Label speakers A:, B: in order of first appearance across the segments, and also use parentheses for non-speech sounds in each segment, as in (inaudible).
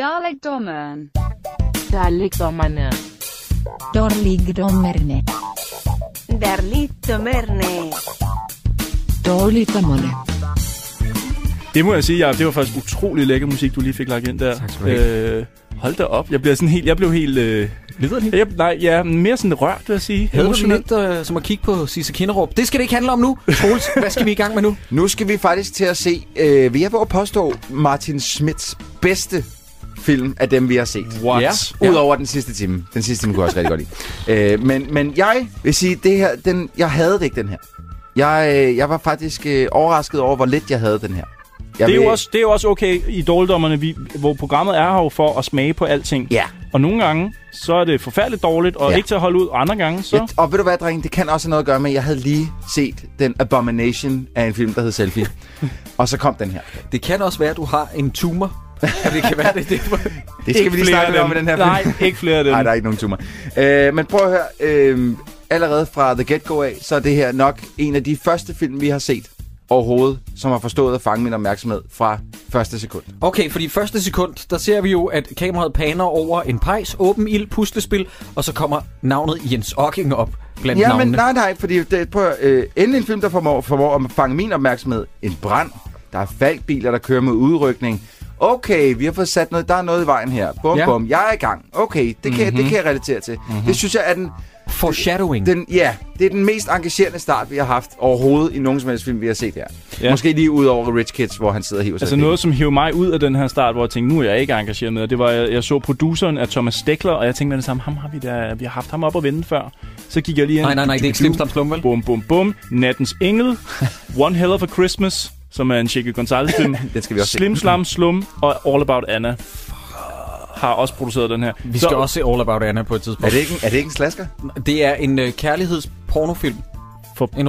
A: Dalekdommeren.
B: Dalekdommerne.
C: Dårligdommerne.
D: Derligdommerne.
B: Dårligdommerne.
E: Det må jeg sige, Jacob, det var faktisk utrolig lækker musik, du lige fik lagt ind der.
F: Tak skal du have.
E: Øh, hold da op. Jeg, bliver sådan helt, jeg blev helt... Øh,
F: Liderligt.
E: jeg, nej, ja, mere sådan rørt, vil jeg sige.
F: Havde du det
E: Emotionelt.
F: lidt øh, som at kigge på Sisse Kinderup? Det skal det ikke handle om nu. Troels, hvad skal vi i gang med nu?
G: Nu skal vi faktisk til at se, øh, vil jeg våge at påstå, Martin Smits bedste film af dem, vi har set.
E: What?
F: Ja.
G: Udover den sidste time. Den sidste time kunne jeg også rigtig godt
E: (laughs)
G: lide. Øh, men, men jeg vil sige, det her, den, jeg havde det ikke, den her. Jeg, øh, jeg var faktisk øh, overrasket over, hvor lidt jeg havde den her. Jeg
E: Det er, jo
G: vil-
E: også, det er jo også okay i dårligdommerne, vi, hvor programmet er her jo for at smage på alting.
G: Ja.
E: Og nogle gange, så er det forfærdeligt dårligt, og
G: Ja.
E: ja. ikke til at holde ud. Og andre gange, så...
G: Jeg, og ved du hvad, dreng? Det kan også have noget at gøre med, at jeg havde lige set den Abomination af en film, der
E: (laughs)
G: hed Selfie. og så kom den her.
F: (laughs) Det kan også være, at du har en tumor. Ja, det kan være, det er det.
G: Det skal
E: Ikke
G: vi
E: flere
G: lige snakke lidt
E: af
G: om i
E: dem.
G: den her film.
E: Nej, ikke flere
F: Øhm.
G: (laughs)
E: af dem.
G: Nej, der er ikke nogen tumor. Øh, men prøv at høre. Øh, allerede fra The Get-Go af, så er det her nok en af de første film, vi har set overhovedet, som har forstået at fange min opmærksomhed fra første sekund.
F: Okay, fordi første sekund, der ser vi jo, at kameraet paner over en pejs, åben ild, puslespil, og så kommer navnet Jens Ocking op blandt
G: Ja, men
F: navnene.
G: nej, nej, fordi det, prøv at, høre, øh, endelig en film, der formår, formår at fange min opmærksomhed. En brand. Der er falkbiler, der kører med udrykning. Okay, vi har fået sat noget, der er noget i vejen her. Bum,
F: Ja. Mhm.
G: ja. bum, jeg er i gang. Okay, det kan, mm-hmm. det kan jeg relatere til. Mm-hmm. Det synes jeg er den,
F: Foreshadowing.
G: Den, ja, det er den mest engagerende start, vi har haft overhovedet i nogen som helst film, vi har set her. Ja.
E: Ja.
G: Måske lige ud over Rich Kids, hvor han sidder og hiver sig
E: Altså
G: i
E: noget, som hævde mig ud af den her start, hvor jeg tænkte, nu er jeg ikke engageret med. Og det var, jeg, jeg så produceren af Thomas Stekler, og jeg tænkte med det samme, ham har vi da, vi har haft ham op og vende før. Så gik jeg lige ind.
F: Nej, nej, nej, det er ikke Slim Stam Slum, vel?
E: Bum, bum, bum. Nattens
F: (laughs)
E: Engel. One Hell of a Christmas, som er en Chico Gonzalez
F: (laughs)
E: film.
G: Den skal vi også se.
E: Slim Slam Slum og All About Anna har også produceret den her.
F: Vi skal også se All About Anna på et tidspunkt.
G: Er det, ikke, en- er det ikke en slasker?
F: Det er en øh, kærlighedspornofilm.
E: for,
F: En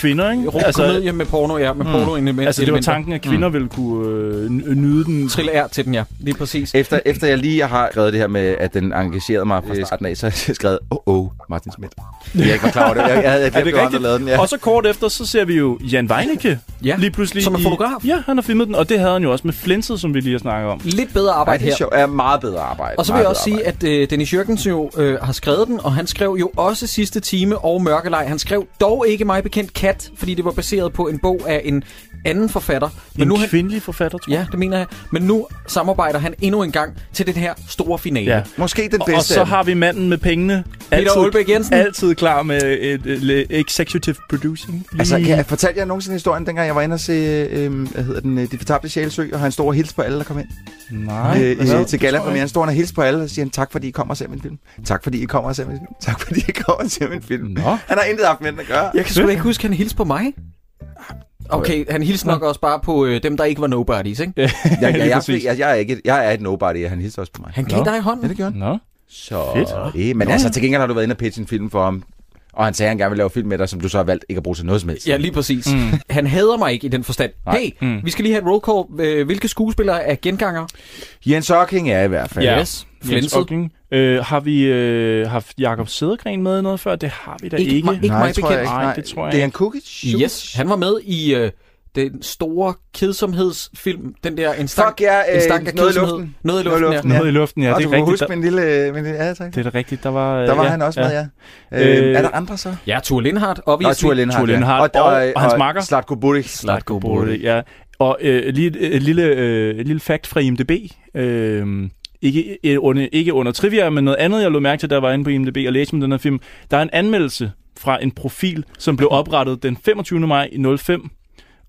E: for kvinder, ikke?
F: ro- altså, komedie med porno, ja, med mm, porno element,
E: altså det var tanken, at kvinder mm. ville kunne øh, n- nyde den.
F: Trille er til den, ja. Lige præcis.
G: Efter, efter jeg lige har skrevet det her med, at den engagerede mig fra starten af, så har jeg skrevet, åh, oh, oh, Martin Schmidt. Jeg ikke var klar over det. Jeg, jeg havde jeg
E: Er
G: glemt,
E: det
G: det var ham, der
E: rigtigt?
G: lavede den. Ja.
E: Og så kort efter, så ser vi jo Jan Weinicke
F: Ja,
E: lige pludselig.
F: som er
E: i-
F: fotograf.
E: Ja, han har filmet den, og det havde han jo også med Flinset, som vi lige har snakket om.
F: Lidt bedre
G: Ej,
F: arbejde
G: det er
F: her.
G: sjovt. Er meget bedre arbejde.
F: Og så vil
G: Meget
F: jeg også
G: bedre
F: sige, at øh, Dennis Jørgensen jo øh, har skrevet den, og han skrev jo også sidste time og Mørkelej. Han skrev dog ikke mig bekendt Kat, fordi det var baseret på en bog af en anden forfatter.
E: Men en
F: nu
E: nu
F: han,
E: kvindelig forfatter, tror jeg.
F: Ja, det mener jeg. Men nu samarbejder han endnu en gang til den her store finale.
E: Ja.
F: Ja.
G: arbejde. Måske den
E: Og, og
G: bedste.
E: så har vi manden med pengene.
F: Aalbæk (laughs) Jensen.
E: Altid klar med et, et, et executive producing. Lige-
G: Altså, kan jeg, fortalte jeg nogensinde historien, dengang jeg var inde og se, øh, hvad hedder den, øh, De Fortabte Sjælesø, og han stod og hilste på alle, der kom ind?
E: Nej.
G: øh,
E: hvad?
G: øh, til gala
E: Det tror
G: for
E: jeg
G: mere. Han står og hilser på alle og siger, tak fordi I kommer og ser min film. Tak fordi I kommer og ser min film. Tak fordi I kommer og ser min film.
E: Nå.
G: Han har intet haft med den at gøre.
F: Jeg kan sgu da ikke huske, at han hilste på mig. Okay, han hilste nok også bare på øh, dem, der ikke var nobodies, ikke? Ja.
G: Jeg, jeg,
E: Lige
G: jeg, jeg,
E: præcis.
G: jeg, jeg, er ikke, jeg er et nobody, og han hilser også på mig.
F: Han gav
E: Nå.
F: dig
G: Ja,
F: hånden.
G: det gjorde han.
E: Nå.
G: Så,
E: Fedt.
G: Øh, men
E: Nå,
G: altså,
E: ja.
G: til gengæld har du været inde og pitche en film for ham, og han sagde, at han gerne vil lave film med dig, som du så har valgt ikke at bruge til noget som helst.
F: Ja, lige præcis. Mm. Han hader mig ikke i den forstand. Hey, mm. vi skal lige have et roll call. Øh, Hvilke skuespillere er genganger?
G: Jens Ocking er i hvert fald.
E: (laughs) Ja.
F: Yes.
E: Jens
F: Flensed.
E: Okling. Øh, har vi øh, haft Jakob Sædergren med i noget før? Det har vi da
F: Ikke
E: ikke.
F: mig- ikke-
G: Nej,
F: mig
G: tror
F: bekendt.
G: jeg ikke.
E: Nej,
G: Nej,
E: det tror jeg
G: Det er en cookie.
F: Yes, han var med i øh, den store kedsomhedsfilm, den der en stank,
G: Fuck ja, øh,
F: en stank af
G: noget i
F: kedsomhed.
G: luften.
F: Noget i
G: Noget
F: luften,
G: i
F: ja.
G: luften,
E: Noget i luften, ja.
G: Ja,
E: Det
G: og du
E: er
G: kan
E: rigtigt.
G: huske
E: Der,
G: min lille... øh, Min, lille- ja, tak.
E: det er da rigtigt. Der var, øh,
G: Der var
E: ja,
G: han også
E: ja.
G: med, ja. Øh,
E: Øh,
G: er der andre så?
F: Ja, Tue Lindhardt, obviously.
G: Og Thor Lindhardt.
E: Thor
G: ja.
E: Lindhardt og- og hans makker.
G: Zlatko Buric.
F: Zlatko
E: Bordet, ja. Og øh, lige et, et, lille, øh, et lille fact fra IMDb. Øh, ikke, øh, under, ikke under trivia, men noget andet, jeg lå mærke til, da jeg var inde på IMDb og læste om den her film. Der er en anmeldelse fra en profil, som blev oprettet den 25. maj i 05.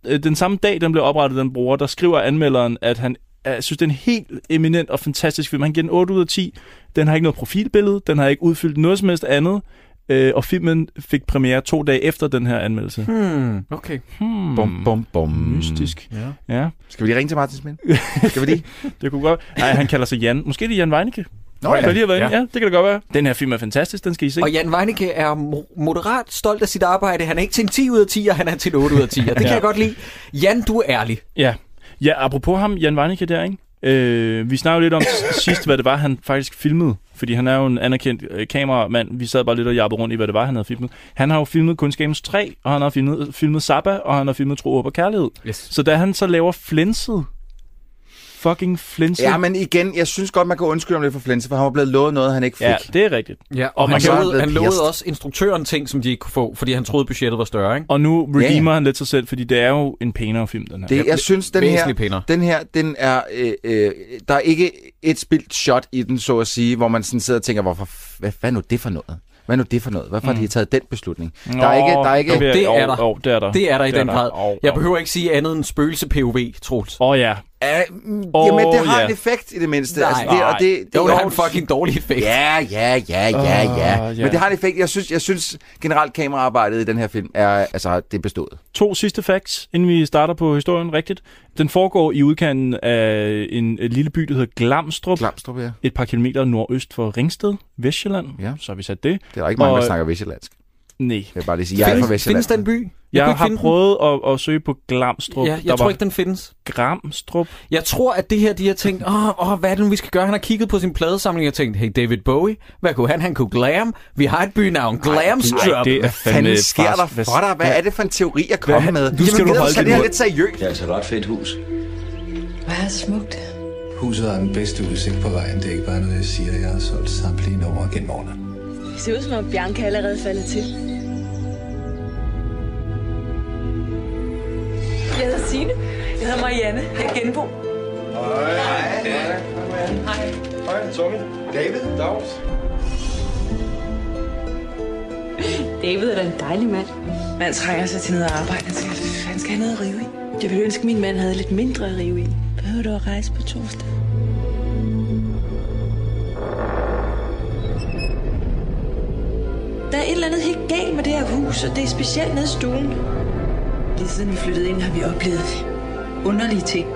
E: Øh, Den samme dag, den blev oprettet, den bruger, der skriver anmelderen, at han øh, synes, det er en helt eminent og fantastisk film. Han giver den 8 ud af 10. Den har ikke noget profilbillede, den har ikke udfyldt noget som helst andet. Øh, og filmen fik premiere to dage efter den her anmeldelse.
F: Hmm, okay.
E: Hmm.
G: Bum, bum, bum.
E: Mystisk.
F: Ja.
E: Ja,
G: Skal vi lige ringe til Martin Smidt? Skal vi lige?
E: det kunne godt Nej, han kalder sig Jan. Måske det er Jan Weinicke.
G: Nå
E: Der lige har været
F: Ja.
E: ja. ja, det kan det godt være. Den her film er fantastisk, den skal I se.
F: Og Jan Weinicke er mo- moderat stolt af sit arbejde. Han er ikke til en 10 ud af 10, og han er til en 8 ud af 10. Og
G: (laughs)
F: det ja. kan
E: Ja.
F: jeg godt lide. Jan, du er ærlig.
E: Ja. ja, apropos ham, Jan Weinicke der, ikke? Øh, vi snakkede lidt om s- sidst, hvad det var, han faktisk filmede. Fordi han er jo en anerkendt øh, kameramand. Vi sad bare lidt og jappede rundt i, hvad det var, han havde filmet. Han har jo filmet Kunskabens 3, og han har filmet, filmet Zappa, og han har filmet Tro, Håb og Kærlighed.
F: Yes.
E: Så da han så laver flænset fucking flinse.
G: Ja, men igen, jeg synes godt, man kan undskylde om det for Flense, for han var blevet lovet noget, han ikke fik.
E: ja, det er rigtigt.
F: Ja, og, og
G: man
F: han,
G: kan-
F: lovede, han lovede
G: Pjast.
F: også instruktøren ting, som de ikke kunne få, fordi han troede, budgettet var større, ikke?
E: Og nu
G: Ja, ja.
E: redeemer han lidt sig selv, fordi det er jo en pænere film, den her.
G: Det, jeg synes, den her,
F: væsentligt pænere.
G: den her, den er, øh, øh, der er ikke et spildt shot i den, så at sige, hvor man sådan sidder og tænker, hvorfor, f- hvad, hvad er nu det for noget? Hvad er nu det for noget? Hvorfor mm. har de taget den beslutning?
E: Nå,
G: der er ikke, der er ikke,
E: vil jeg-
F: Det er
E: jo,
F: der.
E: Jo, det er der.
F: Det er der i
E: Det er
F: den
E: der.
F: grad.
E: Au,
F: Jeg
E: au.
F: behøver ikke sige andet end spøgelse-POV, Troels.
E: Åh oh, ja.
G: er,
E: Åh,
G: jamen, det har
E: ja.
G: en effekt i det mindste.
F: Nej.
G: altså, det, og
E: Nej.
G: det, det,
F: Det
G: er
F: var
G: jo-
F: en fucking dårlig effekt.
G: Ja, ja, ja, ja, ja.
E: Åh, ja.
G: Men det har en effekt. Jeg synes, jeg synes generelt kameraarbejdet i den her film er, altså, det er bestået.
E: To sidste facts, inden vi starter på historien rigtigt. Den foregår i udkanten af en øh, lille by, der hedder Glamstrup.
G: Klamstrup, ja.
E: et par kilometer nordøst for Ringsted, Vestjylland.
G: Ja.
E: Så har vi sat det.
G: Det er der ikke mange,
E: Og-
G: der snakker vestjyllandsk.
E: Nej.
G: Jeg vil bare lige sige, jeg er fra
F: findes,
G: Vestjylland.
F: findes den by?
E: Jeg,
F: kunne
E: jeg
F: ikke
E: har
F: finde den.
E: prøvet at, at, søge på Glamstrup.
F: Ja,
E: der
F: jeg tror
E: var
F: ikke, den findes.
E: Gramstrup.
F: Jeg tror, at det her, de har tænkt, åh, åh, hvad er det nu, vi skal gøre? Han har kigget på sin pladesamling og tænkt, hey, David Bowie, hvad kunne han? Han kunne glam. Vi har et bynavn, Glamstrup.
E: det er fandme
G: fanden sker der for dig? Hvad er det for en teori at komme med?
E: skal du
G: gider
E: holde
G: tage
E: din
G: det her
E: mund.
G: lidt seriøst.
A: Det er altså et ret fedt hus.
C: Meget smukt.
A: Huset har den bedste udsigt på vejen. Det er ikke bare noget, jeg siger. Jeg har solgt samtlige numre gennem årene.
C: Det ser ud som om Bianca allerede faldet til. Jeg hedder Signe. Jeg hedder Marianne. Jeg er genbo.
A: David? Dags?
C: David er da en dejlig mand. Man trænger sig til noget arbejde. Han skal, han skal have noget at rive i. Jeg ville ønske, at min mand havde lidt mindre at rive i. Behøver du at rejse på torsdag? Der er et eller andet helt galt med det her hus, og det er specielt nede i stuen. Lige siden vi flyttede ind, har vi oplevet underlige ting.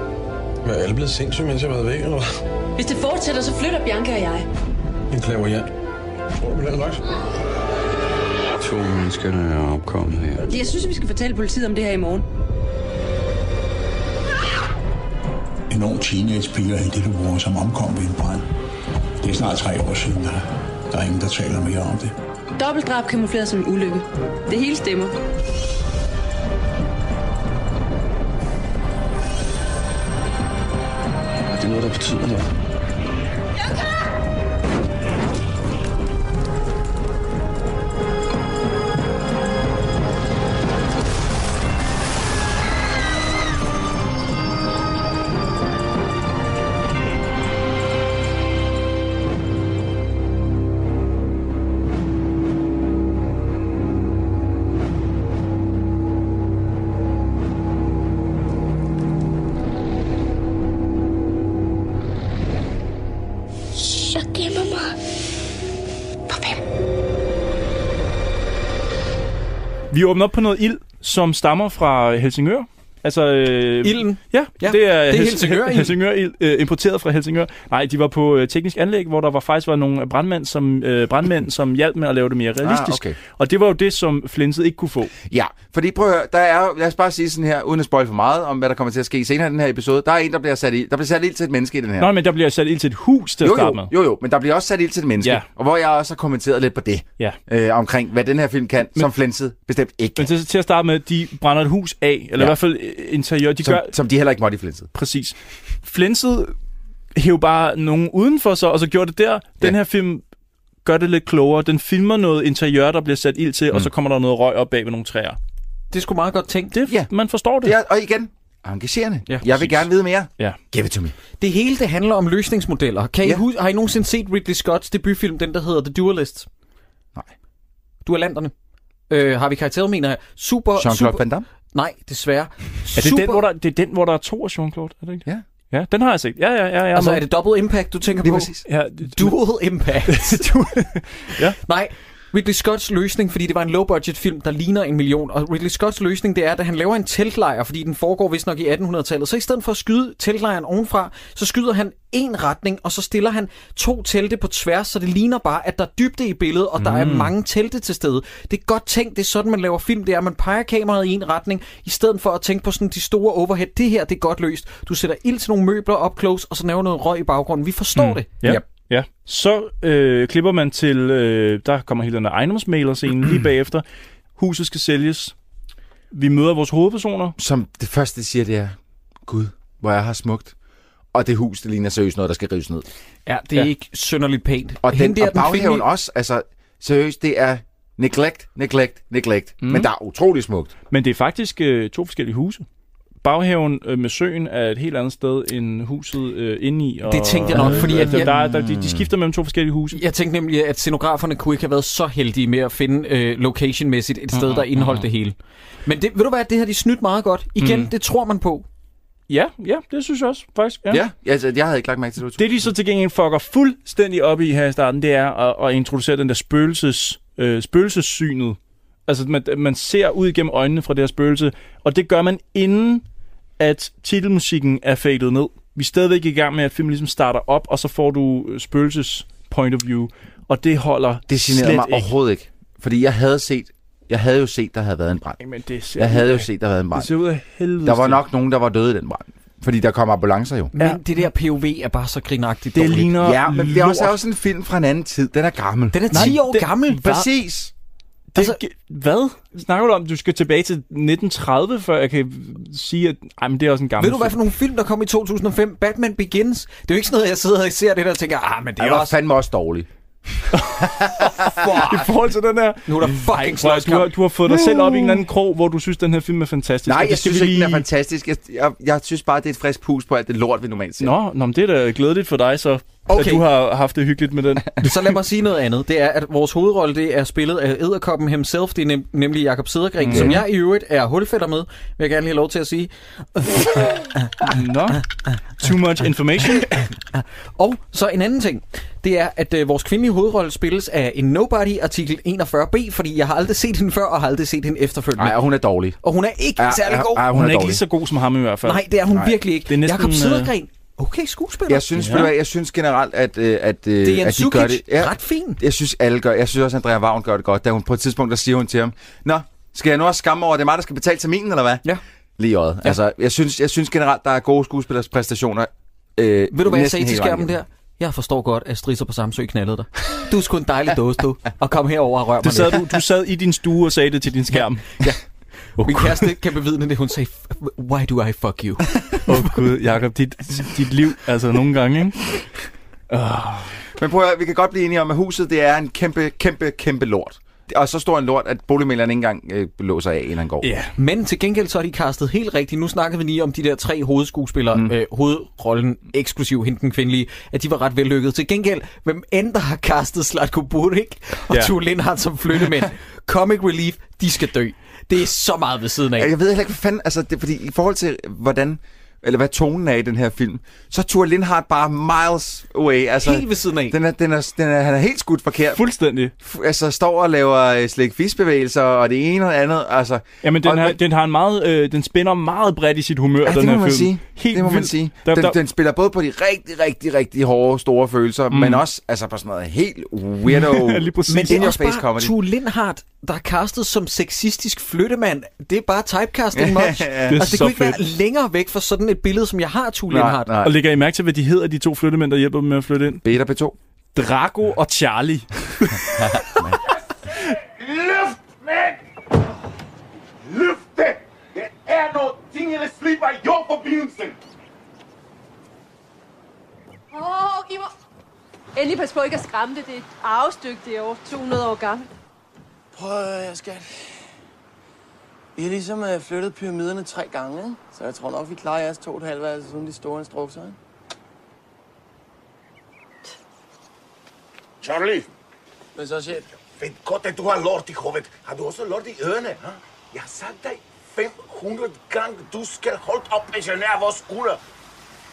D: Hvad er alle blevet sindssyge, mens jeg har været væk, eller hvad?
C: Hvis det fortsætter, så flytter Bianca og jeg.
D: En klaverjant. Tror du, det er nok?
A: To mennesker, der er opkommet her.
C: Jeg synes, vi skal fortælle politiet om det her i morgen.
H: En ung teenagepige er en lille bror, som omkom ved en brand. Det er snart tre år siden, der, der er ingen, der taler mere om det.
C: Dobbeltdrab kamufleret som en ulykke. Det hele stemmer.
A: Er det noget, der betyder noget?
I: Jeg gemmer mig. For hvem?
E: Vi åbner op på noget ild, som stammer fra Helsingør. Altså, øh,
F: Ilden?
E: Ja,
F: Ja,
E: ja, det er,
F: det er
E: Hels-
F: Helsingør-ild.
E: Helsingør-ild, øh, importeret fra Helsingør. Nej, de var på øh, teknisk anlæg, hvor der var faktisk var nogle brandmænd, som, øh, brandmænd, som hjalp med at lave det mere realistisk.
G: okay.
E: Og det var jo det, som Flinset ikke kunne få.
G: Ja, fordi prøv at høre, der er, lad os bare sige sådan her, uden at spoil for meget om, hvad der kommer til at ske senere i den her episode. Der er en, der bliver sat i, der bliver sat ild til et menneske i den her.
E: Nå, men der bliver sat ild til et hus til at
G: jo,
E: starte
G: jo,
E: med.
G: jo, jo, men der bliver også sat ild til et menneske,
E: Ja.
G: og hvor jeg også har kommenteret lidt på det,
E: Ja.
G: øh, omkring hvad den her film kan, som flænset bestemt ikke
E: Men
G: kan,
E: til, til at starte med, de brænder et hus af, eller ja.
G: Ja.
E: i hvert fald øh, interiør. De
G: som,
E: gør
G: som de heller ikke måtte i flænset.
E: præcis. Flinset hæv bare nogen uden for sig, og så gjorde det der. Den
G: Ja.
E: her film gør det lidt klogere. Den filmer noget interiør, der bliver sat ild til, mm. og så kommer der noget røg op bag ved nogle træer.
F: Det er sgu meget godt tænkt.
E: Det,
G: Ja.
E: ja. Man forstår det.
G: Ja, og igen, engagerende.
F: Ja,
G: jeg vil gerne vide mere.
E: Ja.
G: Give it to me.
F: Det hele, det handler om løsningsmodeller. Kan I
G: Ja.
F: hus- har I nogensinde set Ridley Scotts debutfilm, den der hedder The Duelist?
G: Nej.
F: Duellanterne. Øh, har vi karakterer, mener jeg. Super,
G: Jean-Claude
F: super...
G: Van Damme.
F: Nej, desværre. Er
E: Er det, den, hvor der, det er den, hvor der er to af Jean-Claude, er det ikke?
G: Ja.
E: Ja, den har jeg set. Ja, ja, ja. ja
F: Altså,
E: med.
F: er det Double Impact, du tænker
G: Lige
F: på?
G: præcis.
E: Ja, det-
F: Dual
E: (laughs)
F: Impact.
E: Ja.
F: Nej, Ridley Scotts løsning, fordi det var en low-budget film, der ligner en million. Og Ridley Scotts løsning, det er, at han laver en teltlejr, fordi den foregår vist nok i 1800-tallet. Så i stedet for at skyde teltlejren ovenfra, så skyder han en retning, og så stiller han to telte på tværs, så det ligner bare, at der er dybde i billedet, og der
E: Mm.
F: er mange telte til stede. Det er godt tænkt, det er sådan, man laver film, det er, at man peger kameraet i en retning, i stedet for at tænke på sådan de store overhead. Det her, det er godt løst. Du sætter ild til nogle møbler op close, og så laver noget røg i baggrunden. Vi forstår mm. det.
E: Ja.
G: Yep.
E: Yep. Ja. Så øh, klipper man til, øh, der kommer hele den ejendomsmaler scene lige bagefter. Huset skal sælges. Vi møder vores hovedpersoner.
G: Som det første, de siger, det er, Gud, hvor er her smukt. Og det hus, det ligner seriøst noget, der skal rives ned.
F: Ja, det er
E: Ja.
F: ja. ikke synderligt pænt.
G: Og, den,
F: Hende der,
G: og baghaven
F: kvindelige-
G: også. Altså, seriøst, det er neglect, neglect, neglect. Mm. Men der er utrolig smukt.
E: Men det er faktisk øh, to forskellige huse. Baghaven øh, med søen er et helt andet sted end huset øh, inde i. Og,
F: Det tænkte jeg nok, fordi at
E: altså,
F: jeg-
E: der, er- der, de, de skifter mellem to forskellige huse.
F: Jeg tænkte nemlig, at scenograferne kunne ikke have været så heldige med at finde øh, locationmæssigt et sted, der indeholdt det hele. Men det, ved du hvad, det har de snydt meget godt. Igen, mm. det tror man på.
E: Ja, ja, det synes jeg også faktisk. Ja.
G: Ja, ja altså, jeg havde ikke lagt mærke til det.
E: Det, de så til gengæld fucker fuldstændig op i her i starten, det er at, at introducere den der spøgelses, øh, spøgelsessynet. Altså, man, man ser ud igennem øjnene fra det her spøgelse, og det gør man inden, at titelmusikken er fadet ned. Vi er stadigvæk i gang med, at filmen ligesom starter op, og så får du øh, spøgelses point of view, og det holder
G: det generede
E: slet
G: mig
E: ikke.
G: overhovedet ikke. Fordi jeg havde set, jeg havde jo set, der havde været en brand.
E: Jamen, det ser
G: Jeg havde
E: ud
G: jo
E: af-
G: set, der havde været en brand.
E: Det ser ud af helvede.
G: Der var
E: til.
G: nok nogen, der var døde i den brand. Fordi der kom ambulancer jo.
F: Men ja. det der POV er bare så grinagtigt
E: Det
F: dårligt.
E: ligner
G: Ja, men det er også, er
E: lort.
G: også en film fra en anden tid. Den er gammel.
F: Den er 10
E: Nej,
F: år
E: det-
F: gammel.
G: Præcis.
E: Det,
F: Altså-
E: altså, hvad? Snakker du om, du skal tilbage til 1930, før jeg kan sige, at ej, men det er også en gammel
F: Ved du, hvad for nogle film, der kom i 2005? Batman Begins. Det er jo ikke sådan noget, jeg sidder og ser det der og tænker, ah, men det
G: Det
F: er
G: var
F: også...
G: fandme også dårlig.
E: (laughs) I forhold til den her...
F: Nu er der fucking
E: Prøv, at- du, har,
F: slåskamp.
E: du har fået dig selv op i en eller anden krog, hvor du synes, den her film er fantastisk.
G: Nej,
E: og det
G: jeg
E: skal
G: synes
E: vi
G: ikke, den er
E: lige-
G: fantastisk. Jeg, jeg, jeg synes bare, det er et frisk pus på alt det lort, vi normalt ser.
E: Nå, nå, men det er da glædeligt for dig så,
F: Okay.
E: at du har haft det hyggeligt med den.
F: Så lad mig sige noget andet. Det er, at vores hovedrolle det er spillet af Edderkoppen himself. Det er nem- nemlig Jakob Sedergren, mm. som jeg i øvrigt er hulfætter med, vil jeg gerne lige have lov til at sige.
E: nå, too much information.
F: Og så en anden ting, det er, at øh, vores kvindelige hovedrolle spilles af en nobody artikel 41b, fordi jeg har aldrig set hende før, og har aldrig set hende efterfølgende.
G: Nej, og hun er dårlig.
F: Og hun er ikke ja, særlig god.
G: Ja, ja, hun,
E: Hun
G: er,
E: er ikke
G: dårlig.
E: lige så god som ham i hvert fald.
F: Nej, det er hun nej, virkelig ikke.
E: Det er næsten,
F: Jakob
E: øh,
F: Sedergren, okay skuespiller.
G: Jeg synes, ja. jeg synes generelt, at, øh, at, øh,
F: det er Jens
G: at de gør det.
F: Sukic, ja. ret fint.
G: Jeg synes, alle gør. Jeg synes også, Andrea Wagn gør det godt, da hun på et tidspunkt, der siger hun til ham, Nå, skal jeg nu også skamme over, at det er mig, der skal betale terminen, eller hvad?
F: Ja.
G: Lige i øjet. Ja. Altså, jeg synes, jeg synes generelt, der er gode skuespillers præstationer. Øh,
F: Ved du, hvad jeg sagde til skærmen der? Jeg forstår godt, at Strisser på Samsø knaldede dig. Du er sgu en dejlig dåse, du. Og kom herover og rør
E: Du
F: mig
E: sad,
F: lidt.
E: du, du sad i din stue og sagde det til din skærm.
F: Min kæreste kan bevidne det. Hun sagde, why do I fuck you?
E: Åh oh, gud, Jacob, dit, dit liv, altså nogle gange, ikke?
G: Men prøv at, høre, vi kan godt blive enige om, at huset det er en kæmpe, kæmpe, kæmpe lort. Og så stor en lort, at boligmæleren ikke engang øh, låser af, inden han går.
E: Ja.
F: Men til gengæld så er de castet helt rigtigt. Nu snakkede vi lige om de der tre hovedskuespillere, mm. øh, hovedrollen eksklusiv hende den kvindelige, at de var ret vellykket. Til gengæld, hvem end der har castet Slatko Burik og
E: Ja.
F: ja. Tue Lindhardt som flyttemænd, Comic Relief, de skal dø. Det er så meget ved siden af.
G: Jeg ved heller ikke, hvad fanden... Altså, det, er fordi i forhold til, hvordan eller hvad tonen er i den her film, så tog Lindhardt bare miles away. Altså,
F: Helt ved siden af.
G: Den er, den er, den er, han er helt skudt forkert.
E: Fuldstændig.
G: F- altså, står og laver øh, slik bevægelser og det ene og det andet. Altså,
E: Jamen, den,
G: og,
E: har, den har en meget, øh, den spænder meget bredt i sit humør,
G: ja,
E: den
G: det må
E: her
G: man
E: film.
G: sige.
E: Helt
G: det må man
E: vildt.
G: sige.
E: Der,
G: den,
E: der,
G: den spiller både på de rigtig, rigtig, rigtig hårde, store følelser, mm. men også altså, på sådan noget helt
E: (laughs)
G: weirdo,
E: lige præcis.
F: Men det er også bare
G: in-your-face comedy.
F: Tue Lindhardt, der er castet som sexistisk flyttemand. Det er bare
G: (laughs)
F: typecasting much.
G: Det er
F: det, altså,
E: så
F: det kunne ikke
E: fedt.
F: være længere væk fra sådan et billede, som jeg har af Tue
G: Nej,
F: Lindhardt.
G: nej.
E: Og lægger I mærke til, hvad de hedder, de to flyttemænd, der hjælper dem med at flytte ind?
G: Beta B2.
E: Drago og Charlie.
J: Løfte! Det er noget ting, der slipper i jordforbindelsen!
K: Åh, oh, I må... Endelig pas på ikke at skræmme det. Det er et arvestykke, det er over 200 år gammelt.
J: Prøv at høre, skat. Vi har ligesom øh, flyttet pyramiderne tre gange, ikke? så jeg tror nok, vi klarer jeres to og et halvt værelse uden de store instrukser. Ikke?
H: Charlie,
J: Men så, chef,
H: ved godt, at du har lort i hovedet. Har du også lort i ørerne? Ha? Jeg har sagt dig 500 gange, du skal holde op med at genere vores skulder.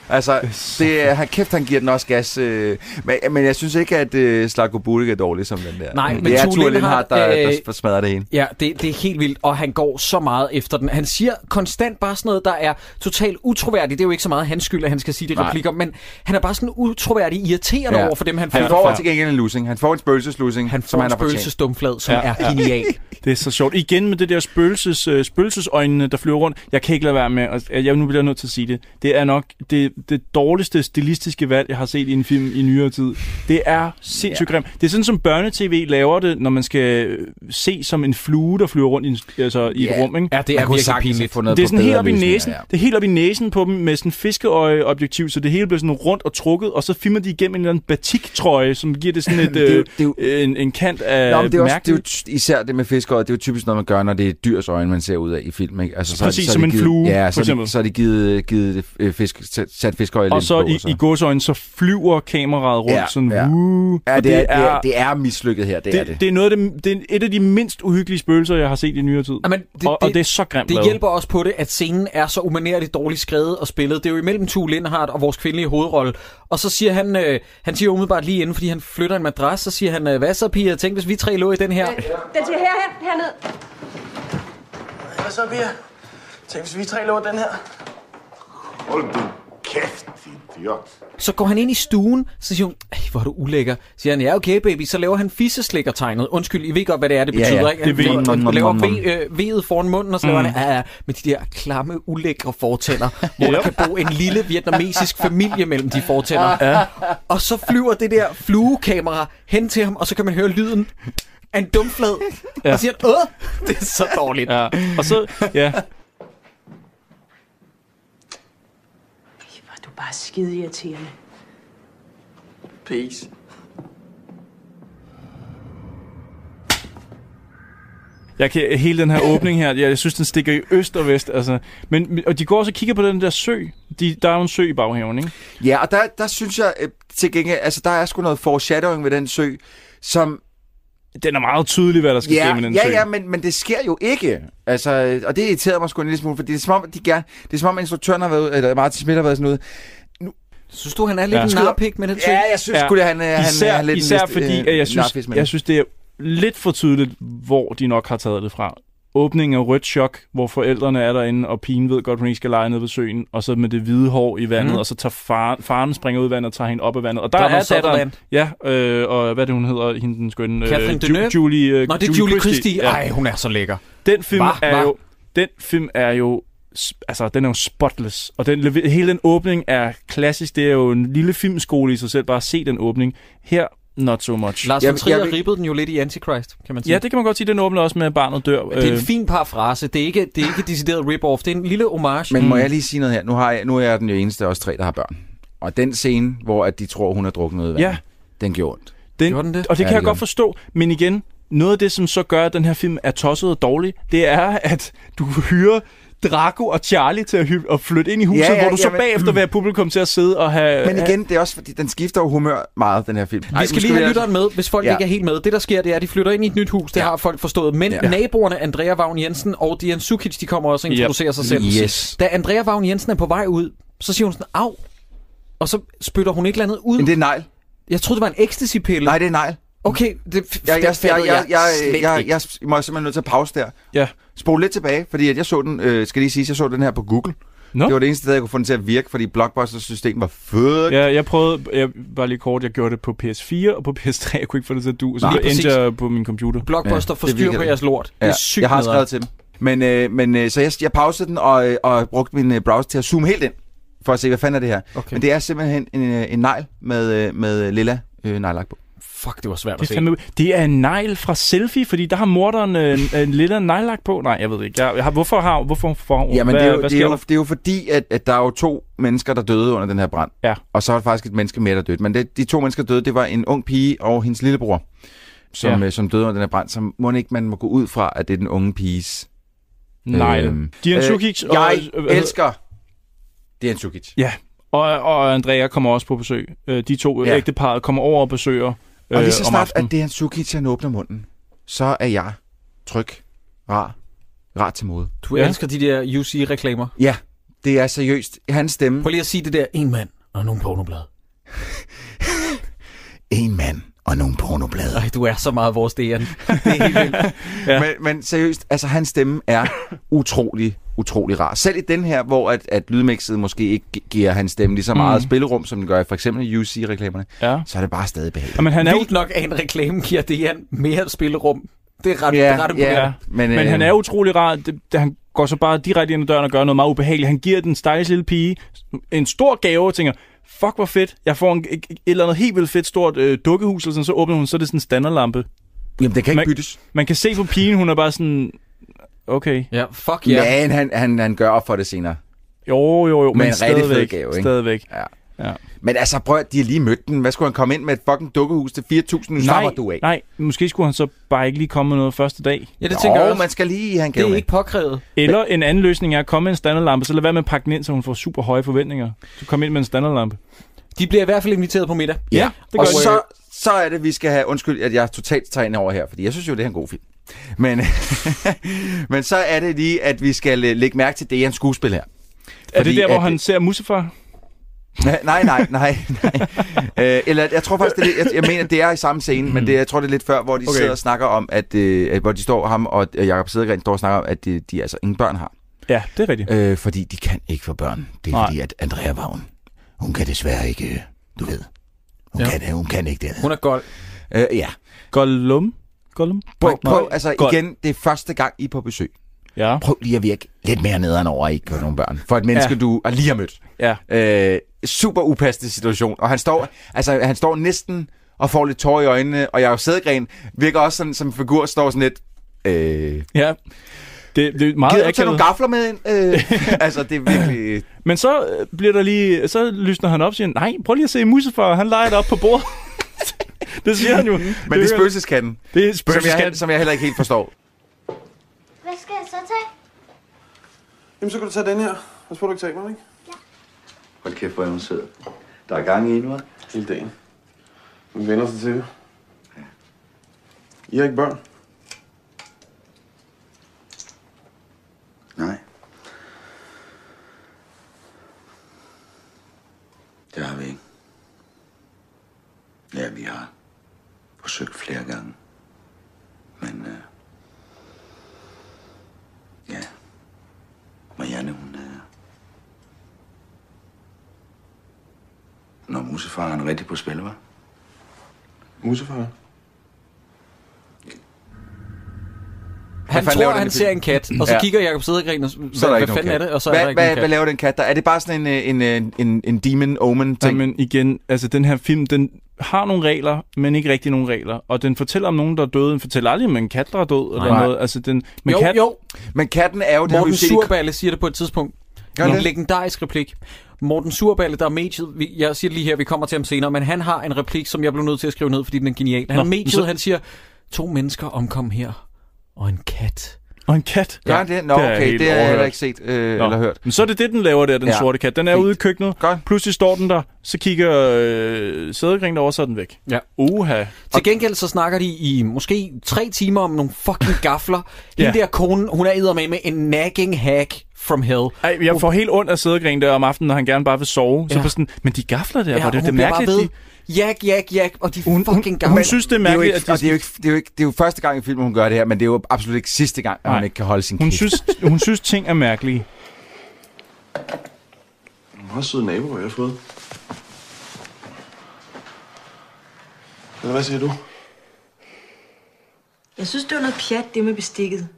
G: Altså, det, er- han, kæft, han giver den også gas. Øh, men, men jeg synes ikke, at øh, Slatko Burik er dårlig som den der.
F: Nej,
G: det
F: men
G: er
F: Tue
G: Tue Lindhardt, der, øh,
F: Lindhardt,
G: der,
F: øh,
G: der smadrer det hele.
F: Ja, det, det er helt vildt, og han går så meget efter den. Han siger konstant bare sådan noget, der er totalt utroværdigt. Det er jo ikke så meget hans skyld, at han skal sige de
G: Nej.
F: replikker, men han er bare sådan utroværdig irriterende ja. over for dem, han
G: han
F: flytter
G: får
F: fra.
G: til gengæld en losing. Han får en spøgelseslusing,
F: Han
G: som
F: får en
G: han har fortjent.
F: spøgelsestumflad, som
E: Ja,
F: ja, er genial.
E: Det er så sjovt. Igen med det der spøgelses, øh, spøgelsesøjnene, der flyver rundt. Jeg kan ikke lade være med, at- jeg nu bliver jeg nødt til at sige det. Det er nok det det, det dårligste stilistiske valg, jeg har set i en film i nyere tid. Det er sindssygt
L: Ja.
E: grimt. Det er sådan, som børnetv laver det, når man skal øh, se som en flue, der flyver rundt i, en- altså, i et
G: Ja.
E: rum. Ikke?
G: Ja, det er Man kunne virkelig sagtens pinligt. have fundet
E: Det er
G: på
E: sådan
G: bedre
E: helt op i
G: løsninger,
E: næsen.
G: ja.
E: Det er helt op i næsen på dem med sådan en fiskeøjeobjektiv, så det hele bliver sådan rundt og trukket, og så filmer de igennem en eller anden batiktrøje, som giver det sådan et,
G: Det er jo-
E: det er jo, en, en kant af
G: Nå, men det er, også, det er jo
E: mærkeligt.
G: ty- især det med fiskeøjet, det er jo typisk noget, man gør, når det er dyrs øjne, man ser ud af i film. Ikke? Altså,
E: Præcis,
G: har
E: som
G: de
E: en
G: givet,
E: flue,
G: Ja,
E: for
G: så, har de,
E: eksempel.
G: så har de givet, givet det, øh, fisk, sat- sat fiskeøje
E: Og så
G: altså.
E: i, i godsøjne, så flyver kameraet rundt
G: Ja,
E: sådan,
G: ja.
E: "Woo",
G: Ja,
E: og
G: det, er, det, er, det er mislykket her, det, det er det.
E: det er, noget af det, det er et af de mindst uhyggelige spøgelser, jeg har set i nyere tid.
F: Jamen,
E: det, og, og det er så grimt
F: Det
E: lavet.
F: hjælper også på det, at scenen er så umanerligt dårligt skrevet og spillet. Det er jo imellem Tue Lindhardt og vores kvindelige hovedrolle. Og så siger han, øh, han siger umiddelbart lige inden, fordi han flytter en madras, så siger han, øh, hvad så piger, tænk hvis vi tre lå i den her.
K: Den siger her, her, herned.
J: Hvad så, Pia? Tænk, hvis vi tre lå den her.
H: Hold du kæft, idiot.
F: Så går han ind i stuen, så siger hun, "Ej, hvor er du ulækker. Så siger han, ja okay baby, så laver han fisseslikkertegnet. Undskyld, I ved godt, hvad det er, det
G: Ja, ja.
F: betyder, ikke?
G: Det ved-
F: Han
G: nom, nom,
F: laver
G: nom, nom.
F: ve- øh, vedet foran munden, og så laver
G: Mm.
F: han, ja, ja, med de der klamme, ulækre fortænder, hvor der kan bo en lille vietnamesisk familie mellem de fortænder.
L: Ja.
F: Og så flyver det der fluekamera hen til ham, og så kan man høre lyden af en dumflad.
E: Ja.
F: Og siger han, åh, det er så dårligt.
E: Ja. Og så, ja,
C: Hvor er du bare skide irriterende.
J: Peace.
E: Jeg kan, hele den her åbning her, jeg, jeg synes, den stikker i øst og vest. Altså. Men, men- og de går også og kigger på den der sø. De, der er jo en sø i baghaven, ikke?
G: Ja, og der, der synes jeg øh, til gengæld, altså der er sgu noget foreshadowing ved den sø, som...
E: Den er meget tydelig, hvad der skal
G: ja,
E: ske med den
G: ja,
E: sø.
G: Ja, men, men det sker jo ikke. Altså, øh, og det irriterede mig sgu en lille smule, fordi det er som om, at de gerne, det er som om instruktøren har været ude- eller Martin Schmidt har været sådan ude.
F: Synes du, han er lidt
G: Ja.
F: en narpik med den sø?
G: Ja, jeg synes sgu, det, han, øh, han,
E: især,
G: øh, han er lidt en
E: Især
G: liste-
E: fordi,
G: øh,
E: at jeg synes,
G: narfis med
E: jeg
G: det.
E: synes, det er lidt for tydeligt, hvor de nok har taget det fra. Åbningen af rødt chok, hvor forældrene er derinde, og pigen ved godt, hun ikke skal lege nede ved søen, og så med det hvide hår i vandet,
F: Mhm.
E: mm. og så tager faren, faren springer ud i vandet og tager hende op af vandet. Og der
F: Donald
E: er datteren.
F: Sutherland.
E: Ja, øh, og hvad er det, hun hedder, hende den skønne?
F: Catherine
E: Ju-
F: Deneuve?
E: Julie, øh,
F: Nå, det er Julie Christie. Ej, hun er så lækker.
E: Den film
F: Hva?
E: er
F: Hva?
E: jo... Den film er jo s- altså, den er jo spotless, og den, lever- hele den åbning er klassisk. Det er jo en lille filmskole i sig selv, bare at se den åbning. Her, not so much.
F: Lars von Trier ribbede den jo lidt i Antichrist, kan man sige.
E: Ja, det kan man godt sige, den åbner også med, at barnet dør.
F: Det er en
E: Øh,
F: fin parafrase. Det er ikke, det er ikke decideret rip-off. Det er en lille homage.
G: Men må
E: Mm.
G: jeg lige sige noget her? Nu, har jeg, nu er jeg den jo eneste af os tre, der har børn. Og den scene, hvor at de tror, hun har drukket noget vand,
E: Ja.
G: den gjorde ondt.
E: Den,
F: den det?
E: Og det
G: Ja,
E: kan jeg
G: det
E: godt forstå, men igen, noget af det, som så gør, at den her film er tosset og dårlig, det er, at du hyrer Draco og Charlie til at, hy- at flytte ind i huset,
G: Ja, ja,
E: hvor du så
G: jamen-
E: bagefter vil have publikum til at sidde og have...
G: Men igen, det er også fordi, den skifter jo humør meget, den her film.
F: Vi skal lige have lytteren med, hvis folk
G: Ja.
F: ja. ikke er helt med. Det, der sker, det er, at de flytter ind i et nyt hus. Det ja. har folk forstået. Men
G: Ja.
F: ja. naboerne, Andrea Vagn Jensen og Dian Sukic, de kommer også og
G: Yep.
F: introducerer sig selv.
G: Yes.
F: Da Andrea Vagn Jensen er på vej ud, så siger hun sådan, au. Og så spytter hun et eller andet ud.
G: Men det er negl.
F: Jeg troede, det var en ecstasy-pille.
G: Nej, det er negl.
F: Okay, det,
G: Jeg, jeg,
F: det
G: jeg,
F: fattede
G: jeg, jeg,
F: slet
G: jeg, jeg,
F: ikke.
G: jeg må simpelthen nødt til at pause der.
E: Ja.
G: Spol lidt tilbage, fordi at jeg så den, øh, skal lige sige, jeg så den her på Google.
E: Nå.
G: Det var det eneste sted, jeg kunne få den til at virke, fordi Blockbusters system var fucked.
E: Ja, jeg prøvede, jeg, bare lige kort, jeg gjorde det på PS4 og på PS3, jeg kunne ikke få det til at du, så
G: Nej,
E: det
G: præcis.
E: endte jeg på min computer.
F: Blockbuster
G: det
F: får styr
G: virkede
F: på
G: det.
F: jeres lort. Det er sygt
G: jeg har
F: nederen.
G: skrevet til dem. Men, øh, men øh, så jeg, jeg pausede den og, øh, og brugte min øh, browser til at zoome helt ind, for at se, hvad fanden er det her. Okay. Men det er simpelthen en, øh, en negl med, øh, med øh, lilla øh, neglelak på.
F: Fuck, det var svært
E: Det er, fandme, det er en negl fra selfie, fordi der har morderen øh, en, en lille neglelak på. Nej, jeg ved ikke. Jeg, jeg har, hvorfor har hvorfor får,
G: Jamen,
E: hvad,
G: det, er jo,
E: hvad
G: det, er
E: sker
G: jo,
E: der?
G: det er jo fordi, at, at der er jo to mennesker, der døde under den her brand.
E: Ja.
G: Og så er der faktisk et menneske mere, der døde. Men det, de to mennesker, der døde, det var en ung pige og hendes lillebror, som,
E: Ja.
G: ja. øh, som døde under den her brand. Så må ikke man må gå ud fra, at det er den unge piges... Øh,
E: Nej. Dian Sukic og-
G: Øhm, Jeg
E: øh,
G: og, elsker Dian Sukic.
E: Ja, og, og Andrea kommer også på besøg. Øh, De to
G: Ja.
E: ja. ægteparet kommer over og besøger øh,
G: Og lige så
E: om
G: snart,
E: aftenen.
G: at Dian Sukic han åbner munden, så er jeg tryg, rar, rar til mode.
F: Du elsker de der UC-reklamer.
G: Ja, det er seriøst. Hans stemme.
F: Prøv lige at sige det der. En mand og nogle pornoblade.
G: En mand og nogle pornoblade.
F: Ej, du er så meget vores DN. Det er helt (laughs) vildt.
G: ja. (laughs) men, men seriøst, altså hans stemme er utrolig, utrolig rar. Selv i den her, hvor at, at lydmixet måske ikke gi- giver hans stemme lige så meget
F: Mm.
G: spillerum, som den gør i for eksempel i UC-reklamerne,
E: ja.
G: så er det bare stadig behageligt.
E: Jamen, han er jo-
F: Vildt nok, at en reklame giver DN mere spillerum Det er ret,
G: Ja,
F: yeah, ret imponerende.
G: ja. Men,
E: Men, men
G: øh,
E: han er utrolig rar. Det, det, han går så bare direkte ind ad døren og gør noget meget ubehageligt. Han giver den stakkels lille pige en stor gave og tænker, fuck hvor fedt, jeg får en, et, et eller andet helt vildt fedt stort øh, dukkehus, eller sådan, så åbner hun, så er det sådan en standardlampe.
G: Jamen, det kan ikke
E: Man-
G: byttes.
E: Man kan se på pigen, hun er bare sådan, okay.
F: Ja, fuck ja. Yeah.
G: Men han, han, han gør op for det senere.
E: Jo, jo, jo,
G: Men
E: men,
G: en rigtig fed
E: stadigvæk,
G: gave, ikke?
E: stadigvæk.
G: Ja.
E: Ja.
G: Men altså, prøv at de har lige mødt den. Hvad skulle han komme ind med et fucking dukkehus til 4.000? Nu slapper du af.
E: nej, måske skulle han så bare ikke lige komme med noget første dag.
F: Ja, det tænker jeg
G: Nå,
F: også.
G: man skal lige have en
F: Det
G: gave
F: er
G: med.
F: ikke påkrævet.
E: Eller en anden løsning er at komme med en standardlampe, så lad være med at pakke den ind, så hun får super høje forventninger. Så kom ind med en standardlampe.
F: De bliver i hvert fald inviteret på middag.
G: Ja,
E: det
G: og
E: gør det.
G: så, så er det, vi skal have... Undskyld, at jeg totalt tager ind over her, fordi jeg synes jo, det er en god film. Men, (laughs) men så er det lige, at vi skal øh, lægge mærke til det, han skuespil her.
E: Er
G: Fordi
E: det der, hvor
G: at-
E: han ser Mustafa?
G: (laughs) Nej, nej, nej,
E: (laughs)
G: nej. nej. Øh, eller jeg tror faktisk, det er, lidt- jeg, jeg mener, det er i samme scene, men det, jeg tror, det er lidt før, hvor de okay.
E: Mm. Okay.
G: sidder og snakker om, at, øh, at hvor de står, ham og øh, Jakob Sædegren står og snakker om, at de, de altså ingen børn har.
E: Ja, det er rigtigt.
G: Øh, fordi de kan ikke få børn. Det er
E: Nej.
G: fordi, at Andrea Vagn, hun kan desværre ikke, øh, du ved. Hun,
F: Ja.
G: ja. kan, hun kan ikke det.
F: Hun er gold.
G: Øh, ja.
E: Gollum? Gollum?
G: Prøv,
E: Nej.
G: prøv, altså
E: Gold.
G: igen, det er første gang, I er på besøg.
E: Ja.
G: Prøv lige at virke lidt mere nederen over, at I ikke på nogle børn. For et menneske, ja.
E: Ja.
G: du er lige har mødt.
E: Ja.
G: Øh, super upassende situation. Og han står, altså, han står næsten og får lidt tårer i øjnene. Og Jacob Sædgren virker også sådan, som en figur, står sådan lidt... Øh, gider
E: Ja. Det, det er meget
G: du tage
E: akavet.
G: nogle gafler med ind? Øh, (laughs) altså, det er
F: (laughs)
G: virkelig...
E: Men så øh, bliver der lige, så lysner han op og siger, nej, prøv lige at se Mustafa, han leger op på bordet. (laughs) det siger han jo.
G: Men det er spøgelseskatten,
E: Det er
G: som jeg,
E: spøgelseskat.
G: som jeg heller ikke helt forstår.
I: Hvad skal jeg så tage?
J: Jamen, så kan du tage den her. Pas på, du ikke taber den, ikke?
H: Hold kæft, hvor er hun sød. Der er gang i hende, hva'?
J: Hele dagen. Hun vender sig til det. I har ikke børn.
H: Nej. Det har vi ikke. Ja, vi har forsøgt flere gange. Men, øh, ja, Marianne, hun er... Når musefaren er rigtig på spil, var?
J: Musefar.
F: Han
G: fanden
F: tror,
G: laver den
F: han
G: i
F: ser
G: film?
F: en kat, og så
G: Ja.
F: kigger Jacob Sædergren, og så,
G: Så
F: så
G: er der
F: hvad,
G: ikke
F: hvad
G: nogen
F: fanden er
G: kat.
F: det? Og så er
G: hvad,
F: der ikke
G: hvad,
F: nogen
G: hvad
F: kat.
G: laver den kat der? Er det bare sådan en, øh, en, øh, en, en, en demon omen ting?
E: Men igen, altså den her film, den har nogle regler, men ikke rigtig nogen regler. Og den fortæller om nogen, der er døde. Den fortæller aldrig om en kat, der er død. Eller
F: Nej.
E: noget. Altså, den, men
F: Jo,
E: kat,
F: jo,
G: Men katten er jo... Det har vi
F: Morten
G: set i-
F: Surballe siger det på et tidspunkt.
G: Gør
F: en
G: det?
F: legendarisk replik. Morten Surballe, der er mediet, vi- jeg siger det lige her, vi kommer til ham senere, men han har en replik, som jeg blev nødt til at skrive ned, fordi den er genial. Han
E: Nå,
F: er mediet,
E: så-
F: han siger, to mennesker omkom her, og en kat.
E: Og en kat.
G: Gør han det? Nå,
E: Det er
G: okay,
E: helt
G: det har jeg heller
E: overhørt.
G: ikke set øh,
E: Nå.
G: eller hørt.
E: Men så er det det, den laver der, den
G: Ja.
E: ja. sorte kat. Den er
G: Fint.
E: ude i køkkenet.
G: Godt.
E: Pludselig står den der, så kigger øh, sædekring derovre, så er den væk.
F: Ja.
E: Uha.
F: Til gengæld så snakker de i måske tre timer om nogle fucking
E: (laughs)
F: gafler. Hende
E: Ja.
F: der kone, hun er med med en nagging hack from hell.
E: Ej, jeg får helt ondt af sædekring der om aftenen, når han gerne bare vil sove. Ja. Så
F: Ja.
E: på sådan, men de gafler der, ja, var
F: og
E: det,
F: hun
E: det er
F: bliver bare
E: mærkeligt.
F: ved.
E: De,
F: Jak, jak, jak, og de
E: hun, hun,
F: fucking
E: hun,
F: gafler.
E: hun synes, det er
G: Det er, jo
E: mærkeligt,
G: ikke,
E: at
G: og det,
E: de,
G: er jo ikke, det, er jo ikke, det er jo første gang i filmen, hun gør det her, men det er jo absolut ikke sidste gang, at hun
E: Nej.
G: ikke kan holde sin
E: hun,
G: kæft.
E: synes, hun synes, ting er mærkelige.
J: Hvor søde naboer, jeg har fået. Eller hvad siger du?
L: Jeg synes, det var noget pjat, det med bestikket.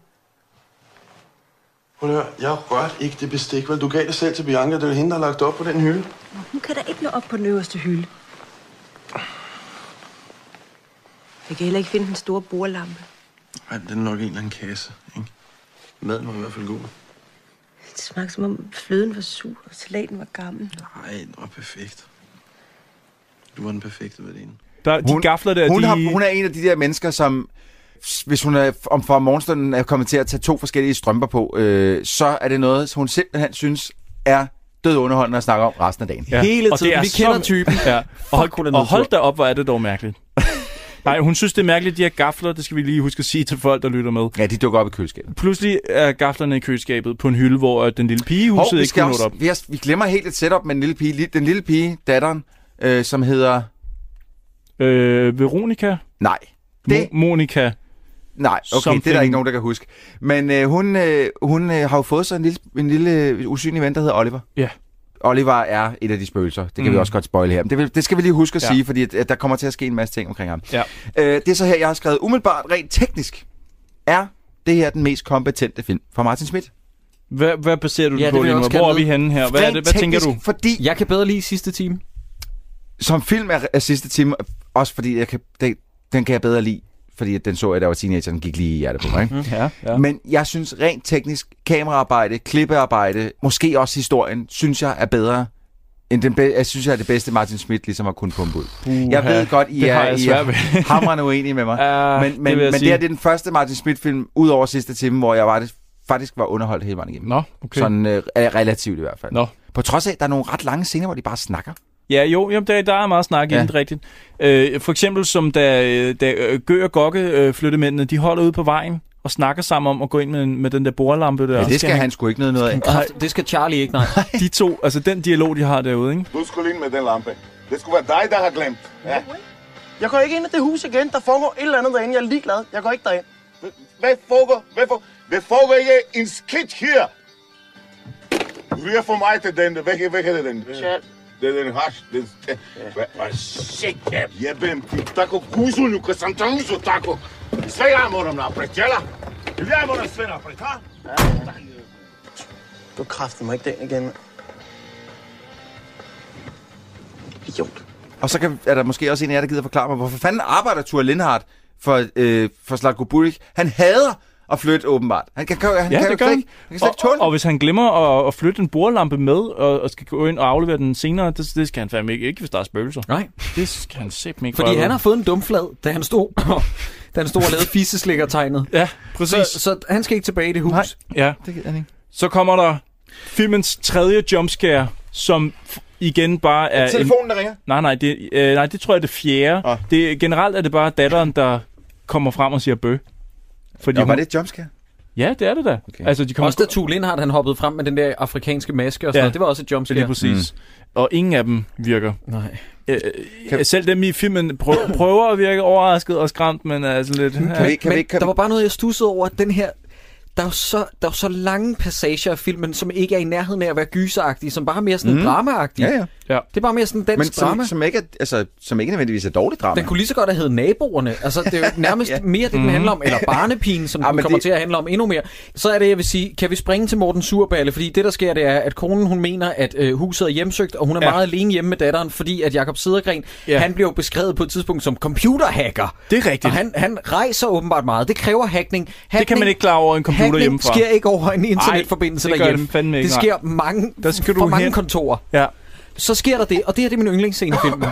J: Prøv lige at høre, jeg rørte ikke det bestik, vel? Du gav det selv til Bianca, det er hende, der har lagt det op på den hylde.
L: Hun kan da ikke nå op på den øverste hylde. Jeg kan heller ikke finde den store bordlampe.
J: Nej, den er nok en eller anden kasse, ikke? Maden var i hvert fald god.
L: Det smagte som om fløden var sur, og salaten var gammel.
J: Nej, den var perfekt. Du var den perfekte ved det
E: Der, de
G: Hun-
E: gafler der,
G: hun,
E: de...
G: har, hun er en af de der mennesker, som s- hvis hun er om fra morgenstunden er kommet til at tage to forskellige strømper på, øh, så er det noget, hun simpelthen synes er død underholdende at snakke om resten af dagen.
E: Ja.
F: Hele
E: Og det
F: tiden.
E: er
F: Vi
E: så-
F: kender typen.
E: Ja. Og,
F: Fuck, hun er
E: hold, og
F: nedtur.
E: hold da op, hvor er det dog
F: (laughs)
E: mærkeligt. Nej, hun synes, det er mærkeligt, de her gafler. Det skal vi lige huske at sige til folk, der lytter med.
G: Ja, de dukker op i køleskabet.
E: Pludselig er gaflerne i køleskabet på en hylde, hvor øh, den lille pige i
G: Hov,
E: huset
G: vi,
E: ikke
G: skal
E: kunne nå
G: også,
E: op.
G: vi, har, vi glemmer helt et setup med den lille pige. Li- Den lille pige, datteren, øh, som hedder...
E: Øh, Veronica?
G: Nej,
E: Det...
G: det,
E: Mo- Monika?
G: nej okay, det er der
E: something.
G: ikke nogen, der kan huske. Men øh, hun, øh, hun øh, har jo fået sig en lille, en lille øh, usynlig ven, der hedder Oliver.
E: Ja.
G: Oliver er et af de spøgelser. Det kan mm. vi
E: Mm.
G: også godt spoile her. Men det, vil- det skal vi lige huske at
E: Ja.
G: sige, fordi at, at der kommer til at ske en masse ting omkring ham.
E: Ja.
G: Øh, det er så her, jeg har skrevet umiddelbart rent teknisk. er det her den mest kompetente film fra Martin Schmidt?
E: Hvad, hvad baserer du
G: Ja,
E: ja,
G: det
E: på
G: vil
E: lige
G: jeg
E: nu?
G: også gerne
E: Hvor er vi
G: vide.
E: henne her? Hvad, er det,
G: Rent
E: hvad tænker du?
G: teknisk, Fordi
F: jeg kan bedre lide sidste time.
G: Som film er, er sidste time, også fordi jeg kan, det, den kan jeg bedre lide, fordi at den så jeg, da jeg var teenager, den gik lige i hjertet på mig. Ikke?
E: Ja, ja.
G: Men jeg synes rent teknisk, kameraarbejde, klippearbejde, måske også historien, synes jeg er bedre end den be- jeg synes, jeg er det bedste Martin Schmidt ligesom har kunnet pumpe ud. jeg ved godt, I
E: det har
G: er,
E: jeg
G: I
E: svært ved.
G: er (laughs) hamrende uenige med mig.
E: Ja,
G: men
E: det
G: men,
E: vil jeg
G: men det,
E: sige.
G: her, det er den første Martin Schmidt-film, ud over sidste time, hvor jeg var det, faktisk var underholdt hele vejen igennem.
E: Nå, okay.
G: Sådan øh, relativt i hvert fald.
E: Nå.
G: På trods af, at der er nogle ret lange scener, hvor de bare snakker.
E: Ja, jo, jamen, der, der er meget snak i
G: Ja.
E: ja. det rigtigt. Øh, for eksempel som da, øh, da øh, Gø og Gokke øh, flyttemændene, de holder ude på vejen og snakker sammen om at gå ind med, med den der bordlampe der.
G: Ja, det skal han sgu ikke noget, noget af.
F: Kraft, det skal Charlie ikke,
E: (laughs)
F: nej.
E: De to, altså den dialog, de har derude, ikke?
H: Du skulle ind med den lampe. Det skulle være dig, der har glemt. Ja.
J: Jeg går ikke ind i det hus igen. Der foregår et eller andet derinde. Jeg er ligeglad. Jeg går ikke derind.
H: Hvad foregår? Hvad foregår? Det foregår ikke en skidt her. Rør for mig til den. Hvad, hvad hedder den?
J: Shit.
H: Det er den hash. Det er... Hvad- Hvad shit, jeg jebem ti. Tako kuzulju, sam te uzeo tako. Sve ja moram napred, jela? Ili ja moram sve napred, ha?
J: Du kræfter mig ikke den igen. mand.
G: Og så kan, er der måske også en af jer, der gider forklare mig, hvorfor fanden arbejder Thor Lindhardt for, øh, for Slatko Buric? Han hader at flytte, åbenbart. Han kan, han
E: Ja,
G: kan,
E: det
G: jo
E: gør
G: ikke,
E: han.
G: han kan slet
E: Og,
G: ikke
E: og,
G: tåle
E: og hvis han glemmer at, at flytte en bordlampe med, og, og skal gå ind og aflevere den senere, det, det skal han fandme ikke, ikke hvis der er spøgelser.
F: Nej.
E: Det skal han simpelthen ikke
F: Fordi
E: røre
F: han
E: ved.
F: har fået en dumflad, da han stod, (laughs) da han stod og lavede fisseslikker-tegnet.
E: Ja, præcis.
F: Så, så han skal ikke tilbage i det hus. Nej.
E: Ja.
G: Det gider han ikke.
E: Så kommer der filmens tredje jumpscare, som f- igen bare er... en-
G: Telefonen, der ringer.
E: Nej, nej, det, øh, nej, det tror jeg er det fjerde.
G: Ah.
E: Ah. Det, generelt er det bare datteren, der kommer frem og siger bø. Fordi
G: Nå, var det et jumpscare?
E: Ja, det er det da. Okay. Altså, de kommer...
F: Også da Tue Lindhardt, han hoppede frem med den der afrikanske maske og sådan ja.
E: Ja.
F: noget. Det var også et
E: Ja, lige
F: jumpscare.
E: præcis. Mm. Og ingen af dem virker.
F: Nej.
E: Øh, kan... Selv dem i filmen
G: (coughs)
E: prø- prøver at virke overrasket og skræmt, men er sådan lidt...
G: Kan vi,
E: Ja.
G: ikke- kan
F: Men
G: vi, ikke- kan
F: der
G: vi,
F: var bare noget, jeg stussede over. Den her, der er, jo så, der er jo så lange passager af filmen, som ikke er i nærheden af at være gyseragtige, som bare er mere sådan
G: Mm.
F: mm. dramaagtige.
G: ja, ja.
F: Det er bare mere sådan en dansk
G: Men
F: drama.
G: som, som, ikke er, altså, som ikke nødvendigvis er dårligt drama.
F: Den kunne lige så godt have heddet naboerne. Altså, det er
E: (laughs)
F: jo nærmest ja. mere det,
E: Mhm.
F: den handler om. Eller barnepigen, som
G: Ah,
F: ja, den
G: men
F: kommer
G: det-
F: det... til at handle om endnu mere. Så er det, jeg vil sige, kan vi springe til Morten Surballe? Fordi det, der sker, det er, at konen, hun mener, at øh, huset er hjemsøgt, og hun er ja.
E: Ja.
F: meget alene hjemme med datteren, fordi at Jakob Sidergren, ja.
E: Ja.
F: han bliver jo beskrevet på et tidspunkt som computerhacker.
E: Det er rigtigt.
F: Og han, han rejser åbenbart meget. Det kræver hackning. hackning
E: Det kan man ikke klare over en computer
F: hackning
E: hjemmefra.
F: sker ikke over en internetforbindelse
E: det gør det
F: derhjemme.
E: fandme ikke,
F: det
E: nej.
F: sker mange,
E: Der skal
F: for
E: du
F: mange
E: hen.
F: kontorer
E: Ja.
F: så sker der det, og det her det er min yndlingsscene i filmen.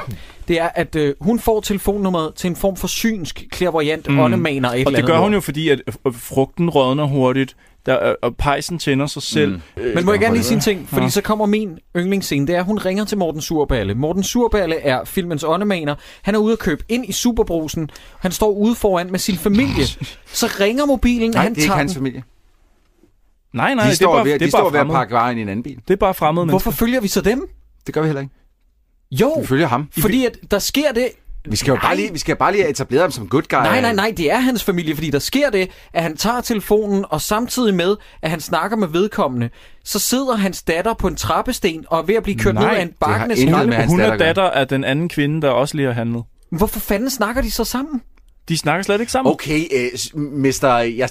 F: Det er, at øh, hun får telefonnummeret til en form for synsk, klærvoyant, mm. åndemaner et
E: Og
F: eller
E: det gør
F: andet
E: hun
F: lort.
E: jo, fordi at øh, frugten rådner hurtigt, der, øh, og pejsen tænder sig selv. Mm. Øh,
F: Men må jeg gerne lige sige en ting, fordi
E: Ja.
F: så kommer min yndlingsscene, det er, at hun ringer til Morten Surballe. Morten Surballe er filmens åndemaner. Han er ude at købe ind i Superbrusen. Han står ude foran med sin familie. Så ringer mobilen,
G: Nej,
F: han
G: det er ikke
F: tager
G: hans
F: den.
G: familie.
E: nej, nej,
G: De
E: det er
G: står,
E: bare,
G: ved,
E: det
G: de
E: er
G: står
E: bare
G: ved at
E: fremmede.
G: pakke vejen i en anden bil.
E: Det er bare fremmede mennesker.
F: Hvorfor følger vi så dem?
G: Det gør vi heller ikke.
F: Jo,
G: Vi følger ham.
F: fordi at der sker det,
G: Vi skal jo bare
F: Nej.
G: lige, vi skal bare lige etablere ham som good guy.
F: Nej, nej, nej, det er hans familie, fordi der sker det, at han tager telefonen, og samtidig med, at han snakker med vedkommende, så sidder hans datter på en trappesten og er ved at blive kørt
E: Nej,
F: ned af en
E: det
G: har
F: bakkende
G: intet med
F: skralde.
G: hans
E: Hun er
G: datter at
E: datter af den anden kvinde, der også lige har handlet.
F: Men Hvorfor fanden snakker de så sammen?
E: De snakker slet ikke sammen.
G: Okay, øh, mister, jeg,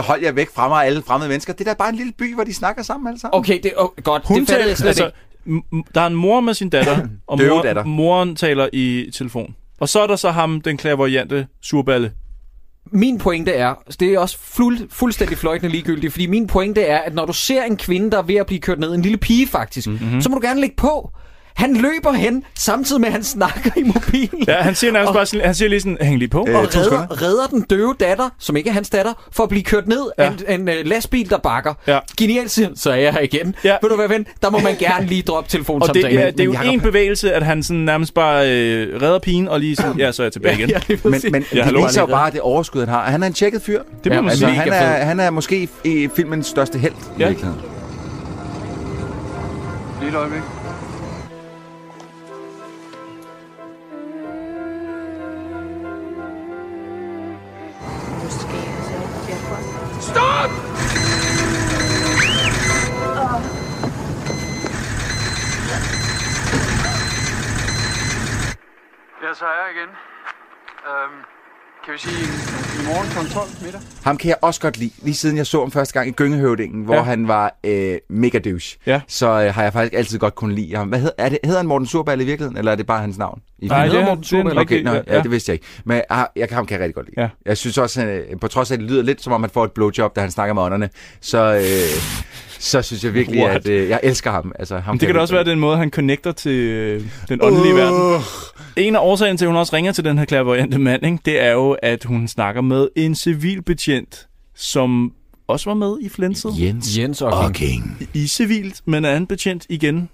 G: hold jer væk fra mig, alle fremmede mennesker. Det er da bare en lille by, hvor de snakker sammen alle sammen.
F: Okay, det er oh, godt.
E: Hun
F: det fatter
E: taler,
F: jeg slet altså,
E: altså,
F: ikke.
E: m- m- der er en mor med sin
G: (coughs)
E: datter, og
G: Døve
E: mor,
G: datter.
E: moren taler i telefon. Og så er der så ham, den klavoyante surballe.
F: Min pointe er, det er også fuld, fuldstændig fløjtende ligegyldigt, fordi min pointe er, at når du ser en kvinde, der er ved at blive kørt ned, en lille pige faktisk, mm-hmm. så må du gerne lægge på. Han løber hen, samtidig med, at han snakker i mobilen.
E: Ja, han siger nærmest bare sådan, han siger lige sådan, hæng lige på.
G: Øh,
F: og
G: to sekunder.
F: redder, redder den døve datter, som ikke er hans datter, for at blive kørt ned ja. af en, en uh, lastbil, der bakker.
E: Ja.
F: Genialt siger han, så er jeg her igen. Ja.
E: Ja.
F: Ved du hvad, ven? Der må man gerne lige droppe
E: Og det,
F: telefonsamtalen.
E: ja, det er jo
G: Men Jacob-
E: en bevægelse, at han sådan nærmest bare øh, redder pigen, og lige sådan, ja, så er jeg tilbage igen.
F: ja, lige
G: Men,
F: præcis.
G: men
E: Ja,
G: ja, det
E: hallo.
G: viser jo bare det overskud, han har. Han er en tjekket fyr.
E: Det må
F: Ja,
E: man
F: altså,
G: Altså,
E: sige.
F: Mega
G: han,
F: fed.
G: er, han er måske i filmens største held ja. i
E: Ja.
G: virkeligheden.
J: Lige et øjeblik.
L: Måske altså ikke fjerkort.
M: Ja, så er jeg igen. Øhm, kan vi sige en, en I morgen kl. 12 middag.
G: Ham kan jeg også godt lide, lige siden jeg så ham første gang i Gyngehøvdingen, hvor ja.
M: Ja.
G: han var øh, mega douche.
E: Ja.
G: Så øh, har jeg faktisk altid godt kunnet lide ham. Hvad hed, er det, hedder han Morten Surballe i virkeligheden, eller er det bare hans navn? I
E: Nej,
G: filmen?
E: det er- Hedder Morten det er Surballe. en
G: Okay,
E: rigtig-
G: nej, ja.
E: ja.
G: det vidste jeg ikke. Men ah, jeg, ham kan jeg rigtig godt lide. Ja. Jeg synes også, han, øh, på trods af, at det lyder lidt som om, han får et blowjob, da han snakker med ånderne, så, øh, så synes jeg virkelig,
E: What?
G: at øh, jeg elsker ham. Altså, ham
E: Men det
G: jeg
E: kan da også
G: virkelig-
E: være den måde, han connecter til øh, den åndelige uh.
G: Uh.
E: verden. En af årsagen til, at hun også ringer til den her klærvoyante mand, ikke, det er jo, at hun snakker med en civilbetjent, som også var med i Flensed.
G: Jens,
F: Jens
E: og King. I civilt, men er en betjent igen.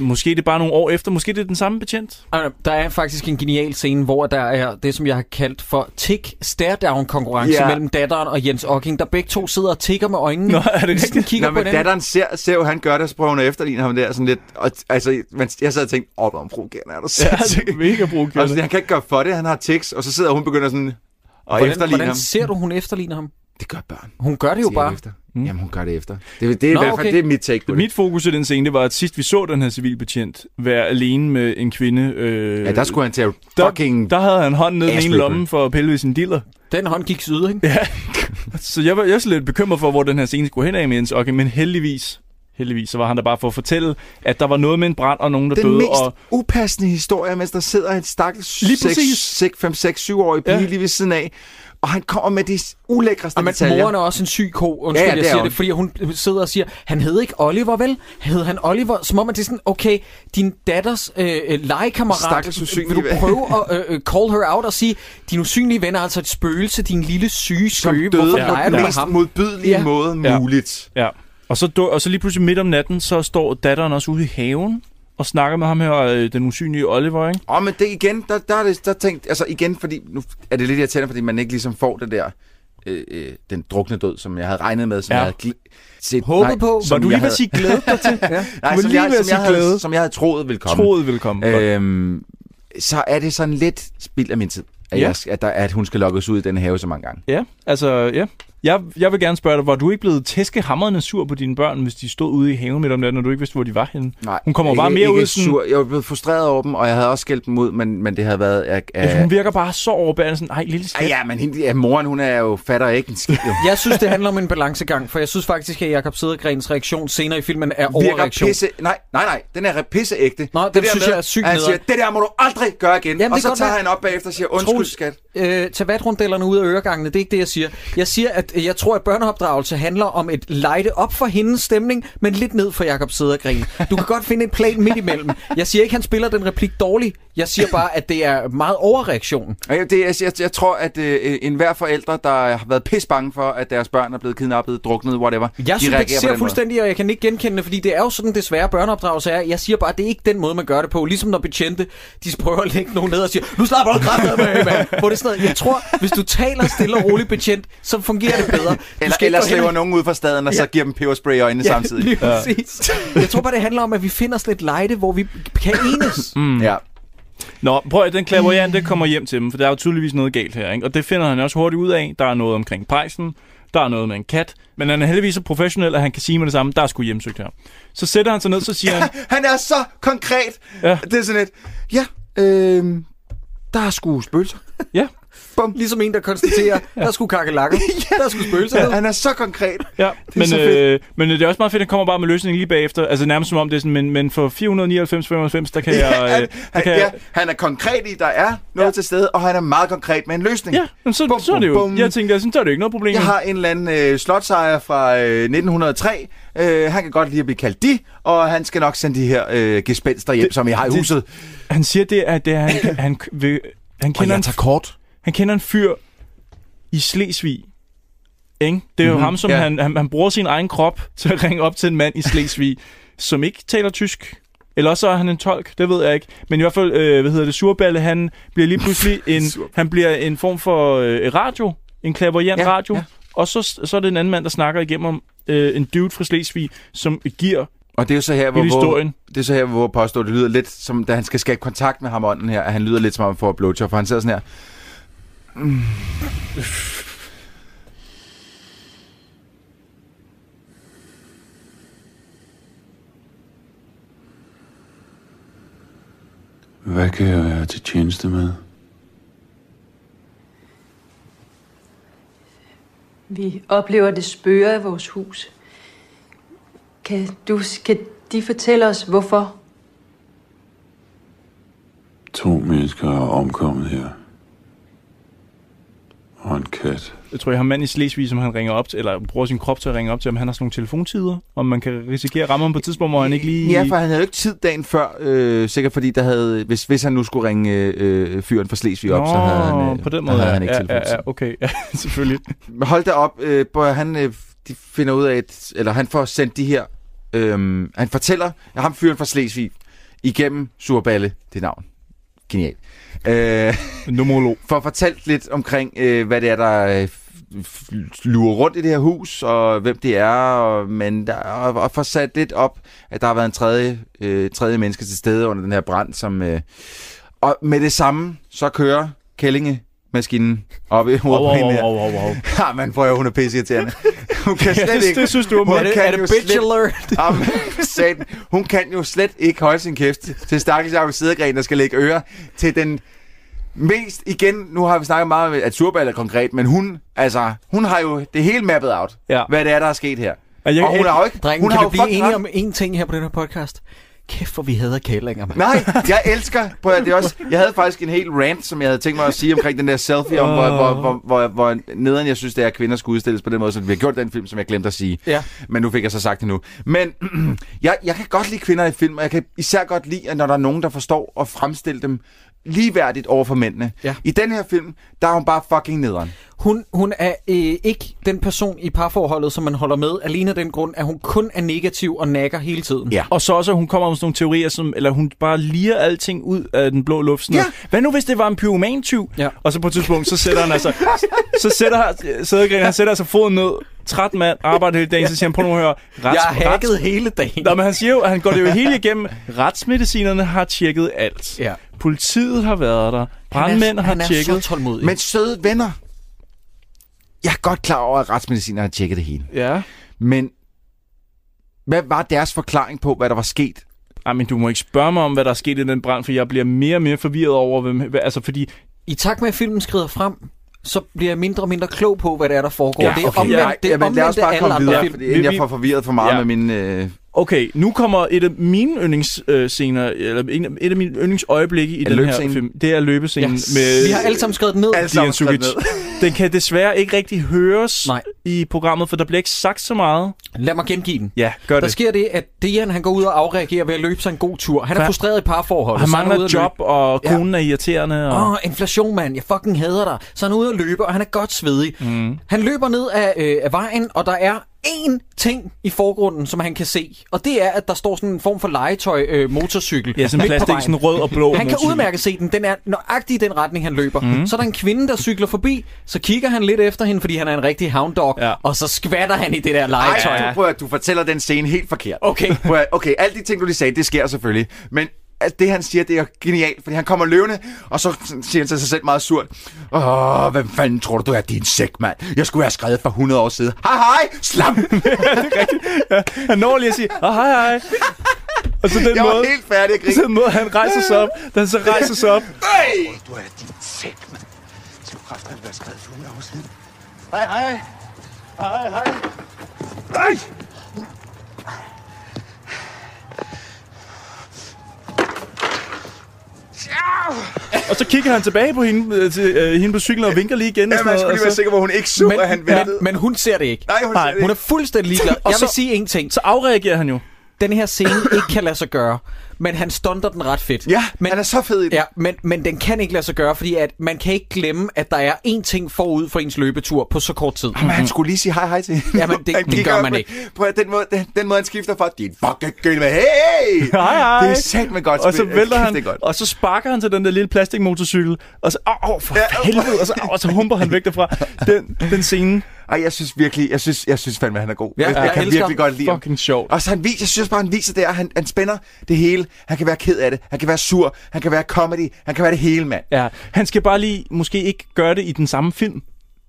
E: Måske det er bare nogle år efter. Måske det er den samme betjent.
F: Ah, Der er faktisk en genial scene, hvor der er det, som jeg har kaldt for tick stare down konkurrence
G: Ja.
F: yeah. mellem datteren og Jens Ocking, der begge to sidder og tigger med øjnene. Nå,
E: er det
F: sådan kigger
G: Nå,
F: på
G: men
F: den.
G: datteren ser, ser jo, han gør det, så prøver hun at efterligne ham der, sådan lidt, og, altså, men jeg sad og tænkte, åh, hvor er han provokerende, er Altså, du sindssyg?"
E: det er mega provokerende.
G: Og sådan, han kan ikke gøre for det, han har tics, og så sidder hun og begynder sådan, og
F: hvordan,
G: efterligne
F: hvordan
G: ham.
F: ser du, hun efterligner ham?
G: Det gør børn.
F: Hun gør det jo
G: Siger jeg
F: bare.
G: Efter. Mm. Jamen, hun gør det efter. Det, det er i hvert fald, det er mit take på det.
E: Mit fokus i den scene, det var, at sidst vi så den her civilbetjent være alene med en kvinde. Øh,
G: Ja, der skulle han til at
E: fucking... Der, der havde han hånden ned i den ene
G: ass-ripper.
E: lomme for at pille ved sin diller.
F: Den hånd gik syd, ikke?
E: Ja. Så jeg var, jeg var så lidt bekymret for, hvor den her scene skulle hen af med Jens Ocking, men heldigvis, heldigvis, så var han der bare for at fortælle, at der var noget med en brand og nogen, der
G: Den
E: døde.
G: mest
E: Og,
G: upassende historie, mens der sidder en stakkels
E: Lige præcis.
G: 5-6-7-årig pige
E: Ja.
G: lige ved siden af, og han kommer med de ulækreste
F: Og men
G: detaljer.
F: moren er også en syg ko, undskyld, ja,
G: Ja, ja,
F: jeg
G: det er
F: siger
G: hun.
F: det, fordi hun sidder og siger, han hed ikke Oliver, vel? Hed han Oliver? Som om, at det er sådan, okay, din datters øh, øh, legekammerat,
G: Stakkels usynlige
F: vil du
G: ven."
F: prøve at øh, øh, call her out og sige, din usynlige ven er altså et spøgelse, din lille syge skøge, hvorfor
G: døde på
F: leger
G: den
F: du med
G: mest
F: ham?
G: modbydelige måde muligt.
E: Ja. Og så, dø- og så lige pludselig midt om natten, så står datteren også ude i haven og snakker med ham her, øh, den usynlige Oliver, ikke?
G: Åh, oh, men det igen, der, der er det, der tænkt, altså igen, fordi nu er det lidt irriterende, fordi man ikke ligesom får det der, øh, øh, den drukne død, som jeg havde regnet med, som
E: Ja.
G: jeg havde gl- set,
E: Håbet på. Var du lige ved at sige glædet
G: dig til? ja. Nej,
E: var
G: som,
E: lige
G: jeg,
E: ved at
G: som,
E: sige
G: jeg havde,
E: glædet.
G: som jeg havde troet ville komme.
E: Troet ville komme.
G: Øhm, så er det sådan lidt spild af min tid, at,
E: Ja.
G: ja. jeg, at, der, at hun skal lokkes ud i den have så mange gange.
E: Ja, altså, ja. Jeg, jeg vil gerne spørge dig, var du ikke blevet tæskehammerende sur på dine børn, hvis de stod ude i haven midt om natten, og du ikke vidste, hvor de var henne?
G: Nej,
E: Hun kommer
G: ikke,
E: bare mere
G: ikke
E: ud sådan...
G: sur. Jeg var blevet frustreret over dem, og jeg havde også skældt dem ud, men, men det havde været... Jeg,
E: Altså, hun virker bare så overbærende, sådan, ej, lille skat.
G: ja, men hende, ja, moren, hun er jo fatter ikke en skid. jo.
F: Jeg synes, det handler om en balancegang, for jeg synes faktisk, at Jakob Sædergrens reaktion senere i filmen er
G: virker
F: overreaktion.
G: pisse... Nej, nej, nej. Den er pisseægte.
F: Nå,
G: det
F: den
G: der
F: synes
G: med,
F: jeg er sygt
G: at Han siger,
F: nederen.
G: det der må du aldrig gøre igen.
F: Jamen,
G: og
F: det
G: så
F: kan godt
G: tager
F: være.
G: han op bagefter og siger, undskyld,
F: Troels,
G: skat.
F: Øh, tag vatrundellerne ud af øregangene, det er ikke det, jeg siger. Jeg siger, at øh, jeg tror, at børneopdragelse handler om et lejde op for hendes stemning, men lidt ned for Jakob Sædergren. Du kan godt finde en plan midt imellem. Jeg siger ikke, at han spiller den replik dårligt. Jeg siger bare, at det er meget overreaktion.
G: Og jeg- Det, jeg, jeg, jeg tror, at øh, enhver forældre, der har været pis bange for, at deres børn er blevet kidnappet, druknet, whatever,
F: Jeg
G: de reagerer på
F: sympatiserer
G: den måde.
F: fuldstændig, og jeg kan ikke genkende det, fordi det er jo sådan, desværre børneopdragelse er. Jeg siger bare, at det er ikke den måde, man gør det på. Ligesom når betjente, de prøver at lægge nogen ned og siger, nu slapper du kraftedet med, mand. Hvor det er sådan noget, jeg tror, hvis du taler stille og roligt betjent, så fungerer det bedre. Du
G: Eller,
F: skal ikke
G: eller
F: gå hen
G: slæver
F: og-
G: nogen ud fra staden, og
F: Ja.
G: så giver dem peberspray i øjnene
F: (laughs) Ja,
G: samtidig.
F: lige præcis. Jeg tror bare, det handler om, at vi finder sådan et lejde, hvor vi kan enes.
E: Mm.
G: Ja.
E: Nå, prøv at den klaverjant, det kommer hjem til dem, for der er jo tydeligvis noget galt her, ikke? Og det finder han også hurtigt ud af. Der er noget omkring pejsen, der er noget med en kat, men han er heldigvis så professionel, at han kan sige med det samme, der er sgu hjemsøgt her. Så sætter han sig ned, så siger
G: (laughs)
E: han,
G: Han er så konkret.
E: Ja.
G: Det er sådan et, ja, øh, der er sgu spøgelser.
E: Ja.
G: Bum.
F: Ligesom en, der konstaterer, der skulle kakkelakke, der skulle spøgelser ned.
G: Han er så konkret.
E: Ja,
G: er
E: men,
G: så
E: øh, men det er også meget fedt, at han kommer bare med løsningen lige bagefter. Altså nærmest som om det er sådan, men, men for 499,95, der kan
G: (laughs) Ja,
E: jeg...
G: han,
E: Øh, der
G: han,
E: kan
G: ja,
E: jeg
G: han er konkret i, der er noget ja. til stede, og han er meget konkret med en løsning.
E: Ja, men så, så er det jo... Jeg tænker, sådan, så er det jo ikke noget problem.
G: Jeg har en eller anden øh, slotsejer fra øh, 1903. Øh, han kan godt lide at blive kaldt de, og han skal nok sende de her øh, gespenster hjem, som jeg har i
E: det-
G: huset.
E: Han siger, det er, at det er, han, han, han, vil, han kender en,
G: kort.
E: han kender en fyr i Slesvig. Ikke? Det er jo
G: Mhm,
E: mm-hmm, ham, som
G: ja.
E: yeah. han, han, han bruger sin egen krop (laughs) til at ringe op til en mand i Slesvig, som ikke taler tysk. Eller også så er han en tolk, det ved jeg ikke. Men i hvert fald, øh, hvad hedder det, Surballe, han bliver lige
G: (laughs)
E: pludselig en, han bliver en form for øh, radio, en klaverjant
G: Ja,
E: ja, radio.
G: ja.
E: Ja. Og så, så er det en anden mand, der snakker igennem om øh, en dude fra Slesvig, som giver
G: Og det er jo så her, hvor,
E: Hele
G: hvor,
E: historien.
G: det er så her, hvor jeg påstår, det lyder lidt som, da han skal skabe kontakt med ham og ånden her, at han lyder lidt som om, han får et blowjob, for han sidder sådan her. Mm.
N: Hvad kan jeg være til tjeneste med?
L: Vi oplever det spøger i vores hus. Kan, du, kan de fortælle os, hvorfor?
M: To mennesker er omkommet her. Og en kat.
E: Jeg tror, jeg har mand i Slesvig, som han ringer op til, eller bruger sin krop til at ringe op til, om han har sådan nogle telefontider, om man kan risikere at ramme ham på et tidspunkt, hvor han ikke lige...
G: Ja, for han havde jo ikke tid dagen før, øh, sikkert fordi der havde, hvis, hvis han nu skulle ringe øh, fyren fra Slesvig op,
E: Nå,
G: så havde han, øh,
E: på den
G: der
E: måde,
G: havde
E: ja.
G: han ikke
E: Ja,
G: telefontid.
E: ja, ja, okay, ja, (laughs) selvfølgelig.
G: Men Hold da op, øh, Bøjer, han øh, de finder ud af, at, eller han får sendt de her, øh, han fortæller at ham fyren fra Slesvig igennem Surballe, det navn. Genial.
E: (laughs)
G: Øh,
E: Nomolog.
G: For fortalt lidt omkring, øh, hvad det er, der øh, f- f- lurer rundt i det her hus, og hvem det er, og, men der, og, og får sat lidt op, at der har været en tredje, øh, tredje menneske til stede under den her brand, som... Øh, og med det samme, så kører Kællinge-maskinen op i hovedet
E: Au,
G: på
E: au,
G: hende her.
E: au, au, au.
G: Ja, man prøver, hun er
E: (laughs)
G: pisseirriterende. Hun kan
E: Ja,
G: slet
E: det-
G: ikke...
E: det synes du om
G: hun
E: hende. Er det-
G: kan
E: er det
G: jo
E: bitch
G: slet-
E: alert?
G: Jamen, satan, hun kan jo slet ikke holde sin kæft til stakkels Jacob Sædegren, der skal lægge ører til den mest igen, nu har vi snakket meget om, at Surbal er konkret, men hun, altså, hun har jo det hele mappet out,
E: ja.
G: hvad det er, der er sket her.
F: Og, jeg,
G: og hun har jo ikke...
F: Drengen, hun
G: hun
F: kan
G: har
F: vi blive
G: fucking
F: enige
G: ret.
F: om én ting her på den her podcast? Kæft, hvor vi hader kællinger, mand.
G: Nej, jeg elsker... Prøv at, høre, det er også, jeg havde faktisk en hel rant, som jeg havde tænkt mig at sige omkring den der selfie, om, hvor, hvor, hvor, hvor, hvor nederen jeg synes, det er, at kvinder skal udstilles på den måde, som vi har gjort i den film, som jeg glemte at sige.
F: Ja.
G: Men nu fik jeg så sagt det nu. Men (clears throat) jeg, jeg kan godt lide kvinder i film, og jeg kan især godt lide, at når der er nogen, der forstår at fremstille dem ligeværdigt over for mændene. Ja. I den her film, der er hun bare fucking nederen.
F: Hun, hun er øh, ikke den person i parforholdet, som man holder med, alene af den grund, at hun kun er negativ og nakker hele tiden.
G: Ja.
E: Og så også, at hun kommer med sådan nogle teorier, som, eller hun bare liger alting ud af den blå luft. Sådan ja. Hvad nu, hvis det var en pyromantyv? Ja. Og så på et tidspunkt, så sætter han altså, så sætter han, Sædegren, han sætter altså foden ned, træt mand, arbejder hele dagen, så siger han, på nu at høre,
F: Jeg har hacket hele dagen.
E: Nå, men han siger jo, at han går det jo hele igennem. Retsmedicinerne har tjekket alt.
F: Ja.
E: Politiet har været der. Brandmænd har tjekket.
G: Men søde venner, jeg er godt klar over, at retsmediciner har tjekket det hele.
E: Ja.
G: Men hvad var deres forklaring på, hvad der var sket?
E: Ej, men du må ikke spørge mig om, hvad der er sket i den brand, for jeg bliver mere og mere forvirret over, hvem... hvad- Altså, fordi...
F: I takt med, at filmen skrider frem, så bliver jeg mindre og mindre klog på, hvad det er, der foregår. det er omvendt,
G: ja,
F: det er
G: jamen, lad os
F: omvendt af
G: bare
F: alle
G: komme
F: andre
G: videre,
F: film.
G: fordi inden jeg får forvirret for meget ja. med mine... Øh...
E: Okay, nu kommer et af mine yndlingsscener, eller en- et af mine yndlingsøjeblikke i
F: Er
E: den her
F: løbescenen?
E: film. Det er løbescenen
F: Yes.
E: med...
F: Vi har alle sammen skrevet den ned. Alle
E: Dejan Sukic.
F: (laughs)
E: Den kan desværre ikke rigtig høres Nej. i programmet, for der bliver ikke sagt så meget.
F: Lad mig gengive den.
E: Ja, gør
F: der
E: det.
F: sker det, at Dejan han går ud og afreagerer ved at løbe sig en god tur. Han er
E: Ja.
F: frustreret i parforholdet.
E: Han
F: så er ude
E: mangler
F: at
E: job,
F: løbe.
E: og konen ja. er irriterende. Og...
F: Åh, oh, inflation, mand. Jeg fucking hader dig. Så er han ude at løbe, og han er godt svedig. Mm. Han løber ned af, øh, af vejen, og der er én ting i forgrunden, som han kan se. Og det er, at der står sådan en form for legetøj øh, motorcykel.
E: Ja, sådan en
F: midt på
E: plastik,
F: vejen.
E: sådan en rød og blå
F: Han kan
E: motorcykel.
F: udmærket se den. Den er nøjagtig i den retning, han løber. Mm. Så er der en kvinde, der cykler forbi. Så kigger han lidt efter hende, fordi han er en rigtig hound dog. Ja. Og så skvatter han i det der legetøj.
G: Ej, du, prøv at, du fortæller den scene helt forkert.
F: Okay.
G: Prøv at, okay, alle de ting, du lige sagde, det sker selvfølgelig. Men at det, han siger, det er genialt, fordi han kommer løvende, og så siger han til sig selv meget surt. Åh, hvem fanden tror du, du er din sæk, mand? Jeg skulle have skrevet for 100 år siden. Hej, hej, slam!
E: Han når lige at sige, oh, hej, hej. Og så den
G: Jeg var
E: måde,
G: helt færdig at
E: (laughs)
G: grine.
E: Så den måde, han rejser sig op. Da han så rejser sig op.
G: Hey!
H: Du er din sæk, mand. Det er jo kraften, at være skrevet for 100 år siden. Hej, hej. Hej, hej. Hej!
E: Og så kigger han tilbage på hende, øh, til, øh, hende på cyklen og vinker lige igen. og
G: Ja,
E: sådan
G: man
E: noget,
G: skulle
E: og
G: lige være
E: så-
G: sikker på, at hun ikke så, at han ventede.
F: Men, men hun ser det ikke.
G: Nej, hun ser det
F: Hun
G: ikke.
F: er fuldstændig ligeglad.
G: Og
F: Jeg vil
G: så-
F: sige en ting. Så
E: afreagerer han jo.
F: Den her scene ikke kan lade sig gøre, men han stunter den ret fedt.
G: Ja, men, han er så fed i det.
F: Ja, men, men den kan ikke lade sig gøre, fordi at man kan ikke glemme, at der er én ting forud for ens løbetur på så kort tid.
G: Jamen, han skulle lige sige hej hej til hende.
F: Jamen, det,
G: Han
F: det
G: gik
F: gør
G: op
F: man
G: med-
F: ikke.
G: Prøv at, den måde, den, den måde, han skifter fra, din fucking gønne med, hey!
E: Hej, hej.
G: Det er satme godt
E: Og så
G: spil.
E: vælter
G: Kæft,
E: han,
G: det er godt.
E: og så sparker han til den der lille plastikmotorcykel, og så, åh, åh for helvede, og så, åh, og så humper han væk derfra. Den, den scene.
G: Ej, jeg synes virkelig, jeg synes, jeg synes fandme, han er god.
E: Ja,
G: jeg,
E: ja,
G: jeg kan
E: jeg elsker
G: virkelig
E: ham.
G: godt lide ham.
E: Fucking sjovt.
G: Og så han viser, jeg synes bare, han viser det, at han, han spænder det hele. Han kan være ked af det, han kan være sur, han kan være comedy, han kan være det hele, mand.
E: Ja, han skal bare lige måske ikke gøre det i den samme film.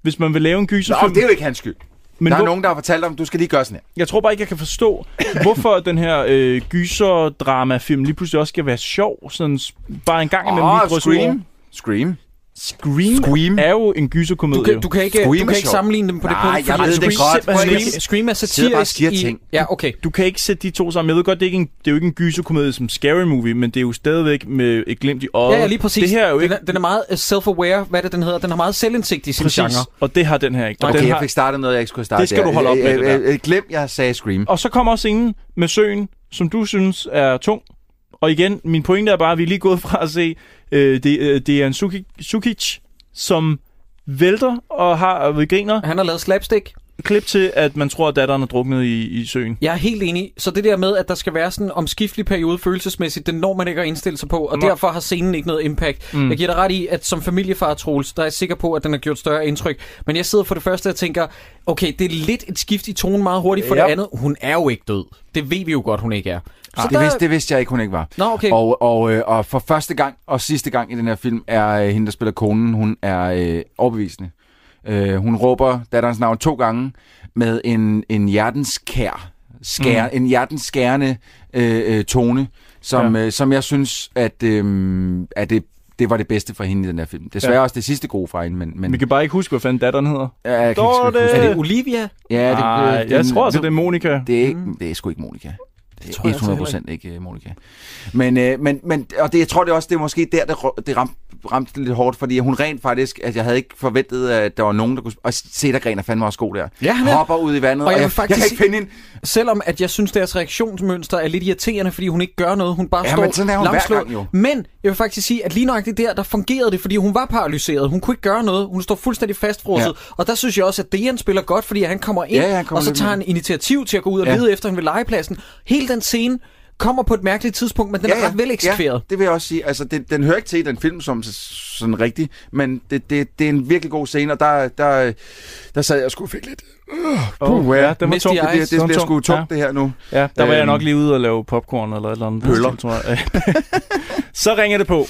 E: Hvis man vil lave en gyserfilm.
G: Nå, det er jo ikke hans skyld.
E: Men
G: Men der er
E: hvor-
G: nogen, der har fortalt om, du skal lige gøre sådan her.
E: Jeg tror bare ikke, jeg kan forstå, hvorfor den her øh, gyser-drama-film lige pludselig også skal være sjov. Sådan s- bare en gang imellem
G: Åh,
E: lige drysse
G: Scream.
E: over.
G: Scream.
E: Scream, Scream. er jo en gyserkomedie.
F: Du kan, du kan ikke, du kan ikke sammenligne dem på det
E: Nej,
F: punkt.
E: jeg
F: fordi
E: ved det
F: Scream-
E: godt. Prøv at
F: Scream,
E: ikke-
F: Scream er
E: Sidder
F: satirisk
E: bare og siger
F: i,
E: ting.
F: Ja, okay.
E: Du kan ikke sætte de to sammen. Jeg ved godt, det er, ikke en, det er jo ikke en gyserkomedie som Scary Movie, men det er jo stadigvæk med et glimt i øjet.
F: Ja, ja, lige præcis.
E: Det her er jo
F: den,
E: ikke...
F: er, den er meget øh, self-aware, hvad er det den hedder. Den har meget selvindsigt i sin
E: Præcis.
F: genre.
E: Og det har den her ikke. Og
G: Okay,
E: den
G: jeg
E: har-
G: fik startet noget, jeg ikke skulle starte
E: Det skal
G: der.
E: du holde op med,
G: Øh,
E: det der.
G: øh, øh, Glem, jeg sagde Scream.
E: Og så kommer scenen med søen, som du synes er tung. Og igen, min pointe er bare, at vi er lige gået fra at se, øh, det, øh, det er en Suki, Sukic, som vælter og har og griner.
F: Han har lavet slapstick.
E: Klip til, at man tror, at datteren er druknet i, i søen.
F: Jeg er helt enig. Så det der med, at der skal være sådan en omskiftelig periode følelsesmæssigt, den når man ikke at indstille sig på, og
E: Nå.
F: derfor har scenen ikke noget impact.
E: Mm.
F: Mm. Jeg giver dig ret i, at som familiefar Troels, der er jeg sikker på, at den har gjort større indtryk. Men jeg sidder for det første og tænker, okay, det er lidt et skift i tonen meget hurtigt. For
G: Ja.
F: det andet, hun er jo ikke død. Det ved vi jo godt, hun ikke er.
G: Så Ah, det, vidste, det vidste jeg ikke, hun ikke var.
F: Nå, okay.
G: Og, og, øh, og for første gang og sidste gang i den her film er øh, hende, der spiller konen, hun er øh, overbevisende. Øh, hun råber datterens navn to gange med en, en hjertenskær, skær,
E: Mm.
G: mm. en hjertenskærende øh, øh, tone, som, ja. øh, som jeg synes, at, øh, at det, det var det bedste for hende i den her film. Desværre
E: Ja.
G: ja. også det sidste gode fra hende, men... men
E: Vi kan bare ikke huske, hvad fanden datteren hedder.
G: Ja, jeg kan ikke huske,
E: Dorte!
G: hvad hun-
E: Er
F: det Olivia?
G: Ja, det, øh,
E: Ej,
G: det,
E: jeg tror altså, det er Monika.
G: Det er, ikke,
F: Mm.
G: det er sgu ikke Monika. Det
E: tror jeg altså
G: er 100 procent ikke øh, Monika. Men, øh, men, men og det, jeg tror det også, det er måske der, det, rå- det ramte, ramte det lidt hårdt, fordi hun rent faktisk, altså jeg havde ikke forventet, at der var nogen, der kunne... Og Sættergren er fandme også god der.
F: Ja, han er-
G: Hopper ud i
F: Og
G: vandet, og,
F: jeg vil
G: jeg,
F: faktisk
G: jeg kan ikke
F: sige-
G: finde hende.
F: Selvom at jeg synes, deres reaktionsmønster er lidt irriterende, fordi hun ikke gør noget. Hun bare
G: Ja,
F: står
G: men sådan er hun hver
F: lamslået.
G: gang jo.
F: Men jeg vil faktisk sige, at lige nøjagtigt der, der fungerede det, fordi hun var paralyseret. Hun kunne ikke gøre noget. Hun står fuldstændig fastfrosset.
G: Ja.
F: Ja. Og der synes jeg også, at Dejan spiller godt, fordi han kommer ind,
G: Ja, ja, han kommer
F: og så
G: lidt
F: tager
G: med.
F: han initiativ til at gå ud og
G: Ja.
F: ja. lede efter hende ved legepladsen. Hele den scene kommer på et mærkeligt tidspunkt, men den er ret vel eksekveret.
G: Ja, det vil jeg også sige. Altså, det, den hører ikke til i den film som s- sådan rigtig, men det, det, det er en virkelig god scene, og der, der, der sad jeg og skulle fik lidt... Uh,
E: Åh,
G: puh,
E: ja, den var tung.
G: Det, bliver- det,
E: Den var
G: det bliver sgu
E: tung.
G: tungt,
E: Ja.
G: det her nu.
E: Ja, der var jeg
G: Øhm,
E: nok lige ude og lave popcorn eller et eller andet.
G: Pøller.
E: Tror jeg. (laughs) så ringer det på.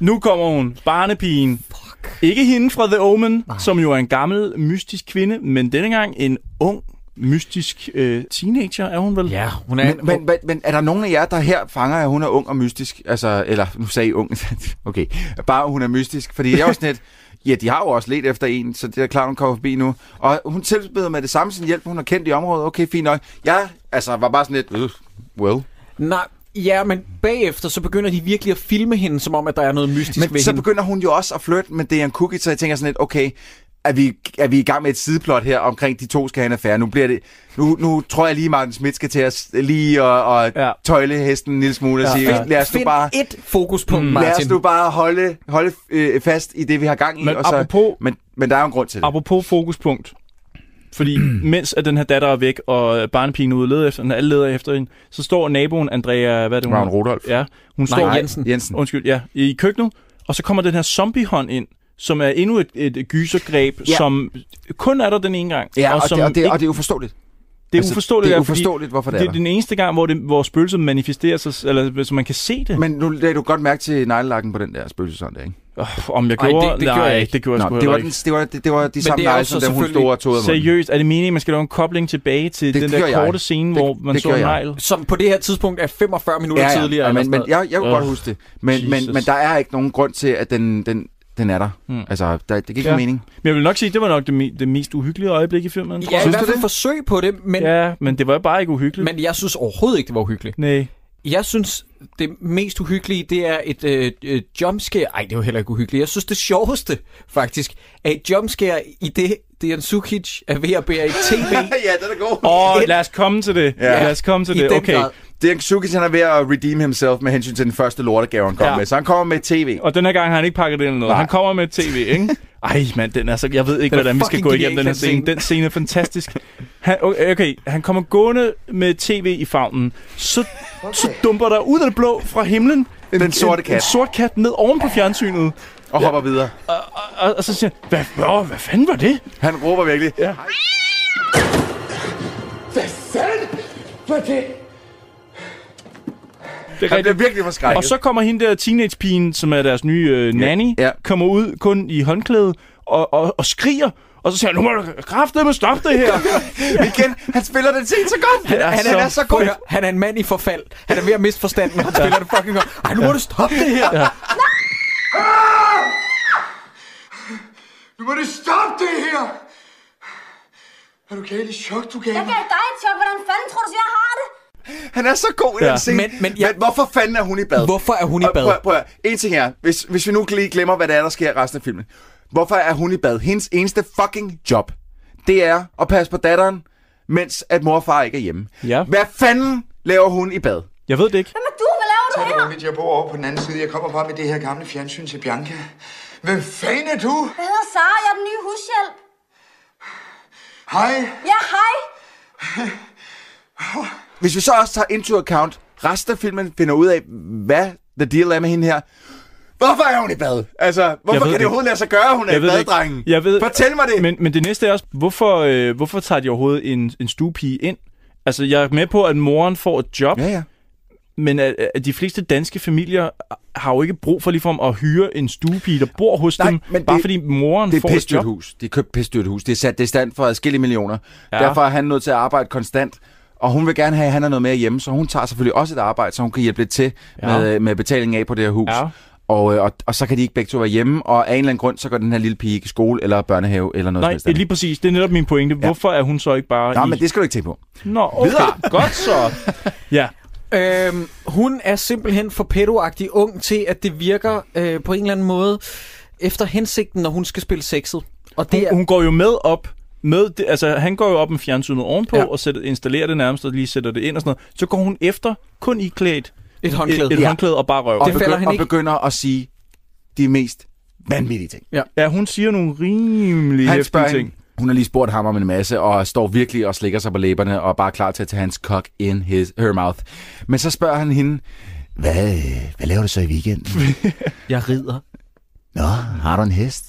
E: Nu kommer hun, barnepigen. Fuck. Ikke hende fra The Omen, Nej. som jo er en gammel, mystisk kvinde, men denne gang en ung, mystisk øh, teenager, er hun vel?
F: Ja, hun
G: Men, men, men, men er der nogen af jer, der her fanger, at hun er ung og mystisk? Altså, eller nu sagde I ung. (laughs) okay. Bare hun er mystisk. Fordi jeg er jo sådan lidt, (laughs) ja, de har jo også let efter en, så det er klart, hun kommer forbi nu. Og hun tilbyder med det samme sin hjælp, hun har kendt i området. Okay, fint nok. Jeg altså, var bare sådan lidt, øh, well.
F: Nej, ja, men bagefter så begynder de virkelig at filme hende, som om, at der er noget mystisk
G: Men
F: ved
G: så
F: hende.
G: begynder hun jo også at flytte med Dejan Cookie, så jeg tænker sådan lidt, okay, er vi, er vi i gang med et sideplot her omkring de to skal have en affære. Nu, bliver det, nu, nu tror jeg lige, Martin Schmidt skal til at lige og, og ja. tøjle hesten en lille smule ja. og sige, lad os nu
F: Find
G: bare...
F: et fokuspunkt,
G: Martin. Lad
F: Martin.
G: os nu bare holde, holde øh, fast i det, vi har gang i.
E: Men
G: og så,
E: apropos-
G: men, men der er jo en grund til det.
E: Apropos fokuspunkt.
F: (clears throat)
E: Fordi mens at den her datter er væk, og barnepigen er ude og leder efter hende, alle leder efter hende, så står naboen Andrea... Hvad er det, hun
G: Ravn
E: hedder?
G: Rudolf.
E: Ja, hun
F: Nej,
E: står...
F: Jensen.
G: Jensen.
E: Mm. Undskyld, ja. I køkkenet. Og så kommer den her zombiehånd ind, som er endnu et, et gysergreb, ja.
G: Ja.
E: som kun er der den ene gang.
G: Ja, og, og,
E: som
G: det, og, det,
E: ikke-
G: og det er uforståeligt.
E: det er
G: Altså,
E: uforståeligt,
G: det er
E: ja, fordi
G: uforståeligt, hvorfor det er
E: Det er
G: der.
E: den eneste gang, hvor, det, hvor spøgelset manifesterer sig, eller så man kan se det.
G: Men nu lagde du godt mærke til neglelakken på den der spøgelsesånd, der, ikke?
E: Oh, om jeg
F: Ej,
E: gjorde...
F: det- det
E: nej,
F: gjorde jeg ikke.
E: det gjorde jeg sgu
G: det, var
E: heller
G: den, det, var, det, det var de samme
F: det er jo
G: negle,
F: så
G: som den hun
F: selvfølgelig-
G: store og tog af munden.
E: Seriøst, er det meningen, man skal lave en kobling tilbage til
G: Det
E: den der
G: gjorde jeg.
E: korte scene,
G: Det-
E: hvor man
G: det
E: så
G: gjorde
E: en
G: jeg.
E: negl?
F: Som på det her tidspunkt er 45 minutter tidligere.
G: ja,
F: eller
G: men,
F: sådan
G: men jeg, jeg kunne
E: Øh,
G: godt huske det. Men, men,
E: Jesus.
G: men der er ikke nogen grund til, at den, den, den er der.
E: Mm.
G: Altså, der, det giver ikke
E: Ja.
G: mening.
E: Men jeg vil nok sige, at det var nok det, me- det mest uhyggelige øjeblik i filmen. tror
F: Ja, i
E: jeg.
F: hvert fald forsøg på det, men, ja.
E: ja, men det var bare ikke uhyggeligt.
F: men jeg synes overhovedet ikke, det var uhyggeligt.
E: Nej.
F: Jeg synes, det mest uhyggelige, det er et øh, øh, jumpscare. Ej, det er jo heller ikke uhyggeligt. Jeg synes, det sjoveste, faktisk, er et jumpscare i det, Dejan Sukic er ved at bære et tv.
G: (laughs) ja, den er god.
E: Åh, lad os komme til det. Ja.
G: Ja.
E: Lad os komme til
F: I
E: det.
F: den
E: Okay.
F: grad.
G: Det er Sukic, han er ved at redeem himself med hensyn til den første lortegave, han kom
E: Ja.
G: med. Så han kommer med tv.
E: Og den her gang har han ikke pakket det eller noget. Nej.
G: Nej.
E: Han kommer med tv, ikke? (laughs) Ej, mand, den er så... Jeg ved ikke,
F: Den er
E: hvordan vi skal
F: fucking
E: gå igennem
F: genial,
E: den her
F: den
E: scene.
F: scene.
E: Den scene er fantastisk. Han, okay, okay, han kommer gående med tv i favnen. Så, okay. så dumper der ud af det blå fra himlen
G: Den sorte
E: En, en
G: kat.
E: sort kat ned oven på fjernsynet.
G: Og hopper videre.
E: Og, og, og så siger han, hvad, hvad, hvad fanden var det?
G: Han råber virkelig.
E: Ja.
H: Hvad fanden var det?
E: Det er
G: Han bliver
E: rigtigt.
G: virkelig forskrækket.
E: Og så kommer hende der teenagepigen, som er deres nye øh, nanny,
G: ja.
E: kommer ud kun i håndklæde og, og, og skriger. Og så siger han, nu må du kraftedeme stoppe
G: (laughs)
E: det her.
G: Igen, han spiller den scene så godt.
E: Han er
F: Han,
E: så
F: han er så god.
E: fedt.
F: Han er en mand i forfald. Han er ved at miste forstanden, og han spiller det fucking godt. Ej, nu må du stoppe det her.
I: Er du galt i chok, du gav Jeg gav dig et chok. Hvordan fanden tror du, så jeg har det?
G: Han er så god i
I: Ja.
G: den scene.
I: Men-
G: Men,
F: men,
G: ja. men hvorfor fanden er hun i bad?
F: Hvorfor er hun i bad?
G: Prøv, prøv, at- en ting er, hvis, hvis vi nu lige glemmer, hvad der er, der sker i resten af filmen. Hvorfor er hun i bad? Hendes eneste fucking job, det er at passe på datteren, mens at mor og far ikke er hjemme.
E: Ja.
G: Hvad fanden laver hun i bad?
E: Jeg ved det ikke.
I: Hvem er du? Hvad laver du her? Tag det roligt. Jeg bor over på den anden side. Jeg kommer bare med det her gamle fjernsyn til Bianca. Hvem fanden er du? Jeg hedder Sara. Jeg er den nye hushjælp.
H: Hej.
I: Ja, hej.
G: Hvis vi så også tager into account, resten af filmen finder ud af, hvad the deal er med hende her. Hvorfor er hun i bad? Altså, hvorfor
E: Jeg ved
G: kan det
E: ikke.
G: overhovedet lade sig gøre, at hun er
E: Jeg
G: i
E: ved det
G: bad,
E: ikke.
G: drengen?
E: Jeg ved,
G: Fortæl mig det!
E: Men, men det næste er også, hvorfor, øh, hvorfor tager de overhovedet en, en stuepige ind? Altså, jeg er med på, at moren får et job.
G: Ja, ja.
E: Men at, at de fleste danske familier har jo ikke brug for ligefrem at hyre en stuepige, der bor hos
G: Nej,
E: dem,
G: men
E: bare
G: det-
E: fordi moren
G: Det
E: får
G: er
E: et
G: pisdyrt
E: job.
G: hus. De købt pisdyrt hus. Det er sat det er stand for adskillige millioner.
E: Ja.
G: Ja. Derfor er han nødt til at arbejde konstant. Og hun vil gerne have, at han er noget mere hjemme, så hun tager selvfølgelig også et arbejde, så hun kan hjælpe lidt til
E: Ja.
G: ja. med, med betalingen af på det her hus.
E: Ja.
G: Ja. Og, øh, og, og så kan de ikke begge to være hjemme, og af en eller anden grund, så går den her lille pige ikke i skole eller børnehave eller noget
E: Nej,
G: som
E: det er lige præcis. Det er netop min pointe. Hvorfor er hun så ikke bare
G: Nå,
E: i...
G: men det skal du ikke tænke på.
E: Nå, okay.
G: Videre.
E: Godt så. Ja.
F: Øhm, hun er simpelthen for pedoagtig ung til, at det virker øh, på en eller anden måde efter hensigten, når hun skal spille sexet. Og det
E: Hun,
F: er,
E: hun går jo med op med det, altså han går jo op med fjernsynet ovenpå ja. og sætter, installerer det nærmest og lige sætter det ind og sådan noget. Så går hun efter kun i klædt
F: Et håndklæde.
E: et, et
F: Ja.
E: håndklæde og bare røv.
G: Og, begy- og begynder at sige de mest vanvittige ting.
F: Ja.
E: ja, hun siger nogle rimelig
G: Han spørger
E: hæftige ting.
G: hende, hun har lige spurgt ham om en masse, og står virkelig og slikker sig på læberne, og er bare klar til at tage hans kok in his, her mouth. Men så spørger han hende, hvad, øh, hvad laver du så i weekenden?
F: Jeg rider.
G: Nå, har du en hest?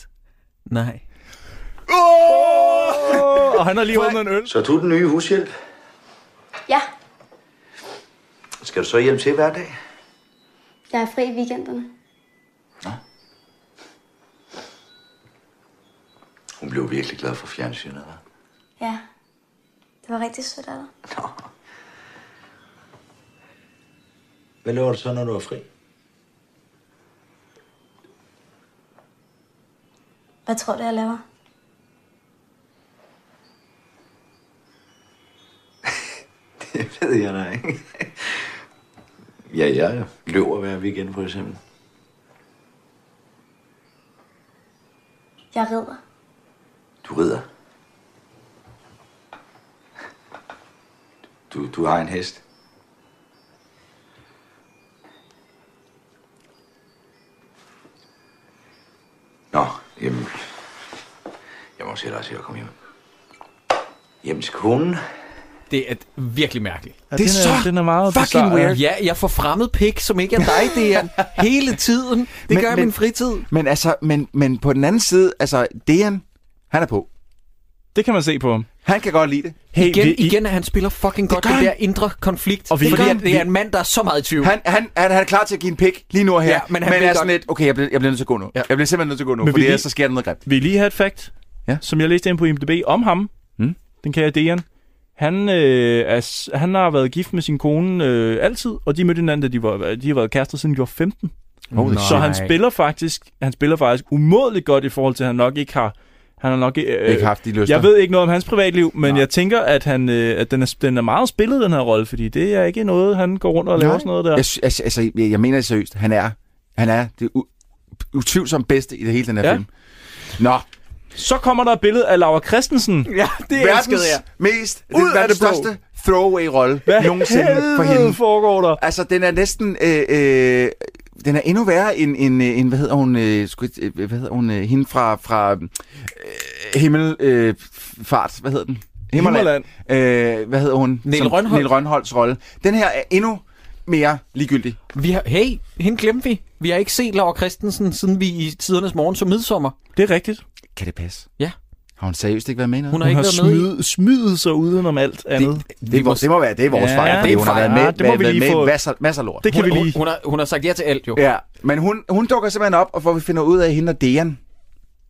F: Nej.
E: Og han har lige åbnet en øl.
N: Så er du den nye hushjælp.
I: Ja,
N: Skal du så hjælpe til hver dag?
I: jeg er fri i weekenderne.
N: Hun blev virkelig glad for fjernsynet, hva'?
I: Ja. Det var rigtig sødt af dig.
N: Hvad laver du så, når du er fri?
I: Hvad tror du, jeg laver?
N: Det ved jeg da ikke. ja, jeg løber hver weekend, for eksempel.
I: Jeg rider.
N: Du rider. Du, du har en hest. Nå, jamen... Jeg må også hellere se at komme hjem. Hjem til konen.
F: Det er virkelig mærkeligt.
E: Ja, Det er den er- så den er meget fucking bizarre, ja. weird.
F: Ja, jeg får fremmed pik, som ikke er dig. Det er (laughs) hele tiden. Det men, gør jeg i min fritid.
G: Men altså, men, men på den anden side, altså, Dejan, han er på.
E: Det kan man se på ham.
G: Han kan godt lide det.
F: Hey, igen, vi, igen, at han spiller fucking godt det, det der indre konflikt. Og
G: Og vi-
F: vi, fordi
G: vi-
F: han, det er
G: vi-
F: en mand, der er så meget i tvivl.
G: Han, han, han, han er klar til at give en pik lige nu og her,
F: Ja, men han
G: men
F: vil
G: er sådan
F: godt.
G: lidt, okay, jeg bliver, jeg bliver nødt til at gå nu. Ja. Jeg bliver simpelthen nødt til at gå
E: Men vi
G: nu, men fordi
E: lige-
G: ellers så sker der noget grimt.
E: Vil I lige have et fact, ja. som jeg læste ind på IMDb om ham?
G: Mm.
E: Den kære Dejan. Han, øh, er, s- han har været gift med sin kone øh, altid, og de mødte hinanden, da de, var, de har været kærester siden de var 15.
G: Holy
E: så
G: shit.
E: han
G: Nej.
E: spiller faktisk han spiller faktisk umådeligt godt i forhold til, at han nok ikke har... Han har nok øh,
G: Ikke haft de lyster.
E: Jeg ved ikke noget om hans privatliv, men Nej. jeg tænker, at, han, øh, at den, er, den er meget spillet, den her rolle, fordi det er ikke noget, han går rundt og laver sådan noget der.
G: Jeg, sy- altså, altså, jeg, jeg mener det seriøst. Han er, han er det u- utvivlsomt bedste i det hele den her
E: Ja.
G: ja. film. Nå,
E: Så kommer der et billede af Laura Christensen.
F: Ja,
G: verdens mest,
E: Ud
G: det,
E: af
G: verdens
E: det blå.
G: største throwaway-rolle
E: Hvad
G: (laughs) nogensinde for
E: helvede
G: hende.
E: foregår der?
G: Altså, den er næsten... Øh, øh, den er endnu værre end, end, øh, end hvad hedder hun, øh, sku, øh, hvad hedder hun øh, hende fra, fra øh, himmelfart, øh, fart, hvad hedder den? Øh, hvad hedder hun?
F: Niel
G: Som-
F: Rønholt.
G: Niel Rønholds rolle. Den her er endnu mere ligegyldig.
F: Vi har, hey, hende glemte vi. Vi har ikke set Laura Christensen, siden vi i tidernes morgen så midsommer.
E: Det er rigtigt.
G: Kan det passe?
F: Ja.
G: Har hun seriøst ikke været med i noget?
F: Hun har ikke været med
E: smid,
F: i-
E: smidet sig udenom alt andet.
G: Det, det, må, det må være, det er vores
E: Ja,
G: ja, fejl,
E: det
G: fordi
E: er
G: hun har
E: fejl.
G: været med,
E: Ja, det må
G: været
E: vi lige
G: med i
E: få-
G: masser, masser af lort.
E: Det kan
F: hun,
E: vi lige.
F: Hun, hun, har, hun har sagt ja til alt, jo.
G: Ja, men hun, hun dukker simpelthen op, og hvor vi finder ud af, at hende og Dejan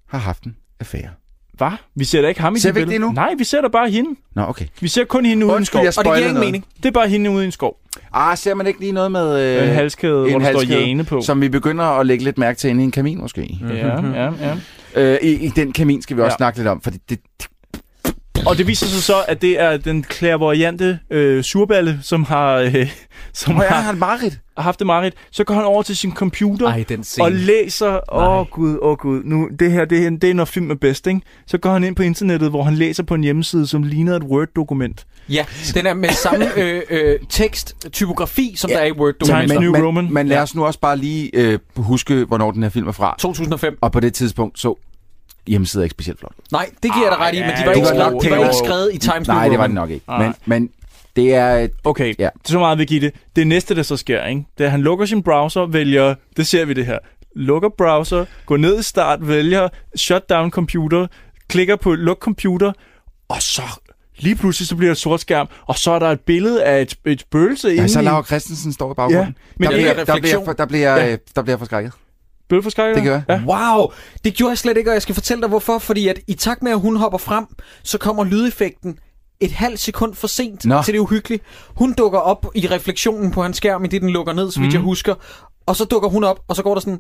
G: har haft en affære.
E: Hvad? Vi ser da ikke ham i
G: Ser
E: det
G: vi ikke
E: billede.
G: det nu?
E: Nej, vi ser da bare hende.
G: Nå, okay.
E: Vi ser kun hende ude i en skov.
G: Undskyld, jeg spoilede noget.
E: Det er bare hende ude i en skov.
G: Ah, ser man ikke lige noget med... øh,
E: En halskæde, hvor der står Jane på.
G: Som vi begynder at lægge lidt mærke til inde i en kamin, måske.
E: Ja, ja, ja.
G: Øh, i, I den kamin skal vi også
E: Ja.
G: ja. snakke lidt om, for det, det,
E: Og det viser sig så, at det er den klærvoyante øh, surballe, som har... Øh, (laughs) som
G: Nå ja,
E: har,
G: han Marit.
E: har haft det Marit. Så går han over til sin computer
F: Ej, den scene.
E: og læser... Åh oh, gud, åh oh, gud. Nu, det her, det, er- det er når film er bedst, ikke? Så går han ind på internettet, hvor han læser på en hjemmeside, som ligner et Word-dokument.
F: Ja, den er med samme øh, øh, tekst, typografi, som ja. der er i Word-dokumenter.
G: men, men, men lad os nu også bare lige øh, huske, hvornår den her film er fra.
F: 2005.
G: Og på det tidspunkt så hjemmesiden ikke specielt flot.
F: Nej, det giver jeg dig ret i, men de var,
G: Det
F: ikke,
G: var
F: skrevet,
G: nok
F: de var
G: til-
F: ikke skrevet i Times
G: Nej,
F: New
G: det var
F: Roman.
G: den nok ikke. Men, men det er... øh,
E: Okay, ja. så meget vil give det. Det næste, der så sker, ikke? det er, at han lukker sin browser, vælger, det ser vi det her, lukker browser, går ned i start, vælger shut down computer, klikker på luk computer, og så lige pludselig så bliver der et sort skærm, og så er der et billede af et, et spøgelse inde
G: Ja, så
E: i-
G: Laura Christensen står i baggrunden.
E: Ja,
G: Ja,
E: men
G: men der,
E: det er
G: bliver, der, bliver,
E: refleksion.
G: for- der, bliver,
E: Ja.
G: øh, der bliver jeg forskrækket.
E: Blev du forskrækket?
G: Det gør
E: jeg.
F: Wow, det gjorde jeg slet ikke, og jeg skal fortælle dig hvorfor. Fordi at i takt med, at hun hopper frem, så kommer lydeffekten et halvt sekund for sent
G: Nå.
F: Nå. til det uhyggelige. Hun dukker op i refleksionen på hans skærm, i det den lukker ned, så vidt
E: Mm.
F: mm.
G: Mhm.
F: jeg husker. Og så dukker hun op, og så går der sådan...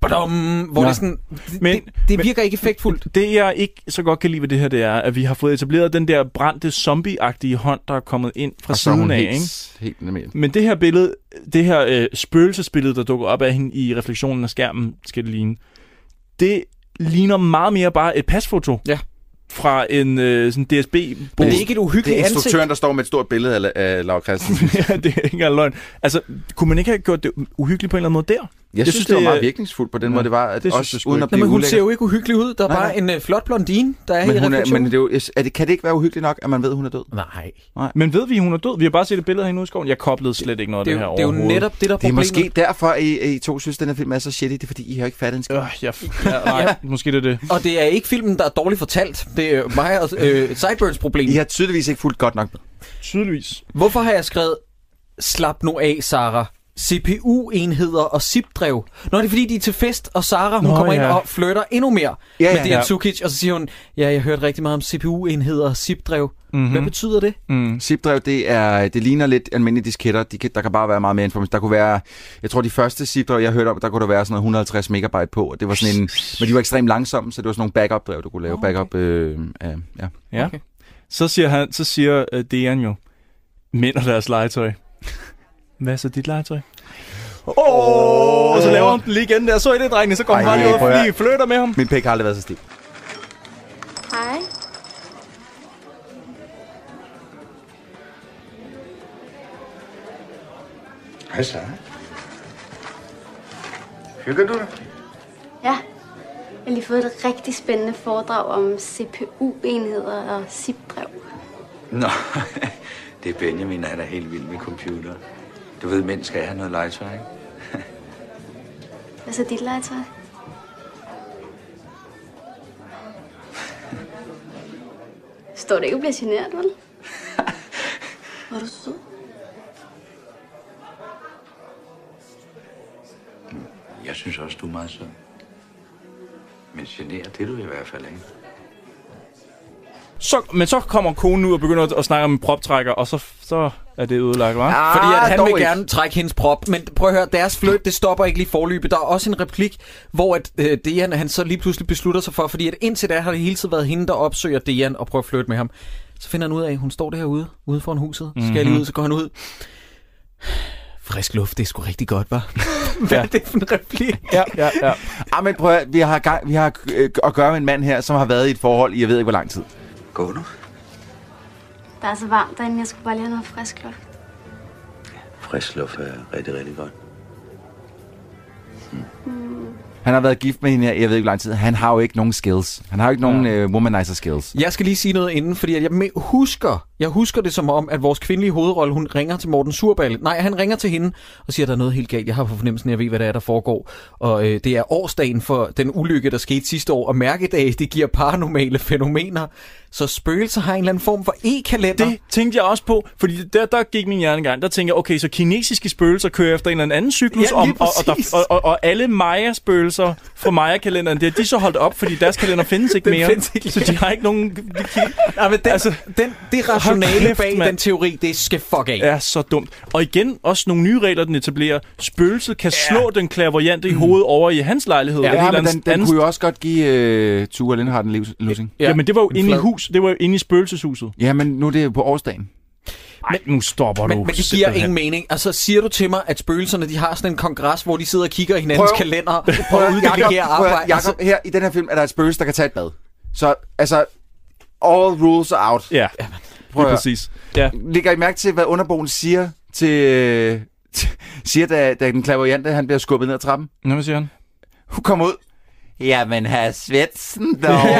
F: Badum, hvor
E: Nå.
F: det er sådan...
E: Men, det,
F: det virker ikke effektfuldt.
E: Det, jeg ikke så godt kan lide ved det her, det er, at vi har fået etableret den der brændte zombie-agtige hånd, der er kommet ind fra
G: Og så er
E: siden
G: hun
E: af.
G: helt,
E: ikke?
G: helt normalt.
E: Men det her billede, det her øh, spøgelsesbillede, der dukker op af hende i refleksionen af skærmen, skal det ligne, det ligner meget mere bare et pasfoto.
F: Ja.
E: Fra en øh, sådan dsb -bod.
G: Det er instruktøren, der står med et stort billede af, La- af Laura Christensen.
E: (laughs) ja, det er ikke engang løgn. Altså, kunne man ikke have gjort det uhyggeligt på en eller anden måde der?
G: Jeg, synes, det, var meget virkningsfuldt på den
E: Ja,
G: måde, det var, at
E: det synes
G: også
E: jeg sgu
G: uden
E: ikke.
G: at
F: Nå,
G: blive
F: men hun
G: ulækker.
F: ser jo ikke uhyggelig ud. Der er
G: Nej,
F: bare
G: nej.
F: en øh, flot blondine, der er i
G: men, hun er,
F: refleksionen.
G: men det er jo, er det, kan det ikke være uhyggeligt nok, at man ved, at hun er død?
F: Nej.
G: Nej.
E: Men ved vi, hun er død? Vi har bare set et billede af hende ude i skoven. Jeg koblede slet ikke noget
F: det
E: af det her
F: er jo- det er jo
E: overhovedet.
F: netop det, der er
G: Det er måske
F: problemet.
G: derfor, at I, at I to synes, den her film er så shitty. Det er, fordi I har ikke fattet en skid.
E: Øh, jeg, ja, nej, måske det er det.
F: Og det er ikke filmen, der er dårligt fortalt. Det er mig og øh, Sideburns problem.
G: I har tydeligvis ikke fulgt godt nok med.
E: Tydeligvis.
F: Hvorfor har jeg skrevet, slap nu af, Sara? CPU-enheder og SIP-drev. Nå, det er fordi, de er til fest, og Sara, hun
E: Nå,
F: Nå, kommer
E: ja.
F: ind og flytter endnu mere
E: Ja,
F: med
E: ja,
F: det
E: ja.
F: her Tukic, og så siger hun, ja, jeg hørte rigtig meget om CPU-enheder og SIP-drev.
G: Mhm.
F: Mm-hmm. Hvad betyder det?
E: Mm.
G: Zip-drev, det, er, det ligner lidt almindelige disketter. De kan, der kan bare være meget mere information. Der kunne være, jeg tror de første zip-drev, jeg hørte om, der kunne der være sådan noget 150 megabyte på. Og det var sådan en, men de var ekstremt langsomme, så det var sådan nogle backup-drev, du kunne lave. Okay. Backup, øh, øh, ja.
E: Ja. Okay. Så siger, han, så siger uh, Dejan jo, mænd og deres legetøj. (laughs) Hvad er så dit legetøj? Åh, oh, så laver hun den lige igen der. Så er det, drengene, så går hun
G: Ej,
E: bare lige ud
G: prøv
E: og
G: at-
E: lige flytter med ham.
G: Min pæk har aldrig været så stiv.
O: Hej.
N: Hej, Sara. Hygger du dig?
O: Ja. Jeg har lige fået et rigtig spændende foredrag om CPU-enheder og SIP-drev.
N: Nå, (laughs) det er Benjamin, han er helt vild med computer. Du ved, mænd skal have noget legetøj, ikke?
O: Hvad så dit legetøj? Står det ikke og bliver generet, vel? Var du sød?
N: Jeg synes også, du er meget sød. Men generer det er du i hvert fald, ikke?
E: Så, men så kommer konen ud og begynder at, at snakke om en proptrækker, og så, så er det ødelagt, hva'?
F: Ah, Fordi at han vil ikke. gerne trække hendes prop, men prøv at høre, deres fløjt, det stopper ikke lige forløbet. Der er også en replik, hvor at, øh, Dejan, han så lige pludselig beslutter sig for, fordi at indtil da har det hele tiden været hende, der opsøger Dejan og prøver at flytte med ham. Så finder han ud af, at hun står derude, ude foran huset. Så skal jeg lige
E: Mhm.
F: ud, så går han ud. (sighs) Frisk luft, det er sgu rigtig godt, var. (laughs) Hvad er det for en replik?
E: ja, ja, ja.
G: Ah, men prøv at, høre, vi har, gang, vi har øh, at gøre med en mand her, som har været i et forhold i jeg ved ikke hvor lang tid.
N: Gå nu.
O: Der er så varmt derinde, jeg skulle bare lige have noget frisk luft.
N: Frisk luft er rigtig, rigtig godt.
G: Han har været gift med hende her, i jeg ved ikke hvor lang tid. Han har jo ikke nogen skills. Han har jo ikke nogen øh, womanizer skills.
F: Jeg skal lige sige noget inden, fordi at jeg me- husker, jeg husker det som om, at vores kvindelige hovedrolle, hun ringer til Morten Surballe. Nej, han ringer til hende og siger, at der er noget helt galt. Jeg har på fornemmelsen, at jeg ved, hvad der er, der foregår. Og øh, det er årsdagen for den ulykke, der skete sidste år. Og mærkedage, det giver paranormale fænomener. Så spøgelser har en eller anden form for e-kalender.
E: Det tænkte jeg også på, fordi der, der gik min hjerne i gang. Der tænkte jeg, okay, så kinesiske spøgelser kører efter en eller anden cyklus,
F: Ja,
E: om,
F: lige
E: og, og, der,
F: præcis.
E: og, og, og alle Maya-spøgelser fra Maya-kalenderen, det er de så holdt op, fordi deres kalender findes ikke
F: Den
E: mere.
F: findes ikke
E: så de har ikke nogen... De, de,
F: Nej, men den, altså, den, det rationale
E: kæft,
F: bag
E: mand.
F: den teori, det skal fuck af.
E: er så dumt. Og igen, også nogle nye regler, den etablerer. Spøgelset kan ja. slå den klaverjante i hovedet over i hans lejlighed.
G: Ja,
E: eller et
G: ja
E: eller
G: men den,
E: andet
G: den
E: andet
G: kunne jo også godt give øh, Tua Lindhardt en livs- losing.
E: Ja, men det var jo
G: En
E: inde i
G: flad.
E: hus, det var jo inde i spøgelseshuset.
G: Ja, men nu er det jo på årsdagen.
E: Ej, nu stopper
F: Men, men det giver ingen mening. Altså, siger du til mig, at spøgelserne, de har sådan en kongres, hvor de sidder og kigger i hinandens
G: Prøv- (laughs)
F: kalender
G: Prøv
F: og
G: at høre, Jacob,
F: uddelegere
G: prøv at høre,
F: arbejde? Altså,
G: Jacob, her i den her film er der et spøgelse, der kan tage et bad. Så altså, all rules are out.
E: Ja,
G: Prøv at høre.
E: præcis. Ja.
G: Lægger I mærke til, hvad underboen siger til... (laughs) siger, da, da den klaverjante, han bliver skubbet ned ad trappen?
E: Nå, hvad siger han?
G: Hun kommer ud. Jamen, herr Svendsen, dog.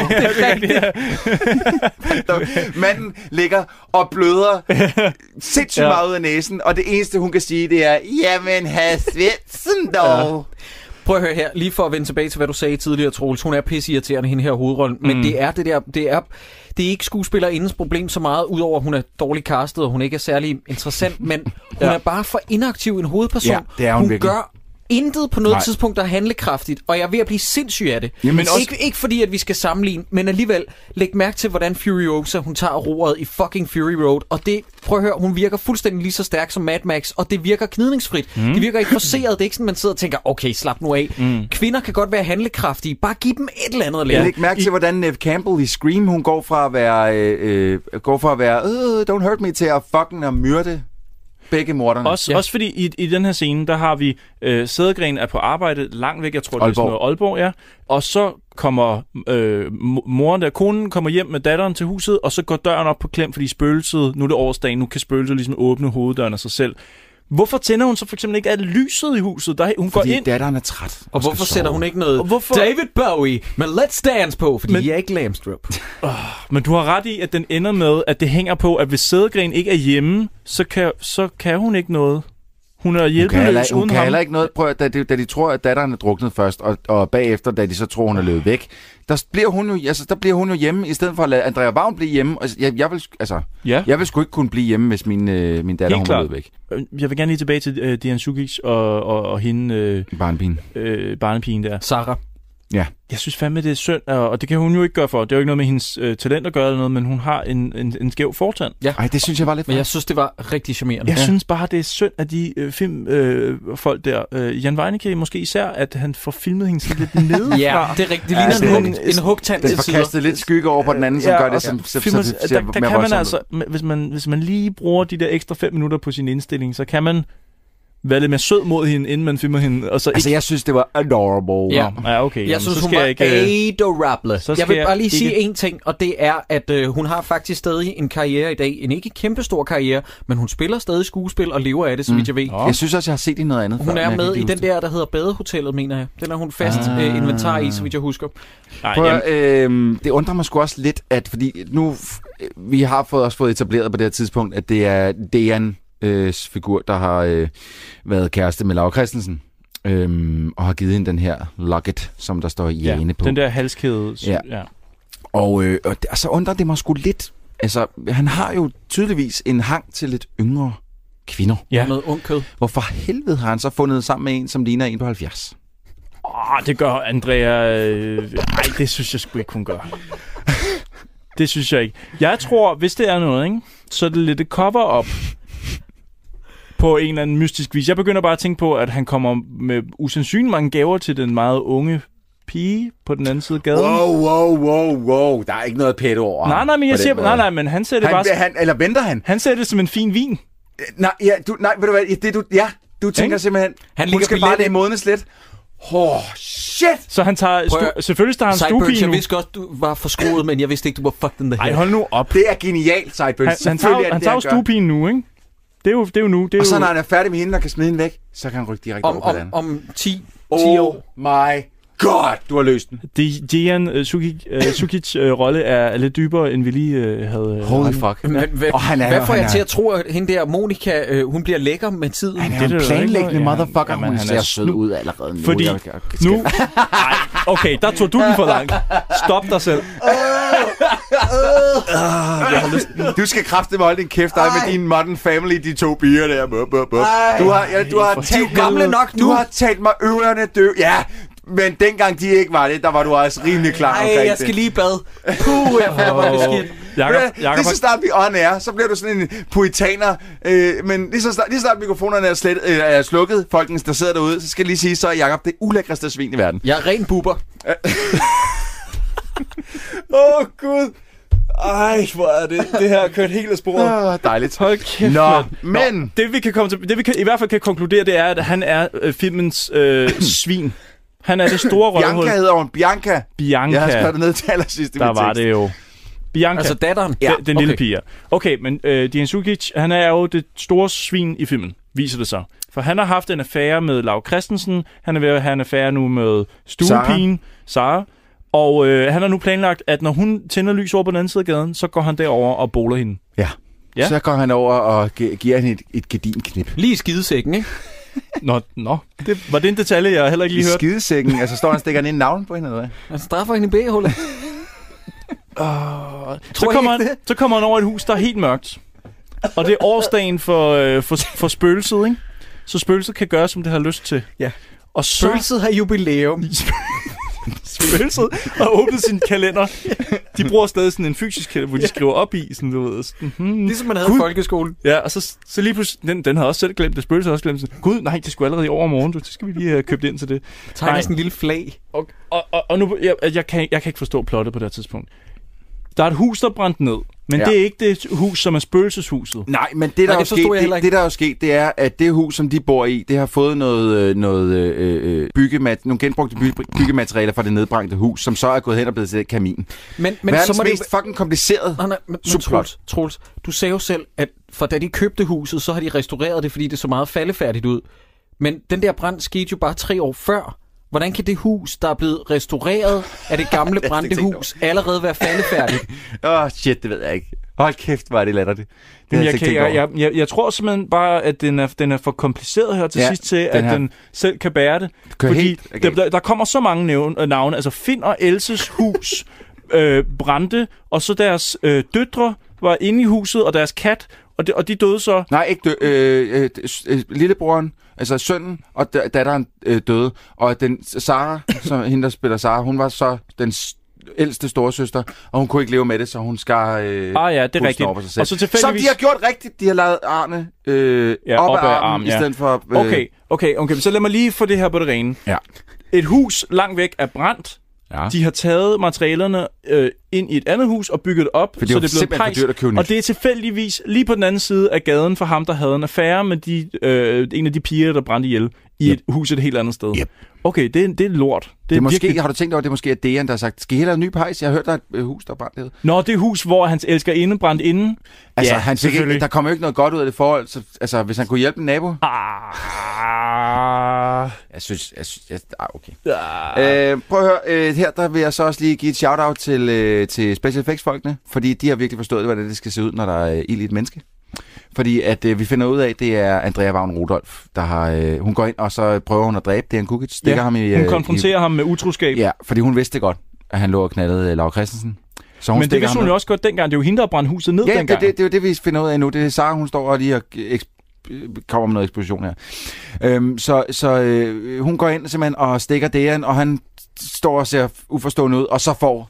G: (laughs) Manden ligger og bløder sindssygt
E: Ja.
G: ja. meget ud af næsen, og det eneste, hun kan sige, det er, jamen, herr Svendsen, dog.
F: Prøv at høre her, lige for at vende tilbage til, hvad du sagde tidligere, Troels. Hun er pisseirriterende, hende her hovedrolle, men
G: Mm.
F: det er det der, det er, det er ikke skuespillerindens problem så meget, udover at hun er dårligt castet, og hun ikke er særlig interessant,
G: (laughs)
F: men hun
G: Ja.
F: er bare for inaktiv en hovedperson.
G: Ja, det er hun virkelig.
F: gør intet på noget
G: Nej.
F: Nej. tidspunkt, der er handlekraftigt, og jeg er ved at blive sindssyg af det.
G: Jamen,
F: Jamen også...
G: også-
F: ikke, ikke fordi, at vi skal sammenligne, men alligevel, læg mærke til, hvordan Furiosa, hun tager roret i fucking Fury Road, og det, prøv at høre, hun virker fuldstændig lige så stærk som Mad Max, og det virker gnidningsfrit.
E: Mm.
F: Mm. Det virker ikke forceret, det er ikke sådan, man sidder og tænker, okay, slap nu af.
E: Mm.
F: Mm. Kvinder kan godt være handlekraftige, bare giv dem et eller andet at
G: Jeg
F: lave.
G: lægger mærke til, hvordan Neve Campbell i Scream, hun går fra at være, øh, øh, går fra at være øh, don't hurt me, til at fucking at myrde begge morderne.
E: Også, ja. også fordi i, i den her scene, der har vi øh, Sædegren er på arbejde langt væk, jeg tror det er sådan
G: Aalborg.
E: noget Aalborg, ja. Og så kommer øh, mo- moren der, konen kommer hjem med datteren til huset, og så går døren op på klem, fordi spøgelset, nu er det årsdagen, nu kan spøgelset ligesom åbne hoveddøren af sig selv. Hvorfor tænder hun så for eksempel ikke alt lyset i huset? Der, hun
G: Fordi
E: går ind...
G: datteren er træt.
F: Og hvorfor sætter hun ikke noget
E: Og hvorfor-
F: David Bowie med Let's Dance på, fordi
E: Men-
F: men... jeg er
E: (laughs)
F: ikke lamstrup.
E: Men du har ret i, at den ender med, at det hænger på, at hvis sædegren ikke er hjemme, så kan, så kan hun ikke noget. Hun er
G: Hun kan, heller,
E: hjælpeløs
G: hun
E: uden
G: kan
E: ham.
G: heller ikke noget. Prøv, at- da, de, da de tror, at datteren er druknet først, og, og bagefter, da de så tror, hun er løbet væk, der bliver hun jo, altså, der bliver hun jo hjemme, i stedet for at lade Andrea Vagn blive hjemme. Altså, jeg, jeg, vil, sk- altså,
E: Ja.
G: jeg vil sgu ikke kunne blive hjemme, hvis min, øh, min datter
E: Helt
G: hun
E: klart.
G: var løbet væk.
E: Øh, Jeg vil gerne lige tilbage til uh, Dian Sukic og, og, og hende... Øh,
G: barnepigen.
E: Øh, barnepigen der.
F: Sarah.
G: Ja.
E: Jeg synes fandme, det er synd, og, og det kan hun jo ikke gøre for. Det er jo ikke noget med hendes øh, talent at gøre eller noget, men hun har en, en, en skæv fortand.
F: Ja.
G: Ej, det synes jeg var lidt
F: Men jeg synes, det var rigtig charmerende.
E: Jeg ja. synes bare, det er synd, at de øh, filmfolk øh, folk der, øh, Jan Weinicke måske især, at han får filmet hende sådan lidt nedefra.
F: (laughs) Ja, det er rigtigt. Det ligner
E: altså,
F: en hug- en hugtand
G: Den
F: til
G: får
F: sider.
G: kastet lidt skygge over på den anden, som gør det, som, så, så,
E: filmer,
G: det ser
E: der, der kan
G: mere
E: man
G: voldsomt ud.
E: altså, men hvis man, hvis man lige bruger de der ekstra 5 minutter på sin indstilling, så kan man være lidt mere sød mod hende, inden man filmer hende. Og så
G: Altså,
E: ikke...
G: jeg synes, det var adorable.
E: Ja, ja okay.
F: Jeg
E: jamen,
F: synes,
E: så
F: hun
E: skal
F: var
E: jeg
F: ikke,
E: ikke, øh,
F: adorable.
E: så
F: jeg
E: skal
F: vil bare lige
E: jeg
F: sige
E: ikke-
F: en ting, og det er, at øh, hun har faktisk stadig en karriere i dag. En ikke kæmpestor karriere, men hun spiller stadig skuespil og lever af det, som mm. jeg ved.
G: Jeg synes også, jeg har set i noget andet. før,
F: Hun
G: men
F: er
G: jeg kan
F: med
G: ikke
F: i
G: huske
F: den der, der hedder Badehotellet, mener jeg. Den er hun fast
G: Ah.
F: ah. øh, inventar i, så vidt jeg husker.
E: Nej,
G: Prøv, at- øhm, det undrer mig sgu også lidt, at fordi nu, f- øh, vi har fået, også fået etableret på det her tidspunkt, at det er Dejan øh, s figur, der har øh, været kæreste med Laura Christensen, øhm, og har givet hende den her locket, som der står
E: ja,
G: Jane på.
E: den der halskæde. Ja.
G: Ja.
E: ja.
G: Og, øh, og det, altså, undrer det mig sgu lidt. Altså, han har jo tydeligvis en hang til lidt yngre kvinder.
E: Ja.
F: Noget ung kød.
G: Hvorfor helvede har han så fundet sammen med en, som ligner en på 70?
E: Åh, det gør Andrea... Øh, ej, det synes jeg sgu ikke, hun gør. (laughs) Det synes jeg ikke. Jeg tror, hvis det er noget, ikke, så er det lidt et cover-up på en eller anden mystisk vis. Jeg begynder bare at tænke på, at han kommer med usandsynligt mange gaver til den meget unge pige på den anden side af gaden.
G: Wow, wow, wow, wow. Der er ikke noget pæt over
E: Nej,
G: ham
E: nej, men
G: på
E: jeg
G: den
E: siger,
G: måde.
E: nej, nej, men han ser det
G: han,
E: bare...
G: han, eller venter han?
E: Han ser det som en fin vin.
G: Nej, ja, du, nej, ved du hvad, det du, ja, du tænker
E: Ikke?
G: simpelthen,
E: Han
G: han hun
E: ligger
G: skal bare
E: billet
G: lige modnes lidt. Åh, oh, shit!
E: Så han tager...
F: Prøv at-
E: Stu- selvfølgelig tager han
F: Sideburns,
E: stuepige
F: jeg
E: nu.
F: vidste godt, du var forskruet, men jeg vidste ikke, du var fucked in the head.
E: Ej, hold nu op.
G: Det er genialt, Sideburns.
E: Han, han tager,
G: Selvfølgelig er
E: jo-
G: det
E: han
G: det,
E: tager jo
G: gør.
E: stuepigen nu, ikke? Det er jo, det er jo nu. Det er
G: Og så
E: jo...
G: når han er færdig med hende og kan smide hende væk, så kan han rykke direkte
F: Om,
G: over på
F: om,
G: den.
F: om 10, 10
G: Oh
F: år.
G: my god, du har løst den.
E: Det Dejan uh, Sukic, uh, Sukic uh, rolle er er lidt dybere, end vi lige uh, havde... øh,
G: Holy
E: regnet.
G: fuck.
E: Ja.
F: Men, hvad,
G: Og han er-
F: hvad får
G: han
F: jeg
G: er-
F: til at tro, at hende der Monika, øh, hun bliver lækker med tiden?
G: Han er
E: det er
G: en
E: jo
G: planlæggende
E: ikke noget-
G: motherfucker,
E: Jamen,
G: Jamen, hun
E: han
G: ser
E: er (laughs)
G: sød
E: snu.
G: ud allerede nu.
E: Fordi
G: Jeg- jeg- jeg-
E: nu... (laughs) Ej, okay, der tog du den for langt. Stop dig selv.
G: Du skal kraftedeme holde din kæft, dig med din modern family, de to bier der. Bup, bup, bup. Du har, ja, du har talt
F: helvede. gamle nok
G: Du
F: nu.
G: har talt mig ørerne dø. Ja, men dengang de ikke var det, der var du også rimelig klar
F: Ej,
G: omkring
F: jeg
G: det.
F: skal lige i bad. Puh, jeg får mig beskidt.
E: Jakob-
G: Ved du hvad?
E: Jakob
G: lige så
E: har-
G: snart vi on air, så bliver du sådan en puritaner. Øh, men lige så, snart, lige så snart mikrofonerne er, slet, øh, er slukket, folkens, der sidder derude, så skal jeg lige sige, så er Jakob det ulækreste svin i verden.
F: Jeg er ren buber.
G: Åh, oh, Gud. Ej, hvor er det. Det her har kørt helt af sporet. Ah, dejligt.
E: Hold kæft,
G: Nå,
E: mand.
G: men-
E: Nå, det vi, kan komme til, det vi kan, i hvert fald kan konkludere, det er, at han er øh, filmens
G: (clears throat)
E: øh, svin. Han er det store røvhul.
G: Bianca hedder hun. Bianca.
E: Bianca.
G: Jeg har skrevet det ned til allersidst i
E: Der
G: min
E: var
G: tekst.
E: det jo. Bianca.
F: Altså datteren?
E: Ja,
F: Ja,
E: den lille
F: okay.
E: pige. ja. Okay, men øh, Dejan Sukic, han er jo det store svin i filmen, viser det sig. For han har haft en affære med Lav Christensen, han er ved at have en affære nu med stuepigen, Sara. Sara. Og øh, han har nu planlagt, at når hun tænder lys over på den anden side af gaden, så går han derover og boler hende.
G: Ja.
E: Ja.
G: ja. Så går han over og gi- giver hende et, et gedinknip.
F: Lige i skidesækken, ikke?
E: Nå, nå. Det, var det en detalje, jeg heller ikke
G: I
E: lige hørte?
G: skidesækken. Altså står han og stikker han ind i navlen på hende, eller hvad?
F: Han straffer hende i
E: (laughs)
F: B-hullet.
E: Så kommer, han, så kommer han over et hus, der er helt mørkt. Og det er årsdagen for, øh, for, for spøgelset, ikke? Så spøgelset kan gøre, som det har lyst til.
F: Ja.
E: Og så...
F: Spøgelset har jubilæum.
E: (laughs) spøgelset har åbnet sin kalender. De bruger stadig sådan en fysisk kalender, hvor de skriver op i, sådan du ved. Sådan, hmm.
F: Ligesom man havde i folkeskolen.
E: Ja, og så, så lige pludselig, den, den havde også selv glemt det, spøgelset havde også glemt det. Gud, nej, det skulle allerede i overmorgen, du, det skal vi lige have købt ind til det.
F: Tegner
E: Nej.
F: sådan en lille flag.
E: Og, og, og, og nu, jeg, jeg, kan, jeg kan ikke forstå plottet på det her tidspunkt. Der er et hus, der er brændt ned, men
G: Ja.
E: ja. det er ikke det hus, som er spøgelseshuset.
G: Nej, men det, der,
E: Nej,
G: er
E: det forstod
G: sket,
E: jeg heller ikke.
G: det, det, der er jo sket, det er, at det hus, som de bor i, det har fået noget, øh, noget øh, øh, byggemat, nogle genbrugte byg, byggematerialer fra det nedbrændte hus, som så er gået hen og blevet til et kamin.
F: Men, men
G: Verdens
F: så må det-
G: mest fucking kompliceret
F: Nej, nej, men, men
G: subplot.
F: Troels, Troels, du sagde jo selv, at for da de købte huset, så har de restaureret det, fordi det så meget faldefærdigt ud. Men den der brand skete jo bare tre år før. Hvordan kan det hus, der er blevet restaureret af
E: (laughs)
F: det gamle
G: Det har jeg slet
F: brændte
G: ikke tænkt
F: hus, allerede være faldefærdigt?
G: Åh, oh, shit, det ved jeg ikke. Hold kæft, hvor er det latterligt. Det
E: Jamen,
G: havde
E: jeg,
G: ikke
E: kan,
G: tænkt over.
E: jeg, jeg, jeg, jeg tror simpelthen bare, at den er, den er for kompliceret her til
G: Ja,
E: sidst til,
G: den
E: at
G: her.
E: den selv kan bære det.
G: kører
E: fordi
G: helt galt.
E: der, der, der kommer så mange nævn, øh, navne. Altså Finn og Elses
G: (laughs)
E: hus øh, brændte, og så deres øh, døtre var inde i huset, og deres kat, og de, og de døde så.
G: Nej, ikke dø- øh, øh, d- s- øh, lillebroren, altså sønnen og da- datteren øh, døde. Og den Sara, som hende, der spiller Sara, hun var så den s- ældste storesøster, og hun kunne ikke leve med det, så hun skar øh,
E: Ah ja, det er
G: pulsen
E: rigtigt.
G: over på sig selv.
E: Og så
G: Som
E: tilfældigvis-
G: de har gjort rigtigt, de har lavet arne øh, ja, op, ad armen, armen i stedet for...
E: Øh... Okay, okay, okay. Så lad mig lige få det her på det rene.
G: Ja.
E: Et hus langt væk er brændt.
G: Ja.
E: De har taget materialerne øh, ind i et andet hus og bygget det op,
G: Fordi det
E: så
G: var
E: det er blevet
G: simpelthen for
E: prejst.
G: dyrt at købe nyt.
E: og det er tilfældigvis lige på den anden side af gaden for ham, der havde en affære med de, øh, en af de piger, der brændte ihjel i yep. et hus et helt andet sted. Yep. Okay, det, er- det er lort. Det,
G: Det er måske,
E: virkelig-
G: har du tænkt over, det er måske at Dejan, der har sagt, skal I hellere have en ny pejs? Jeg har hørt, der er et øh, hus, der er brændt ned.
E: Nå, det hus, hvor hans elsker inde brændte inden.
G: Altså,
E: Ja,
G: ja, han fik ikke,
E: selvfølgelig.
G: der kom jo ikke noget godt ud af det forhold. Så, altså, hvis han kunne hjælpe en nabo?
E: Ah.
G: Jeg synes... Jeg synes jeg, ah, okay. Øh, prøv at høre, øh, her der vil jeg så også lige give et shout-out til, øh, til special effects-folkene, fordi de har virkelig forstået, hvordan det skal se ud, når der er øh, ild i et menneske. Fordi at øh, vi finder ud af, det er Andrea Vagn Rudolf, der har, øh, hun går ind, og så prøver hun at dræbe Dejan Kukic, stikker
E: Ja,
G: ham i...
E: hun
G: øh,
E: konfronterer
G: i,
E: ham med utroskab.
G: Ja, fordi hun vidste godt, at han lå og knaldede øh, Laura Christensen. Så hun
E: Men det
G: stikker
E: vidste
G: ham
E: hun
G: ned.
E: jo også godt dengang. Det er jo hende, der brændte huset ned
G: Ja, det,
E: dengang.
G: det, det er jo det, vi finder ud af nu. Det er Sara, hun står og lige og eks- kommer med noget eksplosion her. Øhm, så så øh, hun går ind simpelthen og stikker Dejan, og han står og ser uforstående ud, og så får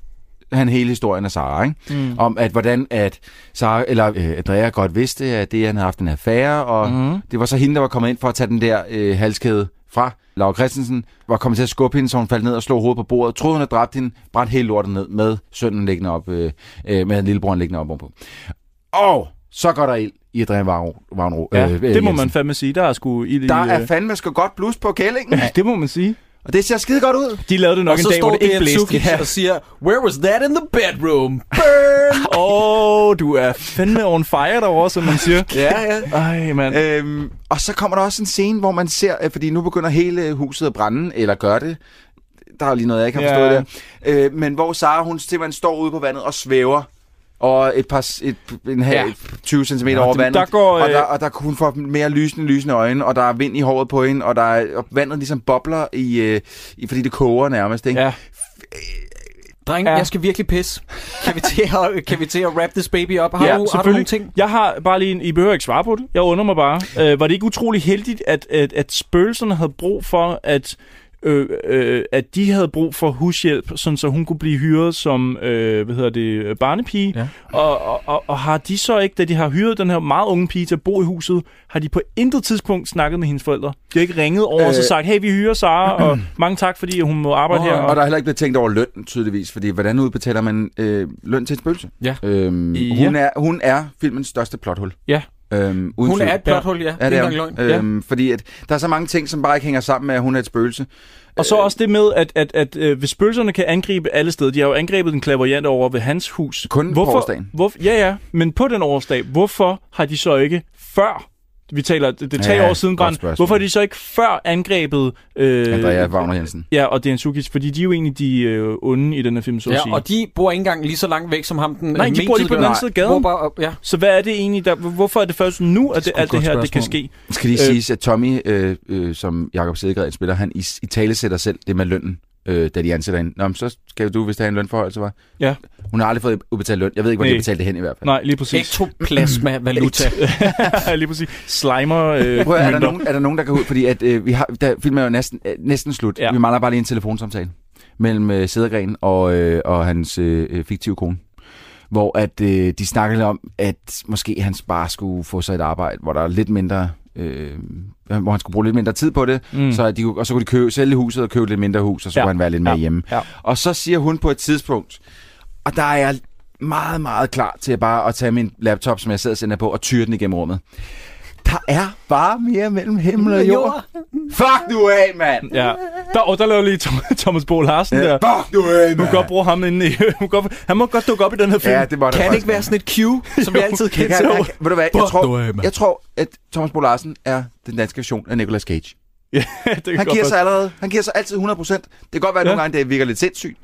G: han hele historien af Sara, ikke?
E: Mm.
G: Om at hvordan at Sara, eller øh, Andrea godt vidste, at Dejan havde haft en affære, og
E: Mhm.
G: mm. det var så hende, der var kommet ind for at tage den der øh, halskæde fra Laura Christensen, var kommet til at skubbe hende, så hun faldt ned og slog hovedet på bordet, troede hun havde dræbt hende, brændte hele lortet ned med sønnen liggende op, øh, øh, med lillebroren liggende op ovenpå. Og så går der ild i Adrian Vagn, Vagn, øh,
E: Ja,
G: øh,
E: det må
G: Jensen.
E: man øh, fandme sige. Der er sgu ild
G: Der
E: i...
G: er fandme sgu godt blus på kællingen.
E: det må man sige.
G: Og det ser skide godt ud.
E: De lavede det nok
F: og så
E: en dag,
F: står
E: hvor det ikke blæste.
F: Sukic
E: Ja.
F: og siger, where was that in the bedroom? Burn!
E: Åh, oh, du er fandme on fire derovre, som man siger.
G: Ja, ja.
E: Ej, mand.
G: Øhm, og så kommer der også en scene, hvor man ser, øh, fordi nu begynder hele huset at brænde, eller gør det. Der er jo lige noget, jeg ikke har
E: Ja.
G: forstået der. Øh, men hvor Sara, hun simpelthen står ude på vandet og svæver. Og et par, s- et, en halv,
E: Ja.
G: ja. 20 cm
E: Ja,
G: over
E: det-
G: vandet.
E: der går,
G: og, der,
E: øh,
G: og der, hun får mere lysende, lysende øjne, og der er vind i håret på hende, og, der er, og vandet ligesom bobler, i, øh, i, fordi det koger nærmest. Ikke?
E: Ja.
F: Dreng,
E: Ja.
F: ja. jeg skal virkelig pisse. Kan vi til at, kan vi til at wrap this baby op? Har,
E: ja,
F: du, har du
E: selvfølgelig.
F: nogle ting?
E: Jeg har bare lige en, I behøver ikke svare på det. Jeg undrer mig bare. Øh, var det ikke utrolig heldigt, at, at, at spøgelserne havde brug for, at øh, øh, at de havde brug for hushjælp, sådan så hun kunne blive hyret som, øh, hvad hedder det, øh, barnepige. Ja. Og, og, og, og har de så ikke, da de har hyret den her meget unge pige til at bo i huset, har de på intet tidspunkt snakket med hendes forældre? De har ikke ringet over øh. og så
G: Øh.
E: sagt, hey, vi hyrer Sara, og mange tak, fordi hun må arbejde her.
G: Og der er heller ikke blevet tænkt over løn, tydeligvis, fordi hvordan udbetaler man øh, løn til en spøgelse?
F: Ja.
G: Øhm,
F: Ja.
G: Hun, er, hun er filmens største plothul.
E: Ja.
G: Øhm,
F: Hun er et plothul, ja.
G: Er
F: Det
G: det
F: er
G: er
F: ikke
G: hun.
F: engang løgn.
G: Øhm, Fordi at, der er så mange ting, som bare ikke hænger sammen med, at hun er et spøgelse.
E: Og
G: Øh.
E: så også det med, at, at, at, at hvis spøgelserne kan angribe alle steder, de har jo angrebet den klaverjant over ved hans hus.
G: Kun
E: hvorfor,
G: årsdagen.
E: Hvorfor, ja, ja, men på den årsdag, hvorfor har de så ikke før, vi taler, det, det er tre
G: Ja,
E: år siden,
G: godt
E: brand,
G: spørgsmål.
E: hvorfor har de så ikke før angrebet... Øh,
G: Andrea
F: (laughs)
G: Wagner Jensen.
E: Ja, og Dejan Sukic, fordi de er jo egentlig de øh, onde i den her film, så at sige.
F: Ja, og de bor ikke engang lige så langt væk som ham, den
E: Nej, de bor lige på den anden side af gaden.
F: Hvor bare, ja.
E: Så hvad er det egentlig, der, hvorfor er det først nu, at det, at det her det kan ske?
G: Skal lige
E: Øh,
G: siges, at Tommy, øh, øh, som Jakob Sædegred spiller, han i, i tale sætter selv det med lønnen, øh, da de ansætter hende. Nå, men så skal du, hvis der er en lønforhold, så var.
E: Ja.
G: Hun har aldrig fået udbetalt løn. Jeg ved ikke, hvor de
E: Nej.
G: har betalt det hen i hvert fald.
E: Nej, lige præcis.
F: Ektoplasma valuta.
E: (laughs) lige præcis. Slimer. Øh,
G: Prøv, at- er, der
E: mønter.
G: nogen, er der nogen, der kan ud? Fordi at, øh, vi har, der, filmen er jo næsten, øh, næsten slut. Ja. Vi mangler bare lige en telefonsamtale mellem øh, Sædergren og, øh, og hans øh, fiktive kone. Hvor at, øh, de snakker lidt om, at måske han bare skulle få sig et arbejde, hvor der er lidt mindre... Øh, hvor han skulle bruge lidt mindre tid på det,
E: Mm.
G: mm. så at de, kunne- og så kunne de købe, sælge huset og købe lidt mindre hus, og så
E: Ja.
G: ja. kunne han være lidt mere
E: Ja.
G: hjemme.
E: Ja.
G: Og så siger hun på et tidspunkt, og der er jeg meget, meget klar til bare at tage min laptop, som jeg sidder og sender på, og tyre den igennem rummet. Der er bare mere mellem himmel og jord. Fuck nu af, mand!
E: Ja. Der, og der laver lige Tom- (laughs) Thomas Bo Larsen der.
G: Fuck du af,
E: Hun kan godt bruge ham inde i. Hun kan godt, han må godt dukke op i den her film.
G: Ja, det må der
E: kan
G: faktisk (laughs)
E: ikke være
F: sådan et cue,
E: som vi altid
G: Det
E: kender
G: kan-
E: til.
G: jeg- Ved du hvad, jeg
E: Fuck du af,
G: tror,
E: mand.
G: jeg tror, at Thomas Bo Larsen er den danske version af Nicolas Cage.
E: det kan
G: Han
E: godt
G: giver
E: passe.
G: sig allerede, han giver sig altid 100%. Det kan godt være, at nogle gange det virker lidt sindssygt,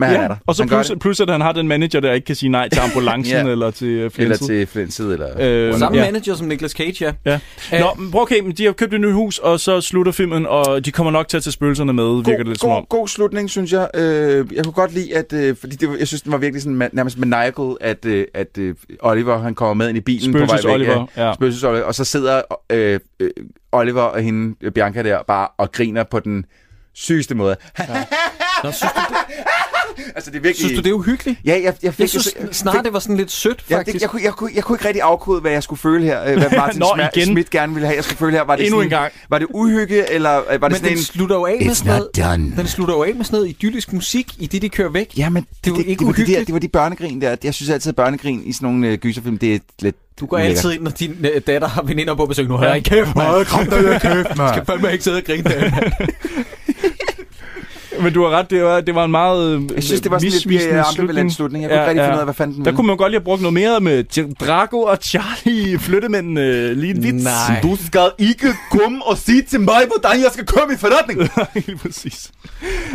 G: men han er der.
E: Og så
G: Han gør
E: plus,
G: det.
E: plus, at han har den manager, der ikke kan sige nej til ambulancen
G: (laughs) Ja.
E: eller til øh,
G: Eller
E: flænset.
G: til flænset, eller...
E: Øh,
F: Samme
E: ja.
F: manager som Nicolas Cage, ja.
E: Ja. Nå, men prøv okay, men de har købt et nyt hus, og så slutter filmen, og de kommer nok til at tage spøgelserne med, god, virker det lidt som
G: god,
E: om.
G: god slutning, synes jeg. Øh, jeg kunne godt lide, at... Øh, fordi det, var- jeg synes, den var virkelig sådan, ma- nærmest maniacal, at, øh, at øh, Oliver han kommer med ind i bilen
E: Spøgelses
G: på vej væk.
E: Oliver, ja.
G: Spøgelses Oliver. Og så sidder øh, øh, Oliver og hende, øh, Bianca der, bare og griner på den sygeste måde.
F: Nå, synes, du
G: det, (laughs) altså, det er virkelig...
F: synes du, det er uhyggeligt?
G: Ja, jeg, jeg fik...
F: Jeg synes snarere, det var sådan lidt sødt,
G: Ja, det,
F: faktisk.
G: jeg, kunne, jeg, kunne, jeg kunne ikke rigtig afkode, hvad jeg skulle føle her.
F: (laughs)
G: øh, Hvad Martin
F: Nå,
G: Nå, Sma-
F: igen.
G: Schmidt gerne ville have, jeg skulle føle her. Var det
F: Endnu
G: sådan,
F: en gang.
G: Var det uhygge, eller øh, var det
F: Men
G: sådan
F: den
G: en...
F: slutter jo af med
G: It's
F: sådan noget,
G: not done.
F: Den slutter jo af med sådan noget idyllisk musik, i det de kører væk.
G: Ja, men
F: det er jo
G: det,
F: ikke
G: det, var de
F: uhyggeligt.
G: der, det var de børnegrin der. Jeg synes altid, at børnegrin i sådan nogle øh, gyserfilm, det er lidt
F: Du går altid ind, når din øh, datter har veninder på besøg. Nu har jeg ikke kæft, mand.
G: Kom der, jeg kæft, mand.
F: (laughs) Skal fandme ikke sidde og grine der.
E: Men du har ret, det var, det var en meget øh,
G: Jeg synes, det var sådan lidt
E: misvisende
G: mere ambivalent slutning. Jeg kunne ikke rigtig finde ud af, hvad fanden den
E: Der
G: ville.
E: kunne man godt lige have brugt noget mere med Jack Drago og Charlie flyttemænden øh, lige en vits.
F: Nej.
E: (laughs)
G: Du skal ikke komme og sige til mig, hvordan jeg skal komme i forretning.
E: Helt præcis.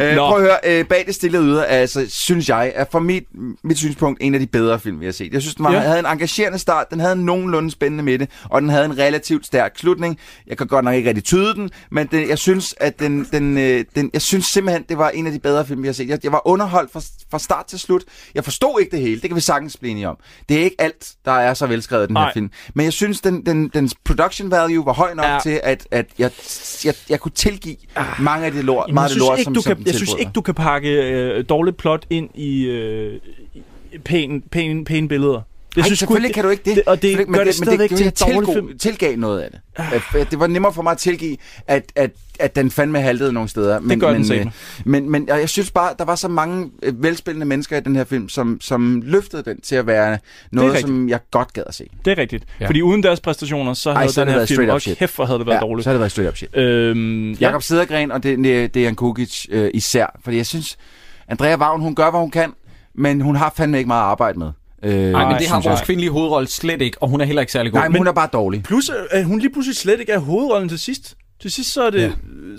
G: Øh,
E: Nå.
G: prøv at høre, øh, bag det stille yder, er, altså, synes jeg, er fra mit, mit synspunkt en af de bedre film, vi har set. Jeg synes, den var,
E: Ja.
G: ja. havde en engagerende start, den havde en nogenlunde spændende midte, og den havde en relativt stærk slutning. Jeg kan godt nok ikke rigtig tyde den, men den, jeg synes, at den, den, øh, den, jeg synes simpelthen, det var en af de bedre film, vi har set. Jeg, jeg var underholdt fra, fra start til slut. Jeg forstod ikke det hele, det kan vi sagtens blive enige om. Det er ikke alt, der er så velskrevet i den
E: Nej.
G: her film. Men jeg synes, den, den, dens production value var høj nok
E: Ja. Ah.
G: ja. til, at, at jeg, jeg, jeg kunne tilgive mange af det lort,
E: Jamen,
G: meget
E: jeg
G: af det
E: synes,
G: lort,
E: ikke,
G: som,
E: du
G: som
E: kan,
G: den
E: jeg synes
G: tilbød
E: ikke, du kan pakke øh, dårligt plot ind i øh, i pæne pæn, pæn billeder. Jeg
G: Jeg Ej,
E: synes
G: synes,
E: sgu
G: selvfølgelig kan du ikke det.
E: det og det
G: Selvfølgelig-
E: gør det Ah. stadigvæk til en dårlig
G: jeg
E: film.
G: tilgav, tilgav noget af det. At- at Det var nemmere for mig at tilgive, at, at, at den fandme haltede nogle steder. Men,
E: gør den
G: men,
E: satme.
G: øh, men, men og jeg synes bare, der var så mange øh, velspillende mennesker i den her film, som, som løftede den til at være noget,
E: rigtigt.
G: som jeg godt gad at se.
E: Det er rigtigt.
G: Ja.
E: Fordi uden deres præstationer, så havde
G: Ej,
E: Ej,
G: så
E: den
G: havde det
E: her film,
G: været straight up
E: og
G: shit.
E: kæft, hvor havde det været
G: Ja,
E: dårligt.
G: så havde det været straight up shit.
E: Øhm, ja.
G: Jakob Sedergren og det, det, det er Kukic øh, især. Fordi jeg synes, Andrea Wagn, hun gør, hvad hun kan, men hun har fandme ikke meget at arbejde med. Øh,
F: Nej, men det har
G: synes
F: vores
G: jeg.
F: kvindelige hovedrolle slet ikke, og hun er heller ikke særlig god.
G: Nej, men hun er bare dårlig.
E: Plus, øh, at hun lige pludselig slet ikke er hovedrollen til sidst. Til sidst, så er det, ja.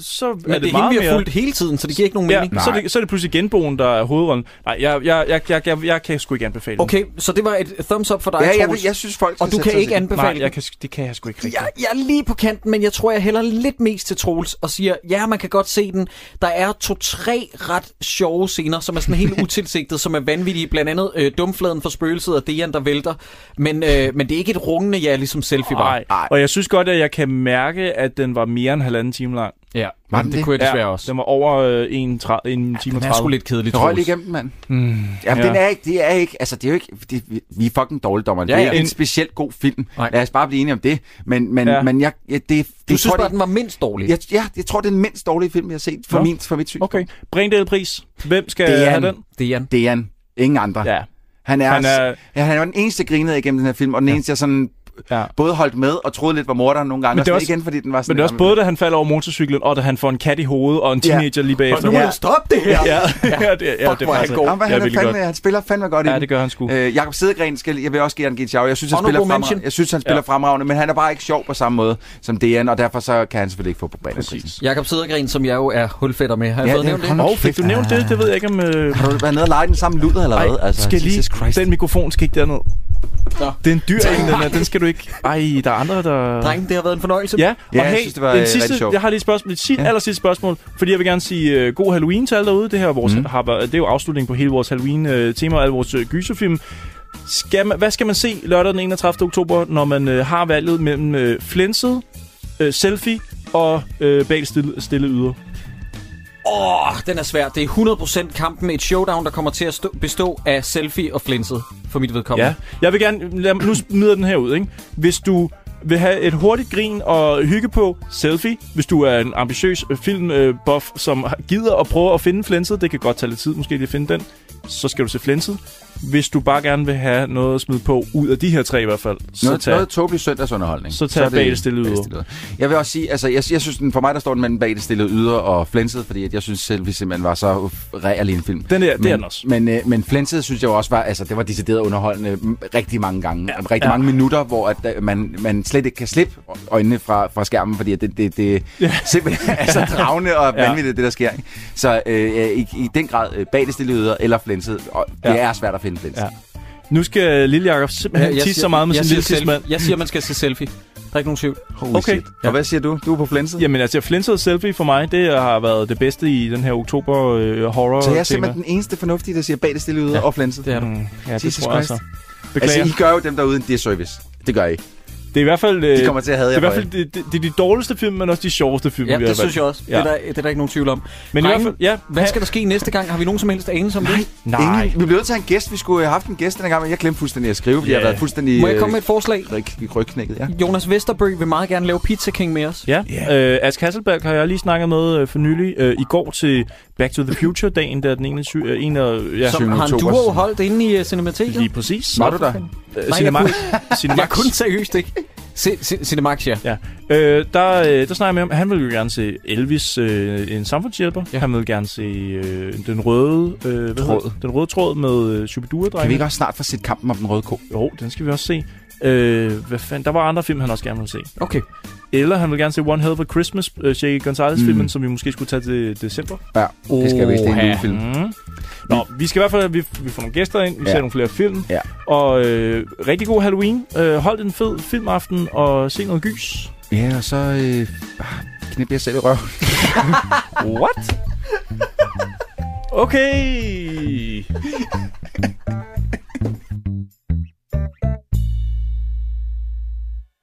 E: så er
F: Men det er
E: det
F: hende,
E: meget
F: vi har
E: mere...
F: fulgt hele tiden, så det giver ikke nogen
E: ja,
F: mening.
E: Så er,
F: Nej.
E: det, så er det pludselig genboen, der er hovedrollen. Nej, jeg, jeg, jeg, jeg, jeg, jeg kan sgu ikke anbefale den.
F: Okay, så det var et thumbs up for dig,
E: Ja, jeg
F: Troels.
E: vil- jeg synes, folk skal
F: Og du
E: sætte
F: kan
G: altså,
E: sig
F: ikke
E: til-
F: anbefale
E: Nej,
F: den.
E: jeg kan, det kan jeg sgu ikke rigtigt.
F: Jeg, jeg er lige på kanten, men jeg tror, jeg hælder lidt mest til Troels og siger, ja, man kan godt se den. Der er to-tre ret sjove scener, som er sådan helt utilsigtet, som er vanvittige. Blandt andet øh, dumfladen for spøgelset og Dejan, der vælter. Men, øh, men det er ikke et rungende ja, ligesom selfie var.
E: Nej, og jeg synes godt, at jeg kan mærke, at den var mere end halvanden time lang.
F: Ja,
G: Var den
F: det kunne jeg desværre
E: ja,
F: også.
E: Den var over øh, en, tra- en time og 30.
F: den er sgu lidt kedelig,
G: Røg lige igennem, mand.
E: Mm,
G: Jamen, ja. den er ikke, det er ikke, altså det er jo ikke, det, vi- vi er fucking dårlige dommer.
F: Ja,
G: Ja, ja.
F: ja.
G: Det er
F: En-
G: en specielt god film. Nej. Lad os bare blive enige om det. Men, men,
F: Ja.
G: ja. men jeg, jeg det, det
F: Du
G: jeg
F: synes
G: tror,
F: bare,
G: det,
F: den var mindst dårlig.
G: jeg, ja, jeg tror, det er den mindst dårlige film, jeg har set for,
E: Nå.
G: min, for mit syn.
E: Okay. Brindelpris. Hvem skal
G: Det er
F: Øh,
E: have
G: han.
E: den?
F: Det er Jan.
G: Det er han. Ingen andre.
E: Ja.
G: Han er,
E: Han
G: han
E: er-
G: er, ja, han er den eneste, der grinede igennem den her film, og den ja. eneste, jeg sådan
E: Ja.
G: både holdt med og troede lidt var morderen nogle gange,
E: Men
G: og
E: det er
G: sådan
E: også-
G: igen, fordi den var sådan...
E: Men det er også både, da han falder over motorcyklen, og da han får en kat i hovedet og en
G: Ja.
E: teenager lige bagefter.
G: nu må du stoppe det her!
E: (laughs) Ja, ja, det, ja, det er faktisk
G: Jamen, hvad,
E: Ja,
G: han, er
E: virkelig
G: fandme,
E: godt.
G: han spiller fandme godt i
E: Ja,
G: den.
E: det gør han sgu.
G: Øh, Jakob Sædegren skal, jeg vil også give ham en shout. Jeg synes, han
F: Honorable
G: spiller,
F: mention.
G: fremragende. jeg synes, han spiller
F: Ja.
G: ja. fremragende, men han er bare ikke sjov på samme måde som DN, og derfor så kan han selvfølgelig ikke få på banen. Præcis.
F: Jakob Sædergren, som jeg jo er hulfætter med, har jeg
G: Ja,
F: fået
G: det-
F: nævnt det?
G: hold nu
E: Fik du nævnt det? Det ved jeg ikke om... Øh...
G: Har du været nede og lege den samme luder eller hvad? Altså,
E: Ej, skal lige...
G: Jesus Christ.
E: Den mikrofon skal ikke derned.
F: Nå.
E: Det er en dyr en, den er. Den skal du ikke... Ej, der er andre, der...
F: Drengen, det har været en fornøjelse.
E: Ja, og
G: Ja, jeg
E: hey,
G: synes, det var,
E: en
G: øh,
E: sidste,
G: rigtig sjovt.
E: jeg har lige et spørgsmål, et sit, ja. aller sidste spørgsmål, fordi jeg vil gerne sige øh, god Halloween til alle derude. Det her er vores,
G: Mhm.
E: mm. har, været- det er jo afslutningen på hele vores Halloween-tema og alle vores øh, gyserfilm. Skal man, hvad skal man se lørdag den 31. oktober, når man øh, har valget mellem øh, flænset, øh, selfie og øh, bag stille, stille yder?
F: Åh, oh, den er svær. Det er 100% kampen. Et showdown, der kommer til at stå, bestå af selfie og flinset, for mit vedkommende.
E: Ja. Jeg vil gerne... Lad, nu smider jeg den her ud, ikke? Hvis du vil have et hurtigt grin og hygge på selfie, hvis du er en ambitiøs øh, filmbuff, som har- gider at prøve at finde flænset, det kan godt tage lidt tid måske lige at finde den, så skal du se flænset. Hvis du bare gerne vil have noget at smide på, ud af de her tre i hvert fald, så
G: noget,
E: tag...
G: noget tåbelig søndagsunderholdning.
E: Så tag
G: er det
E: bag det stille yder.
G: bag Jeg vil også sige, altså jeg, jeg synes, den, for mig der står den mellem bag det stille yder og flænset, fordi at jeg synes selv, vi simpelthen var så uff, real i en film.
E: Den er- det er
G: men,
E: den også.
G: Men, øh, men flænset synes jeg jo også var, altså det var decideret underholdende m- rigtig mange gange. Ja, rigtig
E: ja.
G: ja. mange minutter, hvor at, øh, man, man slet ikke kan slippe øjnene fra, fra skærmen, fordi at det, det, det ja. simpelthen er så dragende og
E: (laughs) Ja.
G: vanvittigt, det der sker. Ikke? Så øh, i, i den grad øh, bag det stille yder eller flænset, og det
E: Ja.
G: ja. er svært at finde flænset.
E: Ja. Nu skal Lille Jacob simpelthen ja, tisse så meget med
F: Øh, jeg
E: sin
F: siger
E: lille tidsmand.
F: selfie. Jeg siger, man skal se selfie. Der er ikke nogen tvivl.
G: Holy
E: Okay.
G: shit. Og hvad siger du? Du er på flænset?
E: Jamen altså, flænset selfie for mig, det har været det bedste i den her oktober øh, horror
G: Så jeg er simpelthen den eneste fornuftige, der siger bag det stille yder ja, og flænset.
F: Det er du.
E: Ja, Mm. det
G: Jesus
E: tror jeg
G: Christ.
E: altså.
G: Altså,
E: Beklager.
G: I gør jo dem derude en disservice. Det gør I.
E: Det er i hvert fald... øh,
G: De kommer til at hade
E: det er i
G: jer
E: hvert
G: for
E: fald det, det, det er de dårligste film, men også de sjoveste film,
F: Ja,
E: vi har
F: det synes
E: valgt.
F: jeg også. Ja.
E: Ja.
F: Det, er der, det er der ikke nogen tvivl om.
E: Men i hvert fald... Ja,
F: hvad skal der ske næste gang? Har vi nogen som helst anelse om det?
E: Nej.
G: Ingen, vi blev nødt til at have en gæst. Vi skulle have haft en gæst denne gang, men jeg glemte fuldstændig at skrive, fordi
E: Ja.
G: yeah. jeg har været fuldstændig... øh,
F: Må jeg komme med et forslag?
G: Ryg, rygknækket, ja.
F: Jonas Vesterbø vil meget gerne lave Pizza King med os.
E: Ja, yeah. øh, Ask Hasselberg har jeg lige snakket med øh, for nylig øh, i går til Back to the Future-dagen, der er den 21... Øh, en af, ja,
F: Som har en
G: oktober.
F: duo holdt inde i uh, Cinemateket.
E: lige præcis.
G: Var du der?
E: Øh,
F: Nej, jeg
E: Cinemax.
F: kunne, jeg
E: Cinemax.
F: kunne seriøst ikke. Ci- Ci- Cinemax, ja.
E: Ja. Øh, der, øh, der snakker jeg med om, han ville jo gerne se Elvis, øh, en samfundshjælper. Ja. Han ville gerne se øh, den røde... Øh, hvad hedder
G: Tråd.
E: det? Den røde tråd med øh, Shubidua-drengen.
G: Kan vi ikke også snart få set kampen om den røde ko?
E: Jo, den skal vi også se. Øh, hvad fanden? Der var andre film, han også gerne ville se.
F: Okay.
E: Eller han vil gerne se One Hell of a Christmas, øh, Jay Gonzalez-filmen, mm. som vi måske skulle tage til december.
G: Ja, det skal vi ikke. Det er en
F: Oha.
G: lille film.
E: Mm. Nå, vi skal i hvert fald vi, vi får nogle gæster ind, vi ja.
G: Ja.
E: ser nogle flere film.
G: Ja.
E: Og øh, rigtig god Halloween. Øh, hold en fed filmaften og se noget gys.
G: Ja, og så øh, ah, knip jeg selv i røven.
E: What? Okay.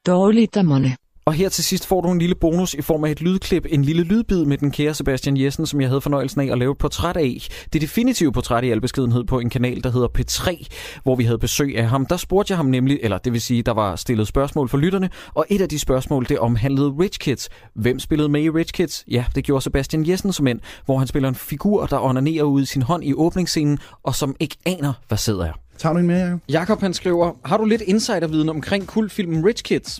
B: Dårligdommerne.
F: Og her til sidst får du en lille bonus i form af et lydklip, en lille lydbid med den kære Sebastian Jessen, som jeg havde fornøjelsen af at lave et portræt af. Det definitive portræt i albeskedenhed på en kanal, der hedder P3, hvor vi havde besøg af ham. Der spurgte jeg ham nemlig, eller det vil sige, der var stillet spørgsmål for lytterne, og et af de spørgsmål, det omhandlede Rich Kids. Hvem spillede med i Rich Kids? Ja, det gjorde Sebastian Jessen som end, hvor han spiller en figur, der onanerer ud i sin hånd i åbningsscenen, og som ikke aner, hvad sidder er.
P: Tager du en mere, Jacob?
F: Jakob han skriver, har du lidt insiderviden omkring kultfilmen Rich Kids?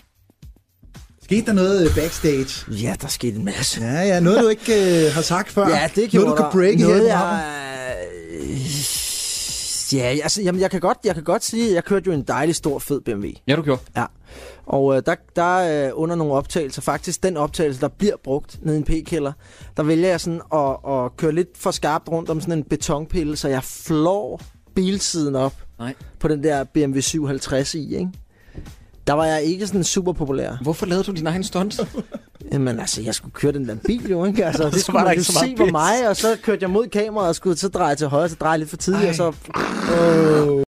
P: Skete der noget øh, backstage?
Q: Ja, der skete en masse.
P: Ja, ja, noget du ikke øh, har sagt før.
Q: Ja, det gjorde
P: Noget du
Q: der.
P: kan breake
Q: Noget,
P: her. i programmet.
Q: jeg... Ja, altså, jamen, jeg kan godt, jeg kan godt sige, at jeg kørte jo en dejlig, stor, fed BMW.
F: Ja, du gjorde.
Q: Ja. Og øh, der, der øh, under nogle optagelser, faktisk den optagelse, der bliver brugt nede i en p-kælder, der vælger jeg sådan at, at køre lidt for skarpt rundt om sådan en betonpille, så jeg flår bilsiden op
F: Nej.
Q: på den der BMW 750 i, ikke? Der var jeg ikke sådan super populær.
F: Hvorfor lavede du din egen stunts?
Q: Jamen altså, jeg skulle køre den der bil jo, ikke? Altså,
F: Så
Q: det
F: var
Q: skulle
F: der
Q: man
F: ikke
Q: jo
F: så
Q: se
F: meget
Q: på
F: pis.
Q: mig, og så kørte jeg mod kameraet og skulle så dreje til højre, så dreje lidt for tidligt,
F: Ej.
Q: og så... Øh.